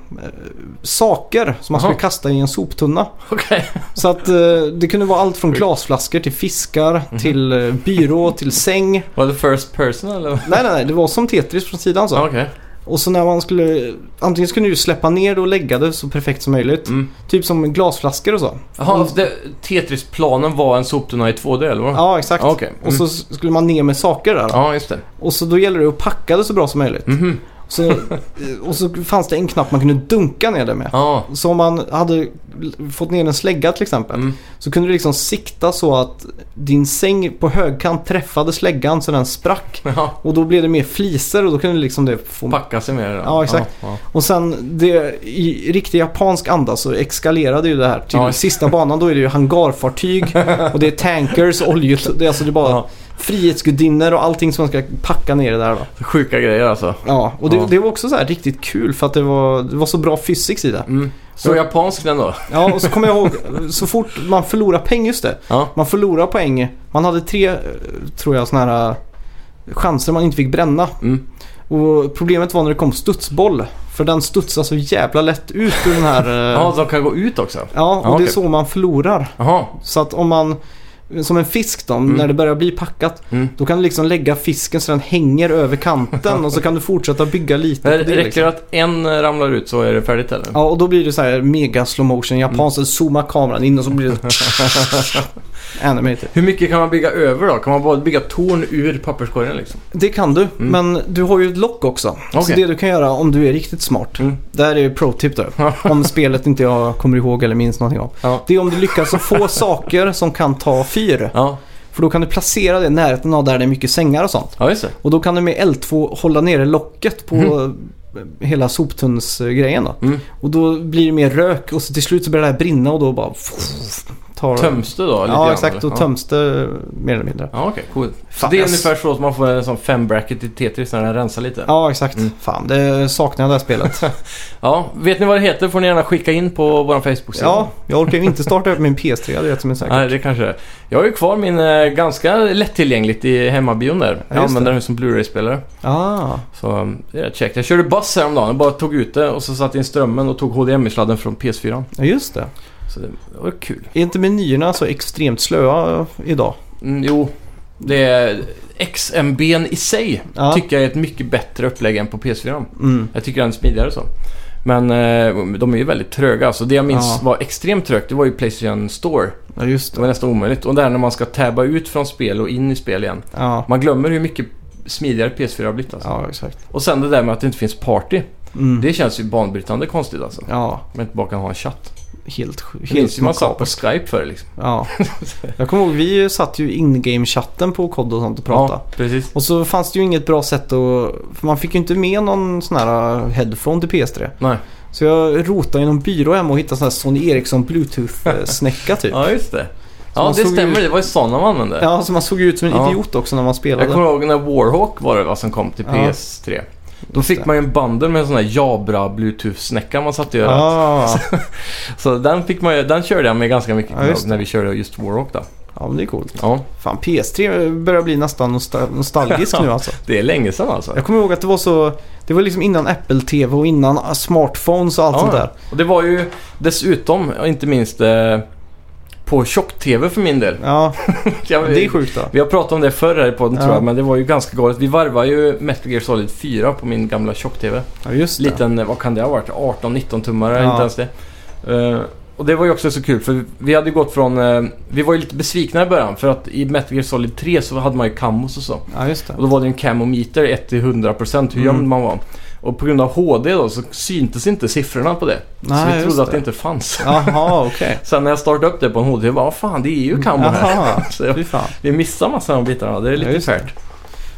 Speaker 4: saker som man
Speaker 2: Aha.
Speaker 4: skulle kasta i en soptunna.
Speaker 2: Okej.
Speaker 4: Så att eh, det kunde vara allt från glasflaskor till fiskar
Speaker 2: Mhm.
Speaker 4: till eh, byrå till säng.
Speaker 2: Var det first person eller?
Speaker 4: Nej, nej, nej. Det var som Tetris från sidan så.
Speaker 2: Ja, Okej.
Speaker 4: Och så när man skulle... Antingen skulle du släppa ner det och lägga det så perfekt som möjligt.
Speaker 2: Mm.
Speaker 4: Typ som glasflaskor och så.
Speaker 2: Jaha,
Speaker 4: Mm.
Speaker 2: det- Tetris-planen var en soptunna i 2D eller vad?
Speaker 4: Ja, exakt.
Speaker 2: Ah, okej. Mm.
Speaker 4: Och så skulle man ner med saker där.
Speaker 2: Ja, just det.
Speaker 4: Och så då gäller det att packa det så bra som möjligt.
Speaker 2: Mhm.
Speaker 4: Så, eh, och så fanns det en knapp man kunde dunka ner det med.
Speaker 2: Ja.
Speaker 4: Så om man hade l- fått ner en slägga till exempel
Speaker 2: Mm.
Speaker 4: så kunde du liksom sikta så att din säng på högkant träffade släggan så den sprack.
Speaker 2: Ja,
Speaker 4: Och då blev det mer fliser och då kunde liksom det få...
Speaker 2: packa sig mer. då.
Speaker 4: Ja, exakt.
Speaker 2: Ja, ja.
Speaker 4: Och sen det, i riktig japansk anda så eskalerade ju det här till
Speaker 2: Ja.
Speaker 4: sista banan. Då är det ju hangarfartyg och det är tankers, oljor. Det är alltså det är bara
Speaker 2: Ja.
Speaker 4: frihetsgudinnor och allting som man ska packa ner det där då.
Speaker 2: Sjuka grejer alltså.
Speaker 4: Ja, och det,
Speaker 2: Ja.
Speaker 4: det var också så här riktigt kul för att det var, det var så bra fysik i det.
Speaker 2: Mm. Så
Speaker 4: Och-
Speaker 2: japansk den då?
Speaker 4: Ja, och så kommer jag ihåg så fort man förlorar peng just det.
Speaker 2: Ja.
Speaker 4: Man förlorar poäng. Man hade tre, eh, tror jag, såna här eh, chanser man inte fick bränna.
Speaker 2: Mm.
Speaker 4: Och problemet var när det kom studsboll. För den studsar så jävla lätt ut ur
Speaker 2: <laughs>
Speaker 4: den här... eh,
Speaker 2: Ja, de kan gå ut också.
Speaker 4: ja, och
Speaker 2: ja,
Speaker 4: det
Speaker 2: okej.
Speaker 4: är så man förlorar.
Speaker 2: Jaha.
Speaker 4: Så att om man... Som en fisk då, när det börjar bli packat.
Speaker 2: Mm.
Speaker 4: Då kan du liksom lägga fisken så den hänger över kanten och så kan du fortsätta bygga lite. på
Speaker 2: Men
Speaker 4: det,
Speaker 2: det
Speaker 4: liksom.
Speaker 2: räcker att en eh, ramlar ut så är det färdigt eller?
Speaker 4: Ja, och då blir det så här mega slow motion
Speaker 2: Mm.
Speaker 4: japanskt. Så zoomar kameran in och så blir det...
Speaker 2: <laughs>
Speaker 4: <laughs> Animated.
Speaker 2: Hur mycket kan man bygga över då? Kan man bara bygga torn ur papperskorgen liksom?
Speaker 4: Det kan du, men du har ju ett lock också. Så
Speaker 2: Okej.
Speaker 4: det du kan göra om du är riktigt smart.
Speaker 2: Mm.
Speaker 4: Det här är ju pro-tip då. om spelet inte jag kommer ihåg eller minns någonting av.
Speaker 2: Ja.
Speaker 4: Det är om du lyckas
Speaker 2: <laughs>
Speaker 4: att få saker som kan ta fyr.
Speaker 2: Ja,
Speaker 4: För då kan du placera det i närheten av där det är mycket sängar och sånt.
Speaker 2: ja just det.
Speaker 4: Och då kan du med L2 hålla nere locket på eh, hela soptunnsgrejen då.
Speaker 2: Mm.
Speaker 4: Och då blir det mer rök och så till slut så börjar det här brinna och då bara... Tar...
Speaker 2: Töms det då? Lite
Speaker 4: Ja
Speaker 2: grann,
Speaker 4: exakt,
Speaker 2: eller?
Speaker 4: då töms det mer eller mindre.
Speaker 2: Ja, ja okej, coolt. Så
Speaker 4: Fan,
Speaker 2: det är
Speaker 4: jag-
Speaker 2: ungefär så att man får en sån fem-bracket i Tetris när den rensar lite?
Speaker 4: Ja exakt,
Speaker 2: Mm.
Speaker 4: fan det saknar jag det här spelet.
Speaker 2: Ja, vet ni vad det heter får ni gärna skicka in på vår Facebook-sida.
Speaker 4: ja, jag orkar ju inte starta upp min PS3, det är som är säkert.
Speaker 2: Nej, det kanske det är. Jag har ju kvar min eh, ganska lättillgängligt i hemmabion där.
Speaker 4: Ja,
Speaker 2: Jag
Speaker 4: just
Speaker 2: använder den som Blu-ray-spelare.
Speaker 4: Ah,
Speaker 2: Så um, det är rätt käckt. Jag körde buss häromdagen. Jag bara tog ut det och så satte in strömmen och tog HDMI-sladden från PS4.
Speaker 4: ja just det.
Speaker 2: Så det var kul.
Speaker 4: Är inte menyerna så extremt slöa idag?
Speaker 2: Mm, jo, det är XMB i sig
Speaker 4: Ja.
Speaker 2: tycker jag är ett mycket bättre upplägg än på PS4.
Speaker 4: Mm.
Speaker 2: Jag tycker den är smidigare så. Men eh, de är ju väldigt tröga. Alltså, det jag minns
Speaker 4: Ja.
Speaker 2: var extremt trögt, det var ju Playstation Store.
Speaker 4: Ja just
Speaker 2: Det
Speaker 4: det.
Speaker 2: var nästan omöjligt. Och där när man ska tabba ut från spel och in i spel igen.
Speaker 4: Ja.
Speaker 2: Man glömmer hur mycket smidigare PS4 har blivit alltså.
Speaker 4: Ja, exakt.
Speaker 2: Och sen det där med att det inte finns party.
Speaker 4: Mm.
Speaker 2: Det känns ju banbrytande konstigt alltså.
Speaker 4: Ja,
Speaker 2: Om man inte bara kan ha en chatt.
Speaker 4: helt sj-
Speaker 2: Det minns
Speaker 4: helt
Speaker 2: ju man satt på
Speaker 4: makabert.
Speaker 2: Skype för liksom.
Speaker 4: Ja. Jag kommer ihåg, vi satt ju in-game-chatten på kod och sånt och pratade.
Speaker 2: Ja, precis.
Speaker 4: Och så fanns det ju inget bra sätt att... För man fick ju inte med någon sån här äh, headphone till PS3.
Speaker 2: Nej.
Speaker 4: Så jag rotade i någon byrå hemma och hittade sån här Sony Ericsson Bluetooth-snäcka typ.
Speaker 2: Ja, just det.
Speaker 4: Så
Speaker 2: ja,
Speaker 4: man
Speaker 2: det
Speaker 4: såg
Speaker 2: stämmer.
Speaker 4: ju-
Speaker 2: Det var ju sådana man använde.
Speaker 4: Ja, så man såg ju ut som en
Speaker 2: Ja.
Speaker 4: idiot också när man
Speaker 2: Jag
Speaker 4: spelade.
Speaker 2: kommer ihåg när Warhawk var det va, som kom till
Speaker 4: Ja.
Speaker 2: PS3. Då fick
Speaker 4: det.
Speaker 2: man ju en bundle med en sån här Jabra Bluetooth-snäcka man satt i örat.
Speaker 4: Ja,
Speaker 2: Så den, fick man ju, den körde jag med ganska mycket
Speaker 4: Ja,
Speaker 2: kommer jag
Speaker 4: just
Speaker 2: ihåg, när vi körde just Warhawk då.
Speaker 4: ja men det är coolt.
Speaker 2: Ja,
Speaker 4: Fan, PS3 börjar bli nästan nostal- nostalgisk
Speaker 2: <laughs>
Speaker 4: nu alltså.
Speaker 2: det är länge sedan alltså.
Speaker 4: Jag kommer ihåg att det var så... Det var liksom innan Apple-TV och innan smartphones och allt
Speaker 2: Ja.
Speaker 4: sånt där.
Speaker 2: Och det var ju dessutom, och inte minst, eh, på tjock-tv för min del.
Speaker 4: Ja,
Speaker 2: Jag,
Speaker 4: det är sjukt då.
Speaker 2: Vi har pratat om det förr här i podden
Speaker 4: Ja.
Speaker 2: tror jag, men det var ju ganska galet. Vi varvade ju Metal Gear Solid 4 på min gamla tjock-tv.
Speaker 4: Ja, just det.
Speaker 2: Liten, eh, vad kan det ha varit? 18-19 tummare,
Speaker 4: Ja.
Speaker 2: inte ens det. Eh, och det var ju också så kul för vi hade ju gått från... eh, vi var ju lite besvikna i början för att i Metal Gear Solid 3 så hade man ju kammos och så.
Speaker 4: Ja, just det.
Speaker 2: Och då var det ju en camometer 1-100% hur gömd
Speaker 4: Mm.
Speaker 2: man var. Och på grund av HD då så syntes inte siffrorna på det.
Speaker 4: Nej,
Speaker 2: så vi
Speaker 4: just
Speaker 2: trodde att det
Speaker 4: det.
Speaker 2: inte fanns. <laughs>
Speaker 4: Jaha, okej.
Speaker 2: Sen när jag startade upp det på en HD, jag bara "Vad fan det är ju kammo här.
Speaker 4: Jaha,
Speaker 2: <laughs> Så jag,
Speaker 4: fy fan.
Speaker 2: vi missar massa av de bitarna, det är
Speaker 4: Ja,
Speaker 2: lite
Speaker 4: just det.
Speaker 2: färt.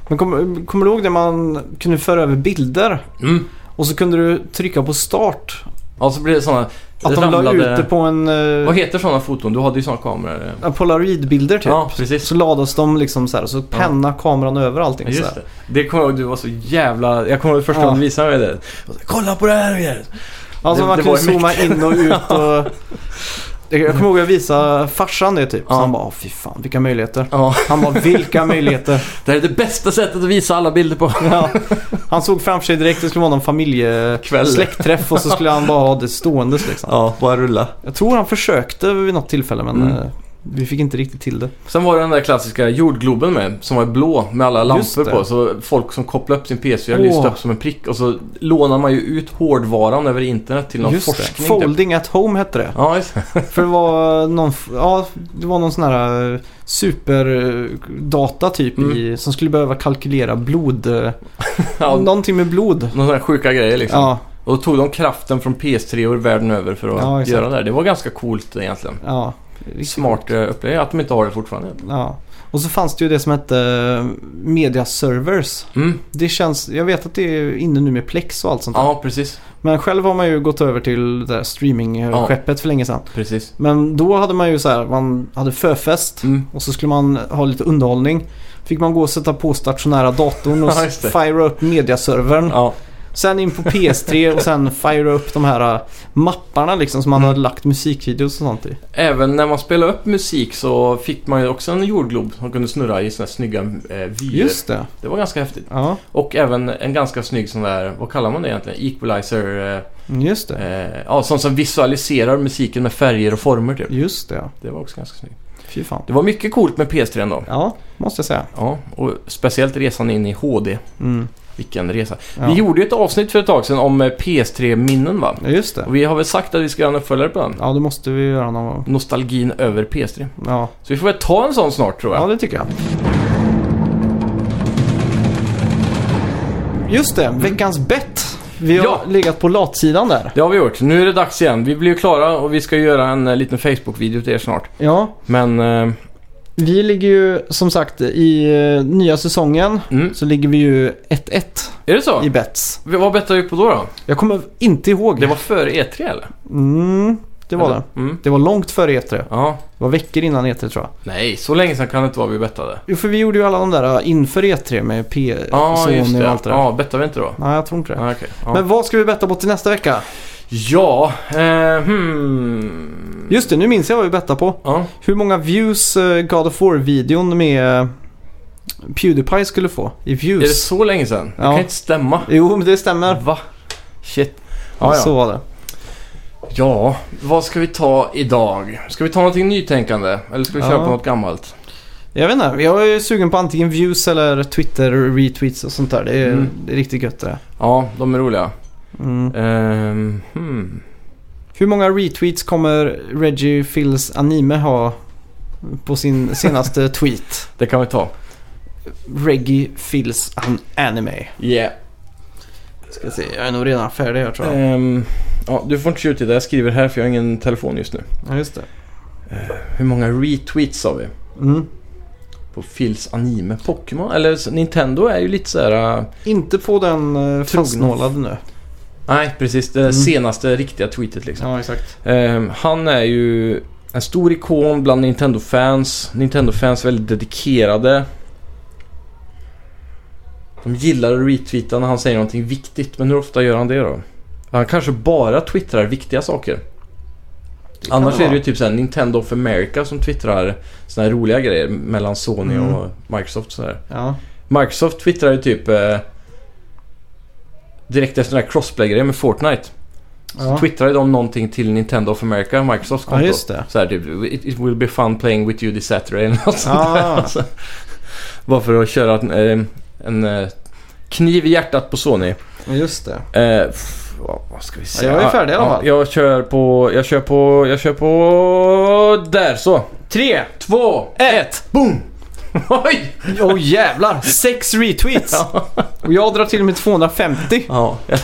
Speaker 4: Men kommer kommer du ihåg det man kunde föra över bilder?
Speaker 2: Mm.
Speaker 4: Och så kunde du trycka på start.
Speaker 2: Ja, så blir det sådana...
Speaker 4: Att de la ut det på en... eh,
Speaker 2: Vad heter sådana foton? Du hade ju sådana kameror. eh.
Speaker 4: Ja, Polaroidbilder typ.
Speaker 2: Ja, precis.
Speaker 4: Så lades de liksom så här så penna kameran över allting
Speaker 2: Ja,
Speaker 4: så
Speaker 2: just
Speaker 4: här.
Speaker 2: det. Det kommer jag ihåg, du var så jävla... Jag kommer ihåg första
Speaker 4: Ja.
Speaker 2: gången du visade mig det. Jag sa, Kolla på det här Roger!
Speaker 4: Alltså
Speaker 2: Det-
Speaker 4: man
Speaker 2: det
Speaker 4: kunde
Speaker 2: var ju
Speaker 4: zooma in
Speaker 2: <laughs>
Speaker 4: och ut och... Jag jag kommer ihåg att jag visade farsan det typ. Så
Speaker 2: Ja.
Speaker 4: han bara, "Åh, fy fan vilka möjligheter.
Speaker 2: Ja,
Speaker 4: Han bara,
Speaker 2: <laughs>
Speaker 4: vilka möjligheter.
Speaker 2: det här är det bästa sättet att visa alla bilder
Speaker 4: <laughs>
Speaker 2: på.
Speaker 4: Ja. Han såg framför sig direkt, det skulle vara någon
Speaker 2: Kväll.
Speaker 4: familje... Släktträff och så skulle han bara ha det ståendes liksom.
Speaker 2: Ja, bara rulla.
Speaker 4: Jag tror han försökte vid något tillfälle men
Speaker 2: Mm.
Speaker 4: eh, vi fick inte riktigt till det.
Speaker 2: Sen var det den där klassiska jordgloben med, som var blå med alla
Speaker 4: Just
Speaker 2: lampor
Speaker 4: det.
Speaker 2: på. Så folk som kopplade upp sin PS4
Speaker 4: Åh.
Speaker 2: lyste upp som en prick. Och så lånar man ju ut hårdvaran över internet till någon
Speaker 4: Just det.
Speaker 2: forskning. typ.
Speaker 4: Folding at home hette det.
Speaker 2: Ja, just det. <laughs>
Speaker 4: För det var någon, ja, det var någon sån här eh, superdata typ
Speaker 2: Mm.
Speaker 4: i, som skulle behöva kalkylera blod. eh,
Speaker 2: Ja, någon
Speaker 4: Någonting med blod.
Speaker 2: sån här sjuka grejer liksom.
Speaker 4: Ja,
Speaker 2: Och då tog de kraften från PS3 och världen över för att
Speaker 4: Ja, exakt.
Speaker 2: göra det här. Det var ganska coolt egentligen.
Speaker 4: ja.
Speaker 2: Smart eh, upplevelse att de inte har det fortfarande.
Speaker 4: Ja. Och så fanns det ju det som hette eh, media servers.
Speaker 2: Mm.
Speaker 4: Det känns, jag vet att det är inne nu med Plex och allt sånt där.
Speaker 2: Ja, precis.
Speaker 4: Men själv har man ju gått över till det där streamingskeppet för länge sedan.
Speaker 2: precis.
Speaker 4: Men då hade man ju så här, man hade förfest.
Speaker 2: Mm.
Speaker 4: Och så skulle man ha lite underhållning. Fick man gå och sätta på stationära datorn och
Speaker 2: <laughs> Ja, just det.
Speaker 4: fira upp mediaservern.
Speaker 2: Ja,
Speaker 4: Sen in
Speaker 2: <laughs>
Speaker 4: på PS3 och sen fira upp de här äh, mapparna liksom som man
Speaker 2: Mm.
Speaker 4: hade lagt musikvideos och sånt i.
Speaker 2: även när man spelade upp musik så fick man ju också en jordglob som kunde snurra i såna här snygga eh, vyer.
Speaker 4: Just det.
Speaker 2: Det var ganska häftigt.
Speaker 4: Ja,
Speaker 2: Och även en ganska snygg sån där, vad kallar man det egentligen? Equalizer. eh,
Speaker 4: just det.
Speaker 2: Eh, ja, sån som visualiserar musiken med färger och former typ.
Speaker 4: Just det. ja.
Speaker 2: Det var också ganska snyggt.
Speaker 4: Fy fan.
Speaker 2: Det var mycket coolt med PS3 ändå.
Speaker 4: Ja, måste jag säga.
Speaker 2: Ja, och speciellt resan in i HD.
Speaker 4: Mm.
Speaker 2: Vilken resa.
Speaker 4: Ja.
Speaker 2: Vi gjorde ju ett avsnitt för ett tag sedan om eh, PS3-minnen va?
Speaker 4: Ja, just det.
Speaker 2: Och vi har väl sagt att vi ska göra en uppföljare på den.
Speaker 4: Ja, det måste vi göra någon gång.
Speaker 2: Nostalgin över PS3.
Speaker 4: Ja.
Speaker 2: Så vi får väl ta en sån snart tror jag.
Speaker 4: ja, det tycker jag. Just det, veckans bett. Vi har
Speaker 2: Ja.
Speaker 4: legat på latsidan där.
Speaker 2: Det har vi gjort. Nu är det dags igen. Vi blir ju klara och vi ska göra en eh, liten Facebook-video till er snart.
Speaker 4: Ja,
Speaker 2: Men... Eh,
Speaker 4: vi ligger ju som sagt i eh, nya säsongen.
Speaker 2: mm.
Speaker 4: Så ligger vi ju 1-1
Speaker 2: Är det så?
Speaker 4: i bets.
Speaker 2: Vi- Vad bettade vi på då då?
Speaker 4: Jag kommer inte ihåg.
Speaker 2: Det var före E3 eller?
Speaker 4: Mm, det var det.
Speaker 2: Mm.
Speaker 4: Det var långt före E3. Det
Speaker 2: Ja.
Speaker 4: var veckor innan E3 tror jag.
Speaker 2: Nej, så länge sedan kan det inte vara vi bettade.
Speaker 4: Jo, för vi gjorde ju alla de där äh, inför E3 med P...
Speaker 2: Ja,
Speaker 4: Sony
Speaker 2: just det.
Speaker 4: och allt det där.
Speaker 2: Ja, bettade vi inte då?
Speaker 4: Nej, jag tror inte det.
Speaker 2: Ja, okej. Ja,
Speaker 4: Men vad ska vi betta på till nästa vecka?
Speaker 2: ja eh, hmm.
Speaker 4: Just det, nu minns jag vad vi bettar på.
Speaker 2: Ja.
Speaker 4: Hur många views eh, God of War-videon med eh, Pewdiepie skulle få i
Speaker 2: Är det
Speaker 4: views.
Speaker 2: så länge sedan? Det
Speaker 4: Ja.
Speaker 2: kan inte stämma.
Speaker 4: Jo, men det stämmer.
Speaker 2: Va? Shit. Ja,
Speaker 4: Så
Speaker 2: ja.
Speaker 4: var det.
Speaker 2: ja, vad ska vi ta idag? Ska vi ta någonting nytänkande? Eller ska vi köra
Speaker 4: Ja.
Speaker 2: på något gammalt?
Speaker 4: Jag vet inte, jag är sugen på antingen views eller Twitter retweets och sånt där. Det är,
Speaker 2: Mm.
Speaker 4: det är riktigt gött det.
Speaker 2: Ja, de är roliga.
Speaker 4: Mm.
Speaker 2: Ehm, hmm.
Speaker 4: Hur många retweets kommer Reggie
Speaker 2: <laughs>
Speaker 4: Phils anime ha på sin senaste tweet?
Speaker 2: Det kan vi ta.
Speaker 4: Reggae Fills an Anime.
Speaker 2: Yeah.
Speaker 4: Ska se, jag är nog redan färdig här tror jag.
Speaker 2: Ehm, ja, du får inte tjuta det. Jag skriver här för jag har ingen telefon just nu.
Speaker 4: Ja, just det.
Speaker 2: Hur många retweets har vi?
Speaker 4: Mm.
Speaker 2: På Phils anime Pokémon? Eller så- Nintendo är ju lite så här. äh,
Speaker 4: Inte på den uh, fastnålade nu.
Speaker 2: nej, precis. Det
Speaker 4: Mm.
Speaker 2: senaste riktiga tweetet liksom.
Speaker 4: Ja, exakt.
Speaker 2: Ehm, han är ju en stor ikon bland Nintendo-fans. Nintendo-fans är väldigt dedikerade. De gillar att retweeta när han säger någonting viktigt, men hur ofta gör han det då? Han kanske bara twittrar viktiga saker.
Speaker 4: kan
Speaker 2: Annars
Speaker 4: det
Speaker 2: är det ju
Speaker 4: vara.
Speaker 2: typ såhär Nintendo of America som twittrar såna här roliga grejer mellan Sony
Speaker 4: Mm.
Speaker 2: och Microsoft sådär.
Speaker 4: Ja,
Speaker 2: Microsoft twittrar ju typ eh, direkt efter den här crossplay-grejen med Fortnite. Så
Speaker 4: ja.
Speaker 2: twittrade de någonting till Nintendo of America, Microsofts
Speaker 4: ja
Speaker 2: konto.
Speaker 4: just det.
Speaker 2: så här typ, it, it will be fun playing with you this Saturday eller något sånt där.
Speaker 4: Ah.
Speaker 2: Alltså, bara för att köra en, eh, en eh, kniv i hjärtat på Sony.
Speaker 4: Ja, Just det.
Speaker 2: Eh, pff, vad- vad ska vi säga?
Speaker 4: jag är färdig i alla
Speaker 2: Ja,
Speaker 4: fall.
Speaker 2: Jag kör på, jag kör på, jag kör på... Där så!
Speaker 4: Tre!
Speaker 2: Två, ett, boom! <laughs> Oj!
Speaker 4: <laughs> Åh jävlar! Sex retweets! Och jag drar till med 250.
Speaker 2: Ja, jag,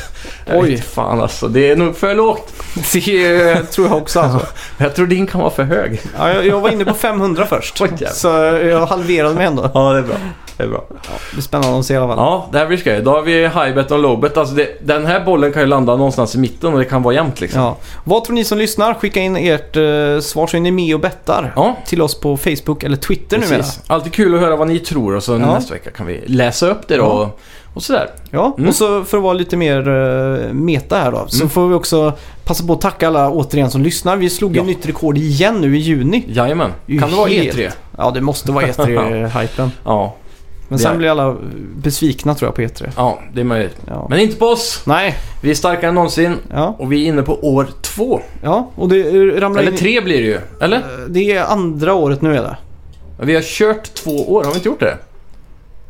Speaker 2: jag
Speaker 4: Oj.
Speaker 2: vet fan alltså. Det är nog för lågt.
Speaker 4: Det <laughs> eh, tror jag också alltså.
Speaker 2: Jag tror din kan vara för hög.
Speaker 4: Ja, jag, jag var inne på 500 först.
Speaker 2: Oj, jävlar.
Speaker 4: så jag halverade mig ändå.
Speaker 2: Ja, det är bra. Det är bra.
Speaker 4: Det blir spännande att se i alla fall.
Speaker 2: Ja, det här blir skoj. Då har vi highbet och lowbet. Alltså det, den här bollen kan ju landa någonstans i mitten och det kan vara jämnt liksom.
Speaker 4: Ja. Vad tror ni som lyssnar? Skicka in ert eh, svar så är ni med och bettar.
Speaker 2: Ja,
Speaker 4: Till oss på Facebook eller Twitter numera.
Speaker 2: precis. Alltid kul att höra vad ni tror och så
Speaker 4: Ja.
Speaker 2: nästa vecka kan vi läsa upp det då
Speaker 4: Ja.
Speaker 2: och, och sådär.
Speaker 4: Ja,
Speaker 2: Mm.
Speaker 4: och så för att vara lite mer eh, meta här då. Så
Speaker 2: Mm.
Speaker 4: får vi också passa på att tacka alla återigen som lyssnar. Vi slog ju
Speaker 2: Ja.
Speaker 4: nytt rekord igen nu i juni.
Speaker 2: Jajamän.
Speaker 4: Ju
Speaker 2: Kan det vara
Speaker 4: helt-
Speaker 2: E3?
Speaker 4: Ja, det måste vara E
Speaker 2: <laughs>
Speaker 4: E3-hypen.
Speaker 2: Ja,
Speaker 4: Men
Speaker 2: Det är-
Speaker 4: sen blir alla besvikna tror jag på E3.
Speaker 2: ja, det är möjligt.
Speaker 4: Ja.
Speaker 2: Men inte på oss!
Speaker 4: Nej,
Speaker 2: Vi är starkare än någonsin
Speaker 4: ja,
Speaker 2: och vi är inne på år två.
Speaker 4: ja. Och det eh, ramlar
Speaker 2: Eller
Speaker 4: in...
Speaker 2: tre blir det ju. Eller?
Speaker 4: Eh, Det är andra året nu är det.
Speaker 2: Vi har kört två år, har vi inte gjort det?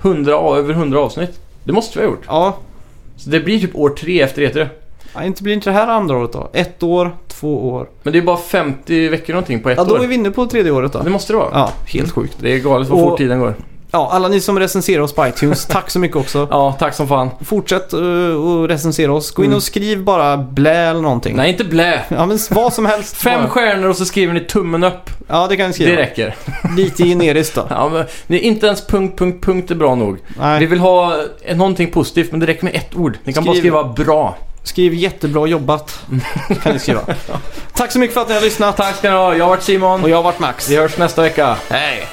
Speaker 2: 100, av- över 100 avsnitt. Det måste vi ha gjort.
Speaker 4: Ja,
Speaker 2: Så det blir typ år tre efter E3.
Speaker 4: ja, inte blir inte det här andra året då. Ett år, två år.
Speaker 2: Men det är bara 50 veckor någonting på ett
Speaker 4: Ja, då
Speaker 2: år.
Speaker 4: är vi inne på tredje året då.
Speaker 2: Det måste det vara.
Speaker 4: Ja, helt sjukt.
Speaker 2: Det är galet vad
Speaker 4: Och-
Speaker 2: fort tiden går.
Speaker 4: Ja, alla ni som recenserar oss på iTunes, tack så mycket också.
Speaker 2: Ja, tack som fan.
Speaker 4: Fortsätt eh, att recensera oss. Gå in
Speaker 2: Mm.
Speaker 4: och skriv bara blä eller någonting.
Speaker 2: Nej, inte blä.
Speaker 4: Ja, men vad som helst.
Speaker 2: Fem
Speaker 4: Bara-
Speaker 2: stjärnor och så skriver ni tummen upp.
Speaker 4: Ja, det kan ni skriva.
Speaker 2: Det räcker.
Speaker 4: <laughs>
Speaker 2: <laughs>
Speaker 4: Lite generiskt då.
Speaker 2: Ja, men, ni- inte ens punkt, punkt, punkt är bra nog. Vi
Speaker 4: Nej.
Speaker 2: vill ha eh, någonting positivt, men det räcker med ett ord. Ni kan bara
Speaker 4: Skriv-
Speaker 2: skriva bra.
Speaker 4: Skriv jättebra jobbat.
Speaker 2: <laughs>
Speaker 4: Kan ni skriva. Tack så mycket för att ni har lyssnat.
Speaker 2: Tack ska ni ha. Jag har varit Simon.
Speaker 4: Och jag har varit Max.
Speaker 2: Vi hörs nästa vecka.
Speaker 4: Hej!